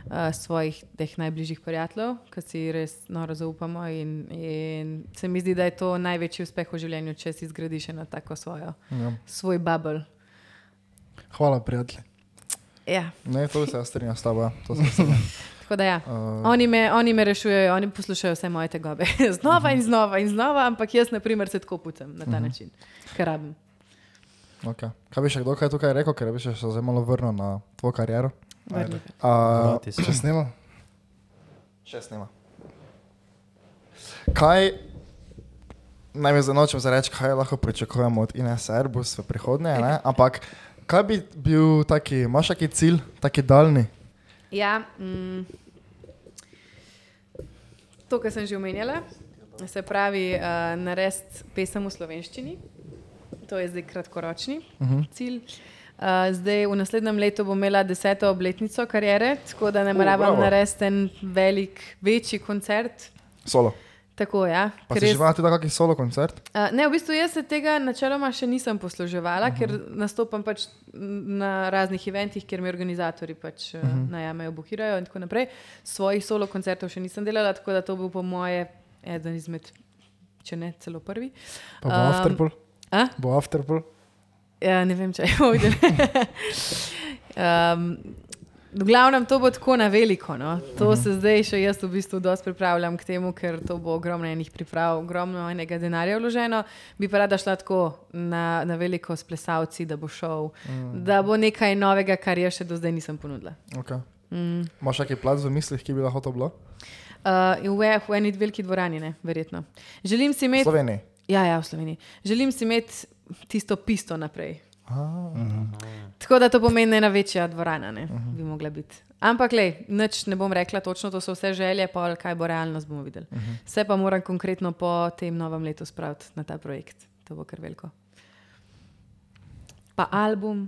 [SPEAKER 5] uh, svojih teh najbližjih prijateljev, ki si res noro zaupamo. In, in se mi zdi, da je to največji uspeh v življenju, če si zgradiš eno tako svojo,
[SPEAKER 2] Ja.
[SPEAKER 5] svoj bubble.
[SPEAKER 3] Hvala, prijatelji.
[SPEAKER 5] Ja.
[SPEAKER 2] Ne, to se jaz strinjam s tabo. ja. To se strinjam. [laughs]
[SPEAKER 5] Tako da ja.
[SPEAKER 2] Uh,
[SPEAKER 5] Oni me, oni me rešujejo, oni poslušajo vse moje tegobe. [laughs] znova in znova in znova, ampak jaz, na primer, se tako putem
[SPEAKER 2] Mhm.
[SPEAKER 5] na ta način, ker rabim.
[SPEAKER 2] okay. Kaj bi še kdo kaj tukaj rekel, ker bi še se zdaj malo vrnil na tvojo kariero?
[SPEAKER 5] Vrnil.
[SPEAKER 2] Uh,
[SPEAKER 4] brati
[SPEAKER 3] Če
[SPEAKER 4] se.
[SPEAKER 3] snema?
[SPEAKER 2] Še snima. Kaj, naj mi zanočem za reči, kaj lahko pričakujemo od Ines Airbus v prihodnje, ne?
[SPEAKER 5] Mhm.
[SPEAKER 2] ampak kaj bi bil taki, imaš taki cilj, taki daljni?
[SPEAKER 5] Ja, mm, to, kar sem že omenjala, se pravi, uh, narediti pesem v slovenščini. To je zdaj kratkoročni uh
[SPEAKER 2] Mhm.
[SPEAKER 5] -huh. cilj. Uh, zdaj, v naslednjem letu bom imela deseto obletnico kariere, tako da nameravam
[SPEAKER 2] bravo.
[SPEAKER 5] narediti en velik, večji koncert.
[SPEAKER 2] Solo.
[SPEAKER 5] Tako, ja.
[SPEAKER 2] Pa
[SPEAKER 5] ker
[SPEAKER 2] si že
[SPEAKER 5] jaz-
[SPEAKER 2] imel tudi kakšen solo koncert?
[SPEAKER 5] Uh, ne, v bistvu jaz se tega načeloma še nisem posluževala, uh -huh. ker nastopam pač m, na raznih eventih, kjer mi organizatori pač uh -huh. najamejo, buhirajo in tako naprej. Svojih solo koncertov še nisem delala, tako da to bo po moje eden izmed, če ne celo prvi. Ehm,
[SPEAKER 3] Pa bo um, afterpol,
[SPEAKER 5] a?
[SPEAKER 3] bo afterpol.
[SPEAKER 5] Ja, ne vem, če je [laughs] ovdje. um, v glavnem to bo tako na veliko. No. To se zdaj še jaz v bistvu dosti pripravljam k temu, ker to bo ogromno enih priprav, ogromno enega denarja vloženo. Bi pa rada šla tako na, na veliko s plesalci, da bo šel, mm. da bo nekaj novega, kar jaz še do zdaj nisem ponudila.
[SPEAKER 2] Okay. Mm. Imaš kakšen plac v mislih, ki bi lahko to bilo?
[SPEAKER 5] Uh, in v, v eni veliki dvorani, ne, verjetno. Želim si
[SPEAKER 2] V
[SPEAKER 5] imeti.
[SPEAKER 2] Sloveniji.
[SPEAKER 5] Ja, ja, v Sloveniji. Želim si imeti tisto pisto naprej. Tako da to pomeni ena večja dvorana, ne, bi mogla biti. Ampak, lej, nič ne bom rekla, točno to so vse želje, pa kaj bo realnost, bomo videli. Vse pa moram konkretno po tem novem letu spraviti na ta projekt. To bo kar veliko. Pa album.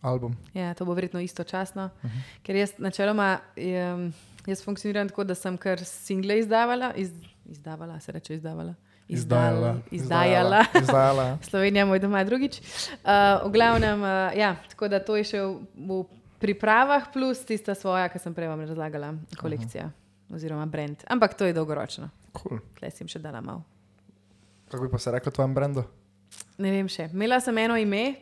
[SPEAKER 2] Album.
[SPEAKER 5] Ja, to bo verjetno istočasno, uh -huh. ker jaz načeloma em, jaz funkcioniram tako, da sem kar single izdavala, iz, izdavala se reče izdavala.
[SPEAKER 3] Izdajala.
[SPEAKER 5] Izdajala.
[SPEAKER 2] Izdajala. ja.
[SPEAKER 5] [laughs] Slovenija, moj doma, drugič. Uh, v glavnem, uh, ja, tako da to je še v, v pripravah, plus tista svoja, ki sem prej vam razlagala, kolekcija uh -huh. oziroma brand. Ampak to je dolgoročno,
[SPEAKER 2] Cool.
[SPEAKER 5] tle sem še dala malo.
[SPEAKER 2] Kako bi pa se rekla tvojem brendu?
[SPEAKER 5] Ne vem še. Imela sem eno ime,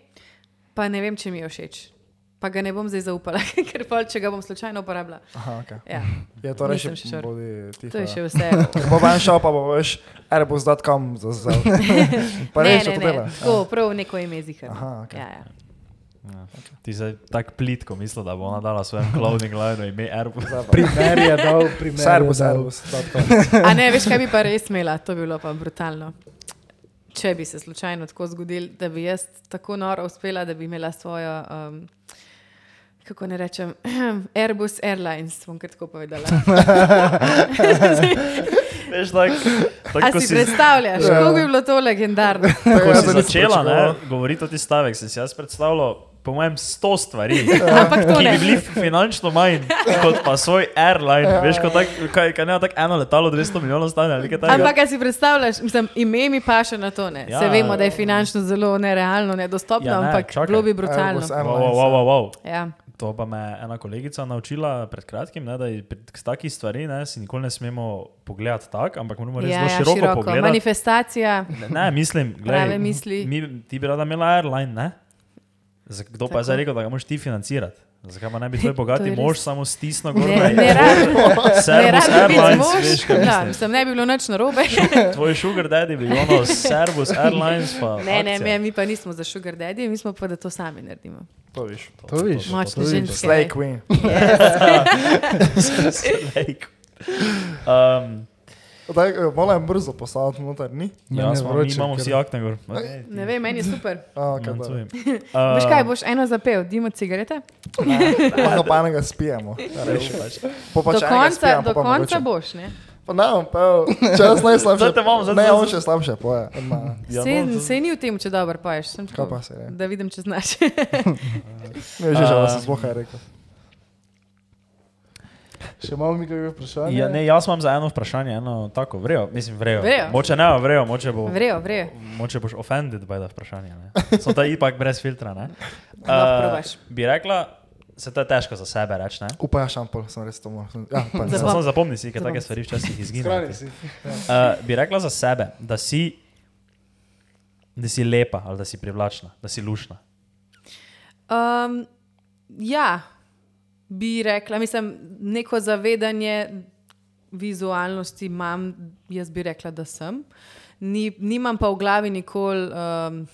[SPEAKER 5] pa ne vem, če mi je všeč. Pa ga ne bom zdaj zaupala, [laughs] ker pol, če ga bom slučajno uporabljala.
[SPEAKER 2] Aha, okay. [laughs]
[SPEAKER 5] Ja,
[SPEAKER 2] Je to reči,
[SPEAKER 5] Nisem še sure.
[SPEAKER 2] bodi tiho.
[SPEAKER 5] to je
[SPEAKER 2] ja.
[SPEAKER 5] še vse.
[SPEAKER 2] Ko Bo ven šel, pa bo veš, airbus.com za zdaj. [laughs]
[SPEAKER 5] [laughs]
[SPEAKER 2] Pa
[SPEAKER 5] ne,
[SPEAKER 2] reči,
[SPEAKER 5] ne,
[SPEAKER 2] to
[SPEAKER 5] ne,
[SPEAKER 2] dela.
[SPEAKER 5] tako, prav neko ime zihar.
[SPEAKER 2] Aha, okej.
[SPEAKER 5] ja, ja.
[SPEAKER 4] Ti si tako plitko mislil, da bo ona dala [laughs] svojemu clouding lineu ime Airbus.
[SPEAKER 3] Primer je dal, primer. je
[SPEAKER 2] Airbus,
[SPEAKER 3] dal.
[SPEAKER 2] airbus.com.
[SPEAKER 5] A ne, veš, kaj bi pa res imela, to bi bilo pa brutalno. Če bi se slučajno tako zgodil, da bi jaz tako noro uspela, da bi imela svojo, um, kako ne rečem, [clears throat] Airbus Airlines, bom kar tako
[SPEAKER 2] [laughs]
[SPEAKER 5] povedala. [laughs]
[SPEAKER 4] Veš, tako,
[SPEAKER 5] A
[SPEAKER 4] tako ko
[SPEAKER 5] si
[SPEAKER 4] si,
[SPEAKER 5] predstavljaš, kako bi bilo to legendarno?
[SPEAKER 4] ko
[SPEAKER 2] jaz
[SPEAKER 4] si
[SPEAKER 2] Ja, nisem
[SPEAKER 4] začela
[SPEAKER 2] pričakoval.
[SPEAKER 4] ne, govoriti o ti stavek, sem si jaz predstavljal, po mojem, sto
[SPEAKER 2] [laughs]
[SPEAKER 4] stvari.
[SPEAKER 2] Ja.
[SPEAKER 5] Ampak to
[SPEAKER 4] Ki
[SPEAKER 5] ne.
[SPEAKER 4] bi bili finančno manj kot pa svoj
[SPEAKER 2] Ja.
[SPEAKER 4] airline. Veš, kot tak, kaj, kaj ne, tako eno letalo 200 milijonov stane ali kaj takega.
[SPEAKER 5] Ampak, kaj si predstavljaš, mislim, ime mi paše na to. Ja,
[SPEAKER 4] Ja.
[SPEAKER 5] Se vemo, da je finančno zelo nerealno, nedostopno, ja,
[SPEAKER 4] Ja,
[SPEAKER 5] ne,
[SPEAKER 4] ne,
[SPEAKER 5] ampak čakaj.
[SPEAKER 4] čakaj.
[SPEAKER 5] bilo bi brutalno.
[SPEAKER 2] Airbus,
[SPEAKER 4] Wow,
[SPEAKER 2] airbus.
[SPEAKER 4] wow, wow, wow, wow.
[SPEAKER 5] Ja.
[SPEAKER 4] To pa me je ena kolegica naučila pred kratkim, ne, da je pri takih stvareh ne, si nikoli ne smemo pogledati tako, ampak moramo res
[SPEAKER 5] Ja,
[SPEAKER 4] ja,
[SPEAKER 5] ja,
[SPEAKER 4] zelo široko, široko pogledati.
[SPEAKER 5] Manifestacija.
[SPEAKER 4] [laughs] Ne, ne, mislim,
[SPEAKER 5] Prave
[SPEAKER 4] gledaj,
[SPEAKER 5] misli.
[SPEAKER 4] Mi, ti bi rada imela airline, ne? Za- Kdo Tako. pa
[SPEAKER 5] Tako.
[SPEAKER 4] je zdaj rekel, da ga moraš ti financirati? Zakaj pa ne bi tvoj
[SPEAKER 5] To
[SPEAKER 4] bogati
[SPEAKER 5] je
[SPEAKER 4] mož
[SPEAKER 5] res.
[SPEAKER 4] samo stisnil gor
[SPEAKER 5] Ne,
[SPEAKER 4] na
[SPEAKER 5] ne rabimo. Ne
[SPEAKER 4] Servus
[SPEAKER 5] rabim biti
[SPEAKER 4] Airlines,
[SPEAKER 5] mož.
[SPEAKER 4] veš, kaj
[SPEAKER 5] Ja,
[SPEAKER 4] mislim.
[SPEAKER 5] mislim, ne bi bilo nič
[SPEAKER 4] [laughs]
[SPEAKER 5] narobe.
[SPEAKER 4] Tvoj sugar daddy bi bil ono Servus Airlines pa
[SPEAKER 5] Ne, ne,
[SPEAKER 4] akcija.
[SPEAKER 5] ne, mi pa nismo za sugar daddy, mi smo pa, da to sami naredimo.
[SPEAKER 2] To viš.
[SPEAKER 3] To viš.
[SPEAKER 5] Močne
[SPEAKER 3] to je
[SPEAKER 5] ženske.
[SPEAKER 2] Slay Queen.
[SPEAKER 4] Slejk. um,
[SPEAKER 2] Daj, eh, Moram brzo poslati noter, ni?
[SPEAKER 3] Meni
[SPEAKER 4] ja,
[SPEAKER 3] je
[SPEAKER 4] smo, mi
[SPEAKER 3] vroče,
[SPEAKER 4] imamo
[SPEAKER 3] ker-
[SPEAKER 4] vsi akne gor.
[SPEAKER 5] Ne vem, meni je
[SPEAKER 4] [laughs]
[SPEAKER 5] super.
[SPEAKER 2] A,
[SPEAKER 4] Okay,
[SPEAKER 2] kaj da.
[SPEAKER 5] Veš kaj,
[SPEAKER 4] Um,
[SPEAKER 5] boš eno zapel, dimo cigarete?
[SPEAKER 2] Lahko pa enega spijemo. Po
[SPEAKER 5] Do
[SPEAKER 2] pač enega
[SPEAKER 5] konca,
[SPEAKER 2] spijemo, pa
[SPEAKER 5] do
[SPEAKER 2] pa
[SPEAKER 5] konca
[SPEAKER 2] mogoče.
[SPEAKER 5] boš, ne?
[SPEAKER 2] Pa ne, bom pel. Če jaz najslabše.
[SPEAKER 4] Zdaj te imam, zdaj te
[SPEAKER 2] Ne,
[SPEAKER 4] imam.
[SPEAKER 2] on še slabše poje. Ma,
[SPEAKER 4] Ja,
[SPEAKER 5] Sej,
[SPEAKER 4] no,
[SPEAKER 5] sej ni v tem, če dobro poješ. Sem
[SPEAKER 2] Kaj
[SPEAKER 5] tako,
[SPEAKER 2] pa se je?
[SPEAKER 5] Da vidim, če znaš.
[SPEAKER 2] Ne, že že, da
[SPEAKER 4] Eh.
[SPEAKER 2] sem zbohaj rekel.
[SPEAKER 3] Še imamo mi kakšno vprašanje?
[SPEAKER 4] Ja, ne, jaz imam za eno vprašanje, eno tako, vrejo, mislim, vrejo.
[SPEAKER 5] Vrejo.
[SPEAKER 4] Moče ne, vrejo, moče bo.
[SPEAKER 5] [laughs] Vrejo, vrejo.
[SPEAKER 4] Moče boš offended by da vprašanje. ne. So ta ipak brez filtra. ne.
[SPEAKER 5] Lahko
[SPEAKER 4] Eh,
[SPEAKER 5] probaš.
[SPEAKER 4] bi rekla, se to je težko za sebe reči. ne.
[SPEAKER 2] Upaj, ja, šampol, sem res to moral. Ja, pa ne.
[SPEAKER 5] Zapom-
[SPEAKER 4] Samo zapomni si, ker
[SPEAKER 5] Zapomni
[SPEAKER 4] take
[SPEAKER 5] si.
[SPEAKER 4] stvari včasih izginejo.
[SPEAKER 3] Skrani si.
[SPEAKER 4] Uh, bi rekla za sebe, da si, da si lepa ali da si privlačna, da si lušna.
[SPEAKER 5] Um, ja, bi rekla, mislim, neko zavedanje vizualnosti imam, jaz bi rekla, da sem. Ni, nimam pa v glavi nikoli. Um,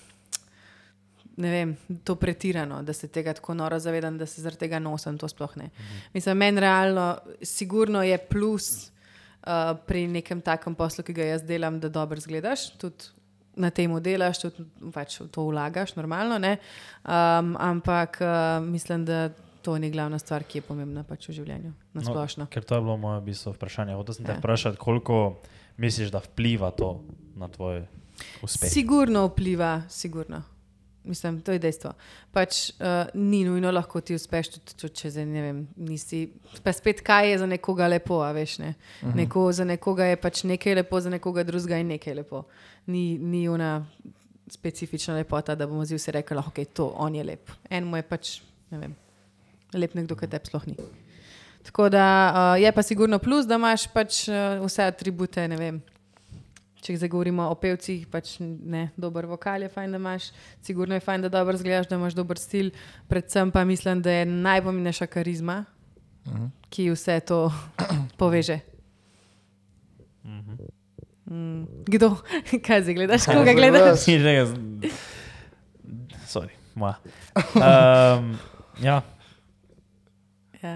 [SPEAKER 5] Ne vem, to pretirano, da se tega tako noro zavedam, da se zaradi tega nosim, to sploh ne. Mhm. Mislim, meni realno, sigurno je plus uh, pri nekem takem poslu, ki ga jaz delam, da dobro zgledaš, tudi na tem delaš, tudi pač v to vlagaš, normalno. ne. Um, ampak uh, mislim, da to ni glavna stvar, ki je pomembna pač v življenju,
[SPEAKER 4] No,
[SPEAKER 5] na splošno.
[SPEAKER 4] ker to je bilo moje bistvo vprašanje. Hotel sem te
[SPEAKER 5] Ja.
[SPEAKER 4] vprašati, koliko misliš, da vpliva to na tvoj uspeh.
[SPEAKER 5] [laughs] Sigurno vpliva, sigurno. Mislim, to je dejstvo. Pač uh, ni nujno lahko ti uspeš, tudi če čez en, ne vem, nisi. Pa spet, kaj je za nekoga lepo, a veš ne. Uh -huh. Neko, za nekoga je pač nekaj lepo, za nekoga drugega je nekaj lepo. Ni, ni ona specifična lepota, da bomo zdaj vsi rekli, da okay, to on je lep. En mu je pač, ne vem, lep nekdo, ki te sploh ni. Tako da uh, je pa sigurno plus, da imaš pač uh, vse atribute, ne vem če zdaj govorimo o pevcih, pač ne, dober vokal je fajn, da imaš, sigurno je fajn, da dobro zgledaš, da imaš dober stil, predvsem pa mislim, da je najpomembnejša karizma, uh -huh. ki vse to [clears throat] poveže. Uh -huh. mm, kdo, [laughs] kaj zdaj gledaš, koga gledaš?
[SPEAKER 4] Sorry, moja. Um, ja.
[SPEAKER 5] ja.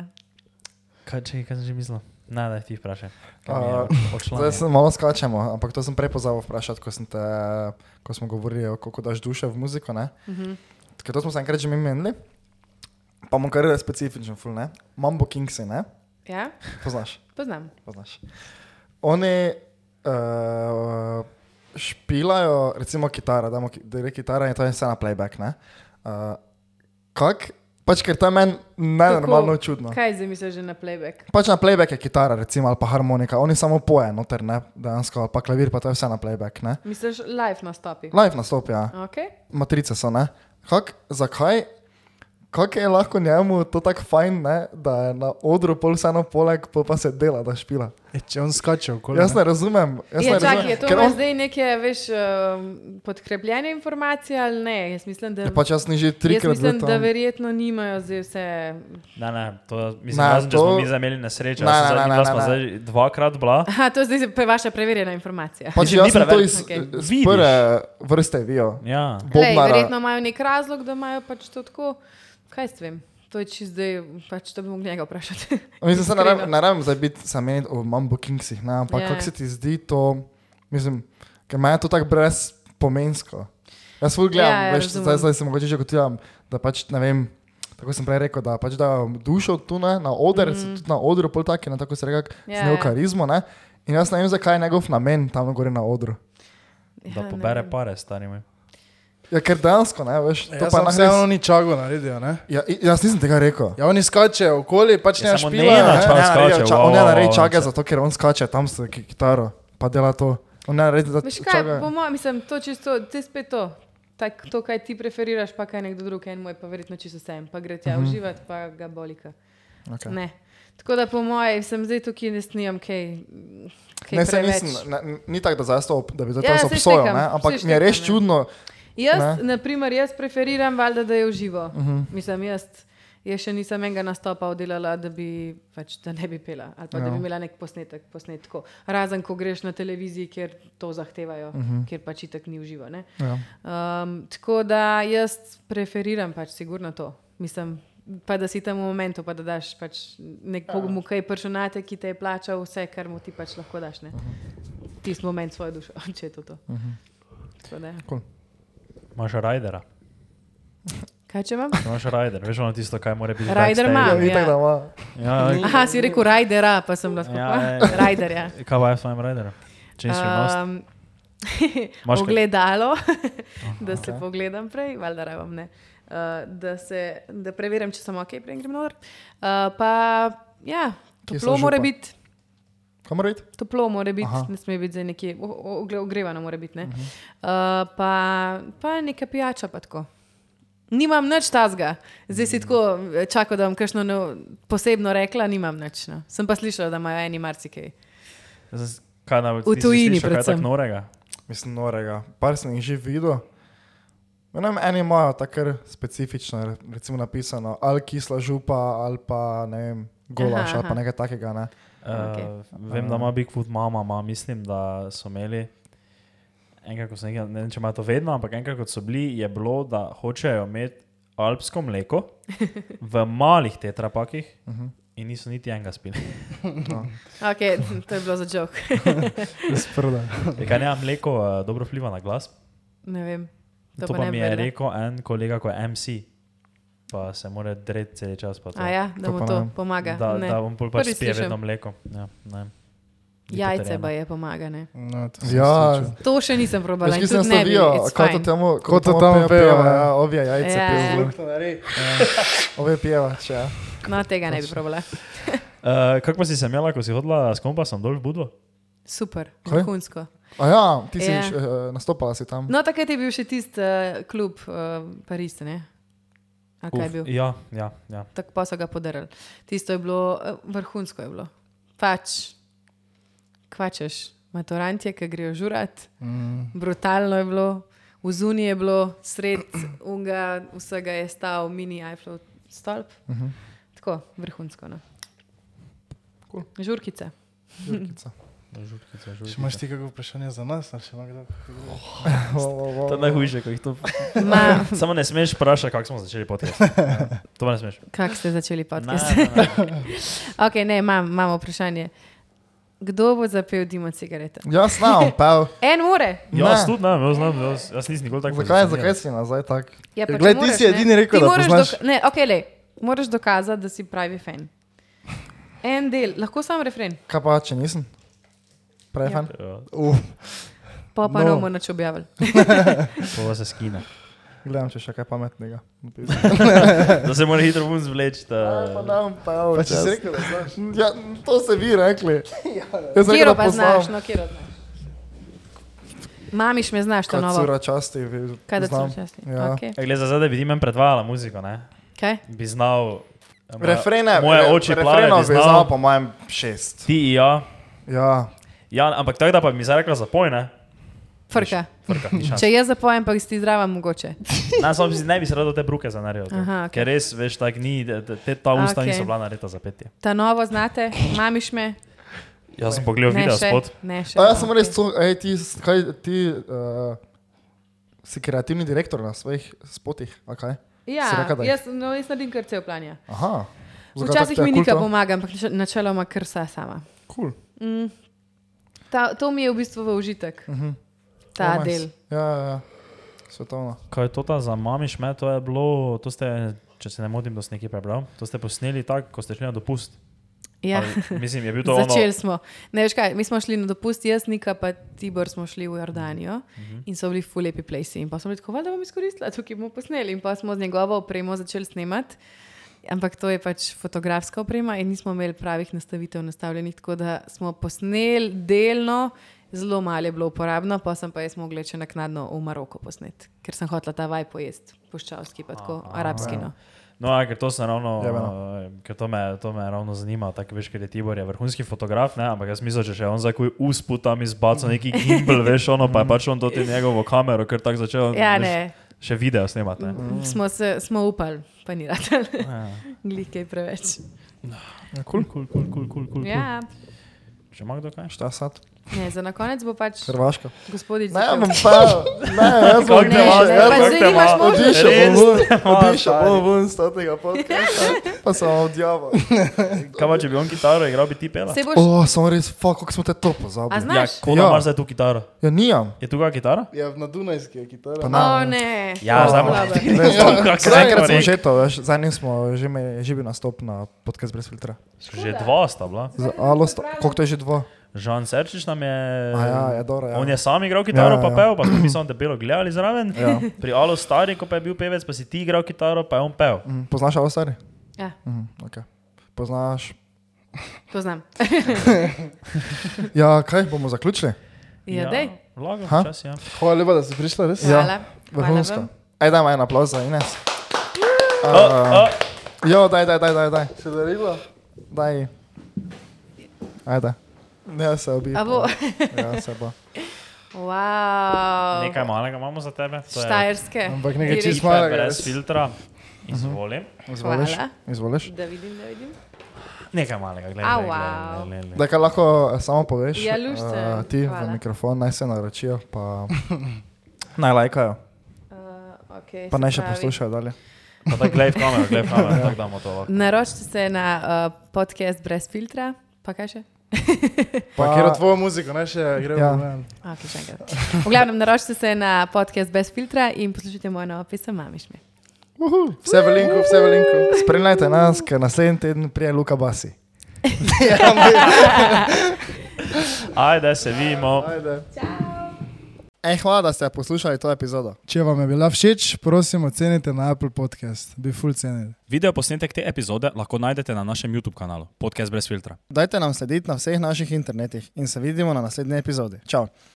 [SPEAKER 4] Kaj, če, kaj sem že mislil? Ne, da ti vprašaj. Kaj mi je
[SPEAKER 2] Uh,
[SPEAKER 4] odšla
[SPEAKER 2] Zdaj
[SPEAKER 4] mi je.
[SPEAKER 2] se malo skačemo, ampak to sem prej pozabil vprašati, ko, sem te, ko smo govorili, o koliko daš duše v muziko. Uh -huh. Ker to smo se enkrat že mi menili, pa bom kar specifičen, ful ne. Mambo Kingsi, ne?
[SPEAKER 5] ja,
[SPEAKER 2] Poznaš,
[SPEAKER 5] poznam.
[SPEAKER 2] poznaš. Oni uh, špilajo, recimo kitara, damo, ki- da je kitara in to je vse na playback, ne? Uh, kak? Pač ker to je meni najnormalno
[SPEAKER 5] Kako-
[SPEAKER 2] čudno.
[SPEAKER 5] Kaj zdaj misliš že na playback?
[SPEAKER 2] Pač na playback je kitara, recimo, ali pa harmonika, oni samo poje noter, ne, dejansko, ali pa klavir, pa to je vse na playback, ne.
[SPEAKER 5] Misliš live nastopi?
[SPEAKER 2] Live nastop, ja,
[SPEAKER 5] Okay.
[SPEAKER 2] matrice so, ne. Kak, zakaj, kak je lahko njemu to tako fajn, ne, da je na odru pol vseeno poleg, pol pa se dela, da špila.
[SPEAKER 3] E, če on skače okoli.
[SPEAKER 2] Jaz ne razumem, jaz
[SPEAKER 5] Je,
[SPEAKER 2] ne
[SPEAKER 5] Ja, čakaj, je
[SPEAKER 2] razumem,
[SPEAKER 5] to
[SPEAKER 2] ker
[SPEAKER 5] on...
[SPEAKER 2] on,
[SPEAKER 5] zdaj neke veš, um, podkrepljene informacije ali ne? Jaz mislim, da,
[SPEAKER 2] ja, pač jaz ni že
[SPEAKER 5] jaz
[SPEAKER 2] trikrat
[SPEAKER 5] mislim,
[SPEAKER 2] bil tam.
[SPEAKER 5] da verjetno nimajo zdaj vse
[SPEAKER 4] Ne, ne, to mislim,
[SPEAKER 2] Ne,
[SPEAKER 4] ne, razen, to... če smo
[SPEAKER 2] to-
[SPEAKER 4] mi zdaj imeli nesrečo,
[SPEAKER 2] Ne,
[SPEAKER 4] jaz
[SPEAKER 2] ne,
[SPEAKER 4] sem
[SPEAKER 2] ne,
[SPEAKER 4] zadnji
[SPEAKER 2] ne,
[SPEAKER 4] dva, smo
[SPEAKER 2] ne, ne.
[SPEAKER 4] zdaj dvakrat bila.
[SPEAKER 5] Aha, to je zdaj pa vaša preverjena informacija.
[SPEAKER 2] Pač
[SPEAKER 4] Mislim, ni
[SPEAKER 2] jaz sem to
[SPEAKER 4] preveč,
[SPEAKER 2] iz,
[SPEAKER 5] okej.
[SPEAKER 2] iz
[SPEAKER 4] Vidiš.
[SPEAKER 2] prve vrste vijo.
[SPEAKER 4] Ja.
[SPEAKER 5] Lej,
[SPEAKER 2] Bobnara,
[SPEAKER 5] verjetno imajo nek razlog, da imajo pač to tako. Kaj s tem? To je čisto zdaj, pač to bi mogli njega vprašati. [laughs]
[SPEAKER 2] Mislim, se ne
[SPEAKER 5] Iskreno.
[SPEAKER 2] rabim- ne rabim zdaj biti samen o Mambo Kingsih, ne, ampak
[SPEAKER 5] Ja.
[SPEAKER 2] yeah. kako se ti zdi to, mislim, ker meni je to tako brezpomensko. Jaz svoj gledam,
[SPEAKER 5] Ja, ja,
[SPEAKER 2] yeah, veš,
[SPEAKER 5] razumem.
[SPEAKER 2] zdaj, zdaj se mogoče že kotiram, da pač ne vem, tako sem prej rekel, da pač dajo dušo tu ne, na oder, mm -hmm. tudi na odru pol taki, ne, tako se reka,
[SPEAKER 5] Mhm. Ja,
[SPEAKER 2] yeah, z njo
[SPEAKER 5] ja.
[SPEAKER 2] karizmo, ne. In jaz ne vem, zakaj je njegov namen tam gori na odru.
[SPEAKER 4] Da
[SPEAKER 5] Ja, ne
[SPEAKER 4] pobere
[SPEAKER 5] vem.
[SPEAKER 4] pare, stari moj.
[SPEAKER 2] Ja, ker dejansko, ne, veš,
[SPEAKER 3] Ja,
[SPEAKER 2] to pa
[SPEAKER 3] pa
[SPEAKER 2] ne
[SPEAKER 3] vseeno
[SPEAKER 2] res.
[SPEAKER 3] ni čago naredil, ne?
[SPEAKER 2] Ja, i- jaz nisem tega rekel.
[SPEAKER 3] Ja, oni skače okoli, pač
[SPEAKER 4] Ja,
[SPEAKER 3] ne
[SPEAKER 4] samo
[SPEAKER 3] špila.
[SPEAKER 4] Nena,
[SPEAKER 3] ne?
[SPEAKER 4] čak- Pa
[SPEAKER 2] Ne, ne,
[SPEAKER 4] skače,
[SPEAKER 2] ne, ča-
[SPEAKER 4] wow,
[SPEAKER 2] On je
[SPEAKER 4] wow,
[SPEAKER 2] naredi
[SPEAKER 4] wow,
[SPEAKER 2] čaka,
[SPEAKER 4] on se-
[SPEAKER 2] zato ker on skače tam s ki- kitaro, pa dela to. On ne naredi, da
[SPEAKER 5] Veš kaj,
[SPEAKER 2] čaka.
[SPEAKER 5] po mojem, mislim, to čisto, te spet to. Tak, to, kaj ti preferiraš, pa kaj nekdo drug, en moj, pa verjetno čisto vsem, pa gre tja uživati, pa ga bolika.
[SPEAKER 2] Okay.
[SPEAKER 5] Ne. Tako da po mojem, sem zdaj tukaj in ne snijam kaj. kaj
[SPEAKER 2] Ne, se
[SPEAKER 5] preveč.
[SPEAKER 2] nisem, ne, ni tako, da, zdaj to ob- da bi zdaj
[SPEAKER 5] Ja,
[SPEAKER 2] to
[SPEAKER 5] saj
[SPEAKER 2] obsojal,
[SPEAKER 5] štekam,
[SPEAKER 2] ne, ampak
[SPEAKER 5] saj
[SPEAKER 2] mi je res
[SPEAKER 5] štekam, ja.
[SPEAKER 2] čudno.
[SPEAKER 5] Jaz, na primer, jaz preferiram valjda, da je v živo. Uh -huh. Mislim, jaz, jaz še nisem enega nastopa oddelala, da, bi, pač, da ne bi pela ali pa, no. da bi imela nek posnetek, posnetkov. Razen, ko greš na televiziji, kjer to zahtevajo, uh -huh. kjer pač itak ni v živo. ne.
[SPEAKER 2] Ja.
[SPEAKER 5] Um, tako da jaz preferiram pač sigurno to. Mislim, pa da si tam v momentu, pa da daš pač nekomu, ki je prišel na te, ki te je plačal, vse, kar mu ti pač lahko daš. Uh -huh. Tisti moment svojo dušo, [laughs] če je to to. ja. Uh -huh.
[SPEAKER 4] Imaš rajdera.
[SPEAKER 5] Kaj če imam?
[SPEAKER 4] Imaš rajder, veš ono tisto, kaj mora biti.
[SPEAKER 5] Rajder ima.
[SPEAKER 4] backstage.
[SPEAKER 2] Ja, ni
[SPEAKER 5] Ja.
[SPEAKER 2] tako, da ima.
[SPEAKER 4] Ja,
[SPEAKER 5] Aha, si rekel rajdera, pa sem lahko.
[SPEAKER 4] Ja,
[SPEAKER 5] Ja,
[SPEAKER 4] ja, ja.
[SPEAKER 5] Rajder, ja.
[SPEAKER 4] kaj pa je s tvojim rajderom? Če nisi um,
[SPEAKER 5] [laughs] Um,
[SPEAKER 4] Imaš kaj?
[SPEAKER 5] ogledalo, [laughs]
[SPEAKER 2] Oh,
[SPEAKER 5] da se okay. pogledam prej, valjda rabim ne. Uh, da, se, da preverim, če sem ok, prej grem noter. Uh, pa ja,
[SPEAKER 2] Kje so
[SPEAKER 5] toplo mora
[SPEAKER 2] župa?
[SPEAKER 5] biti.
[SPEAKER 2] Kaj mora biti?
[SPEAKER 5] Toplo mora biti,
[SPEAKER 2] Aha. Mhm.
[SPEAKER 5] ne sme biti za nekje, o- o- ogre- ogrevano mora biti. Ne? Uh -huh. uh, pa, pa neka pijača, pa tako. Nimam nič tazga, zdaj
[SPEAKER 2] Mm.
[SPEAKER 5] si tako eh, čakal, da bom kakšno nov- posebno rekla, nimam nič. No. Sem pa slišala, da imajo eni marsikaj.
[SPEAKER 4] nos? Kaj na
[SPEAKER 5] V tujini
[SPEAKER 4] Kaj
[SPEAKER 5] predvsem.
[SPEAKER 4] tako norega?
[SPEAKER 2] Mislim, norega. Par sem jih že videl. Ja, Ne vem, eni imajo tako kar specifično, re- recimo napisano, ali kisla župa, ali pa ne vem, golaš,
[SPEAKER 5] Aha,
[SPEAKER 2] ali pa
[SPEAKER 5] aha.
[SPEAKER 2] nekaj takega. Ne.
[SPEAKER 4] Uh,
[SPEAKER 5] Okej.
[SPEAKER 4] Vem, da ima Bigfoot mama, ma, mislim, da so imeli. Enkrat, ko so nekaj, ne vem, če ima to vedno, ampak enkrat, kot so bili, je bilo, da hočejo imeti alpsko mleko v malih tetrapakih uh -huh. in niso niti enega spili.
[SPEAKER 5] Okay, to je bilo za jok. [laughs]
[SPEAKER 3] Sprda.
[SPEAKER 4] Je Kaj ne, mleko uh, dobro vpliva na glas?
[SPEAKER 5] Ne vem.
[SPEAKER 4] To, to pa,
[SPEAKER 5] pa
[SPEAKER 4] pa
[SPEAKER 5] ne bi
[SPEAKER 4] mi je
[SPEAKER 5] vedela.
[SPEAKER 4] rekel en kolega, ko je MC, pa se mora dreti cel čas. pa to.
[SPEAKER 5] A ja, da
[SPEAKER 2] To
[SPEAKER 5] mu
[SPEAKER 2] pa
[SPEAKER 5] to
[SPEAKER 2] ne.
[SPEAKER 5] pomaga.
[SPEAKER 4] Da,
[SPEAKER 5] ne.
[SPEAKER 4] da bom pol pač
[SPEAKER 5] Prvič
[SPEAKER 4] spil
[SPEAKER 5] slišim.
[SPEAKER 4] vedno mleko. Ja, ne.
[SPEAKER 5] Jajce pa je pomagane.
[SPEAKER 3] No, to sem
[SPEAKER 2] Ja,
[SPEAKER 3] slišal.
[SPEAKER 5] To še nisem probala. in
[SPEAKER 2] jaz
[SPEAKER 5] tudi
[SPEAKER 2] nisem
[SPEAKER 5] ne bi,
[SPEAKER 2] slavil,
[SPEAKER 5] it's
[SPEAKER 2] kot to
[SPEAKER 5] fine.
[SPEAKER 2] temu,
[SPEAKER 3] Ko to tamo pejo, ja.
[SPEAKER 2] ja, ovje jajce
[SPEAKER 5] Ja, ja.
[SPEAKER 2] pije,
[SPEAKER 3] Luknjo naredi.
[SPEAKER 2] [laughs] ovje pijeva, če ja.
[SPEAKER 5] No, tega ne bi probala.
[SPEAKER 4] Uh, kako pa si se imela, ko si hodila s kompasom dol v Budvo?
[SPEAKER 5] Super,
[SPEAKER 2] Kaj?
[SPEAKER 5] vrhunsko.
[SPEAKER 2] A ja, ti si
[SPEAKER 5] Ja.
[SPEAKER 2] yeah. uh, nastopala si tam.
[SPEAKER 5] No, takrat je bil še tisti uh, klub uh, Pariz, ne? A kaj je bil?
[SPEAKER 4] Ja, ja, ja.
[SPEAKER 5] Tako pa so ga podarili. Tisto je bilo, eh, vrhunsko je bilo. Pač, kvačeš, maturantje, ki grejo žurat, mm. brutalno je bilo, v zuni je bilo, sred unga, vsega je stal mini iPhone stolp. Mm -hmm. Tako, vrhunsko. No.
[SPEAKER 2] Cool.
[SPEAKER 5] Žurkice.
[SPEAKER 2] Jurkica.
[SPEAKER 3] Še imaš ti kakšno vprašanje za nas? ali še ima kdo kako drugo?
[SPEAKER 2] Vo, vo, vo.
[SPEAKER 4] To je najhujše, ko jih to.
[SPEAKER 5] Ma,
[SPEAKER 4] Samo ne smeš vprašati, kako smo začeli
[SPEAKER 2] [laughs]
[SPEAKER 4] podcast. To pa ne smeš.
[SPEAKER 5] kako ste začeli
[SPEAKER 4] Ne,
[SPEAKER 5] [laughs] podcast?
[SPEAKER 4] ne, ne.
[SPEAKER 5] Okay, ne, imam, imamo vprašanje. Kdo bo zapel Dima cigarete?
[SPEAKER 2] Jaz
[SPEAKER 5] [laughs]
[SPEAKER 2] znam, pa
[SPEAKER 5] En ure.
[SPEAKER 4] Jaz
[SPEAKER 2] Ne.
[SPEAKER 4] Ja, tudi ne, jaz, znam, jaz, jaz nisem nikoli tako
[SPEAKER 2] zakaj,
[SPEAKER 4] pozicioniran.
[SPEAKER 2] zakaj si nazaj tak?
[SPEAKER 5] Ja, pa če
[SPEAKER 3] Glej, ti
[SPEAKER 5] moraš,
[SPEAKER 3] si edini
[SPEAKER 5] ne.
[SPEAKER 3] rekel,
[SPEAKER 5] Ti
[SPEAKER 3] da
[SPEAKER 5] moraš
[SPEAKER 3] poznaš.
[SPEAKER 5] Dok, ne, okay, lej, moraš dokazati, da si pravi fan. En del, lahko sam refren,
[SPEAKER 2] Kaj pa, če nisem? Prefan?
[SPEAKER 4] Ja,
[SPEAKER 2] Uf,
[SPEAKER 5] pa pa
[SPEAKER 2] No.
[SPEAKER 5] no. bomo nič objavili.
[SPEAKER 4] to se skine.
[SPEAKER 2] gledam, če še kaj pametnega.
[SPEAKER 4] [laughs] Da se mora hitro vun zvleči.
[SPEAKER 2] [laughs]
[SPEAKER 4] Da...
[SPEAKER 2] Pa dam, pa ja,
[SPEAKER 3] Pa če si rekel, da znaš.
[SPEAKER 2] Ja, to ste vi
[SPEAKER 5] [laughs]
[SPEAKER 2] rekli. Jaz sem rekel,
[SPEAKER 5] Kjero
[SPEAKER 2] da
[SPEAKER 5] Ja, pa znaš,
[SPEAKER 2] poznam.
[SPEAKER 5] no kjero znaš. Mamiš me znaš, to
[SPEAKER 2] Kaj
[SPEAKER 5] novo.
[SPEAKER 2] cura časti, vi-
[SPEAKER 5] Kaj da
[SPEAKER 2] znam.
[SPEAKER 5] sem časti?
[SPEAKER 2] Ja.
[SPEAKER 5] Okay.
[SPEAKER 4] Ja, Glede, za zdaj bi ti meni predvajala muziko, ne?
[SPEAKER 5] Kaj?
[SPEAKER 4] Bi znal. eh, moja-
[SPEAKER 2] Refrene,
[SPEAKER 4] Moje
[SPEAKER 2] re-
[SPEAKER 4] oči plave,
[SPEAKER 2] refrenov
[SPEAKER 4] bi
[SPEAKER 2] bi znal
[SPEAKER 4] znal.
[SPEAKER 2] po mojem šest.
[SPEAKER 4] Ti in ja.
[SPEAKER 2] Ja,
[SPEAKER 4] Ja, ampak tako da pa bi mi zdaj rekla zapoj, ne?
[SPEAKER 5] Frka.
[SPEAKER 4] Frka, ni šanse.
[SPEAKER 5] Če jaz zapojem, pa si ti zdrava mogoče.
[SPEAKER 4] Na samem si ne bi se rado te bruke zanaril.
[SPEAKER 5] Aha,
[SPEAKER 4] Okay.
[SPEAKER 5] ok.
[SPEAKER 4] Ker res, veš, tak ni, te, te ta usta okay.
[SPEAKER 5] Okej.
[SPEAKER 4] niso bila narejena za petje.
[SPEAKER 5] Ta novo znate, mamiš me.
[SPEAKER 4] Jaz sem pogledal
[SPEAKER 5] Ne
[SPEAKER 4] video
[SPEAKER 5] še,
[SPEAKER 4] spod.
[SPEAKER 5] ne še.
[SPEAKER 2] A jaz sem
[SPEAKER 5] okej.
[SPEAKER 2] res, cul- ej, ti, s- kaj, ti uh, si kreativni direktor na svojih spotih, a kaj?
[SPEAKER 5] Ja,
[SPEAKER 2] Si rekla, da je-
[SPEAKER 5] jaz, no, jaz naredim kar cel ja. planja.
[SPEAKER 2] Aha. Zakaj
[SPEAKER 5] Včasih
[SPEAKER 2] tako
[SPEAKER 5] mi
[SPEAKER 2] je
[SPEAKER 5] nikaj
[SPEAKER 2] kulto?
[SPEAKER 5] pomaga, ampak nač- načeloma kar vsa sama. Mm.
[SPEAKER 2] Cool.
[SPEAKER 5] Ta, to mi je v bistvu v užitek, uh -huh. ta
[SPEAKER 2] Oh,
[SPEAKER 5] oh,
[SPEAKER 2] nice.
[SPEAKER 5] del.
[SPEAKER 2] Ja, ja, ja. Svetovno.
[SPEAKER 4] Kaj je to ta za mamiš, me, to je bilo, to ste, če se ne motim, da sem nekaj prebral, to ste posneli tako, ko ste šli na dopust.
[SPEAKER 5] Ja.
[SPEAKER 4] Ali, mislim, je bil to ono.
[SPEAKER 5] [laughs] Začeli smo. Ne veš kaj, mi smo šli na dopust, jaz, Nika, pa Tibor smo šli v Jordanijo uh
[SPEAKER 4] Mhm.
[SPEAKER 5] -huh. in so bili ful lepi plesi. In pa smo bili tako, "Valjda bom izkoristila, tukaj bomo posneli. In pa smo z njegovo opremo začeli snemati. Ampak to je pač fotografska oprema in nismo imeli pravih nastavitev nastavljenih, tako da smo posneli delno, zelo malo je bilo uporabno, pa sem pa jaz mogla še naknadno v Maroko posnet, ker sem hotela ta vaj pojesti, puščavski, pa tako arabski. No.
[SPEAKER 4] No, ja, ker to se ravno,
[SPEAKER 2] Jebeno.
[SPEAKER 4] eh, ker to me, to me ravno zanima, tako veš, ker je Tibor je vrhunski fotograf, ne, ampak jaz mislim, če še on zakuj uspu tam izbacal neki gimbal, veš, ono pa je pač on to ti njegovo kamero, ker tako začel veš,
[SPEAKER 5] Ja,
[SPEAKER 4] Mhm.
[SPEAKER 5] ne,
[SPEAKER 4] še video snemati.
[SPEAKER 5] [laughs]
[SPEAKER 4] ne.
[SPEAKER 5] Smo, se, smo upali, pa ni rad.
[SPEAKER 4] Ja.
[SPEAKER 5] Glike je preveč.
[SPEAKER 3] Ja,
[SPEAKER 4] Kul, kul, kul, kul, kul, kul.
[SPEAKER 5] Ja,
[SPEAKER 4] Če ima kdo kaj?
[SPEAKER 2] Šta sad?
[SPEAKER 5] ne, za na konec bo pač
[SPEAKER 2] Hrvaška.
[SPEAKER 5] gospodič.
[SPEAKER 2] Ne,
[SPEAKER 5] začel.
[SPEAKER 2] bom pa, ne, jaz bom
[SPEAKER 5] ne, ne, pa
[SPEAKER 2] jaz
[SPEAKER 5] zdaj nimaš
[SPEAKER 2] bom
[SPEAKER 5] možnosti.
[SPEAKER 2] odišel
[SPEAKER 4] Res
[SPEAKER 2] bom ven,
[SPEAKER 4] ne,
[SPEAKER 2] odišel
[SPEAKER 4] stari.
[SPEAKER 2] bom ven s tega podcasta, pa sem odjavil.
[SPEAKER 4] Kaj pa, če bi on kitaro igral, bi ti pela?
[SPEAKER 5] Se boš,
[SPEAKER 2] O, sem res, fuck, kako smo te to
[SPEAKER 5] a
[SPEAKER 2] pozabili.
[SPEAKER 4] Ja,
[SPEAKER 5] znaš?
[SPEAKER 4] koga
[SPEAKER 2] Ja.
[SPEAKER 4] imaš zdaj tu kitaro?
[SPEAKER 2] Ja, nijam.
[SPEAKER 4] Je tu kakšna kitara?
[SPEAKER 3] Ja, na Dunajski je kitara.
[SPEAKER 2] Pa
[SPEAKER 5] O,
[SPEAKER 2] na-
[SPEAKER 5] ne.
[SPEAKER 4] Ja, zdaj bomo
[SPEAKER 5] Slabo.
[SPEAKER 4] videli. Ne znam, kako se
[SPEAKER 2] Zaenkrat smo
[SPEAKER 4] reče.
[SPEAKER 2] že to, veš, zadnji smo že, me, že bil nastop na podcast brez filtra.
[SPEAKER 4] Že dva sta bila.
[SPEAKER 2] Z Alo, sta- koliko to je že dva?
[SPEAKER 4] Žan Serčič nam je.
[SPEAKER 2] A ja, je dobro. Ja.
[SPEAKER 4] On je sam igral kitaro,
[SPEAKER 2] Ja,
[SPEAKER 4] ja, pa
[SPEAKER 2] ja.
[SPEAKER 4] pel, pa smo mi samo debelo gledali zraven.
[SPEAKER 2] Ja.
[SPEAKER 4] Pri Alu Stari, ko pa je bil pevec, pa si ti igral kitaro, pa je on pel.
[SPEAKER 2] Mm, Poznaš Alo Stari?
[SPEAKER 5] Ja,
[SPEAKER 2] Mhm, okay. Poznaš.
[SPEAKER 5] poznam.
[SPEAKER 2] Ja, kaj bomo zaključili?
[SPEAKER 5] [laughs] Ja, dej.
[SPEAKER 4] Vlago,
[SPEAKER 2] Ha?
[SPEAKER 4] čas, ja.
[SPEAKER 3] Hvala lepa, da si prišla, res.
[SPEAKER 5] Hvala. Hvala
[SPEAKER 2] Ja. Vrhunsko.
[SPEAKER 5] vam.
[SPEAKER 2] Aj, daj, en aplauz za Ines.
[SPEAKER 4] O, o,
[SPEAKER 2] Jo, daj, daj, daj, daj, daj.
[SPEAKER 3] Se darila?
[SPEAKER 2] daj. ji. Ajde. Ne se obi.
[SPEAKER 5] A bo?
[SPEAKER 2] Ja, se bo.
[SPEAKER 5] Wow.
[SPEAKER 4] Nekaj malega imamo za tebe. to je
[SPEAKER 5] Štajerske.
[SPEAKER 3] Ampak nekaj
[SPEAKER 5] Direkt.
[SPEAKER 3] čist
[SPEAKER 4] Tipe
[SPEAKER 3] malega,
[SPEAKER 4] Brez
[SPEAKER 3] res.
[SPEAKER 4] filtra. Izvolim.
[SPEAKER 2] Izvoliš.
[SPEAKER 5] Hvala.
[SPEAKER 2] Izvoliš.
[SPEAKER 5] Da vidim, da vidim.
[SPEAKER 4] Nekaj malega,
[SPEAKER 5] A,
[SPEAKER 4] gledaj.
[SPEAKER 5] wow.
[SPEAKER 2] Da, kaj lahko eh, samo poveš?
[SPEAKER 5] Ja, lušč se,
[SPEAKER 2] eh, ti
[SPEAKER 5] hvala.
[SPEAKER 2] v mikrofon naj se naročijo, pa
[SPEAKER 5] [laughs]
[SPEAKER 2] naj lajkajo,
[SPEAKER 5] Uh, okay,
[SPEAKER 2] pa
[SPEAKER 5] se
[SPEAKER 2] naj še
[SPEAKER 5] pravi.
[SPEAKER 2] poslušajo dalje.
[SPEAKER 4] Gledaj v kamero, gledaj v kamero, tako damo to lahko.
[SPEAKER 5] Naročite se na uh, podcast brez filtra, pa kaj še?
[SPEAKER 3] Pa kjer tvojo muziko, naj še gremo.
[SPEAKER 2] Ja.
[SPEAKER 3] ven.
[SPEAKER 5] Okay, še enkrat. v glavnem, naročite se na podcast brez filtra in poslušajte mojo novo pesem Mamiš me.
[SPEAKER 3] Vse v linku, vse v linku.
[SPEAKER 2] Spremljajte nas, ker naslednji teden prije Luka Basi.
[SPEAKER 6] Ajde, se vidimo.
[SPEAKER 2] Ajde.
[SPEAKER 7] Ciao.
[SPEAKER 2] Ej, hvala, da ste poslušali to epizodo.
[SPEAKER 3] Če vam je bila všeč, prosim, ocenite na Apple podcast. Bi full cenili.
[SPEAKER 4] Video posnetek te epizode lahko najdete na našem YouTube kanalu Podcast brez filtra.
[SPEAKER 2] Dajte nam slediti na vseh naših internetih in se vidimo na naslednji epizodi. Čau!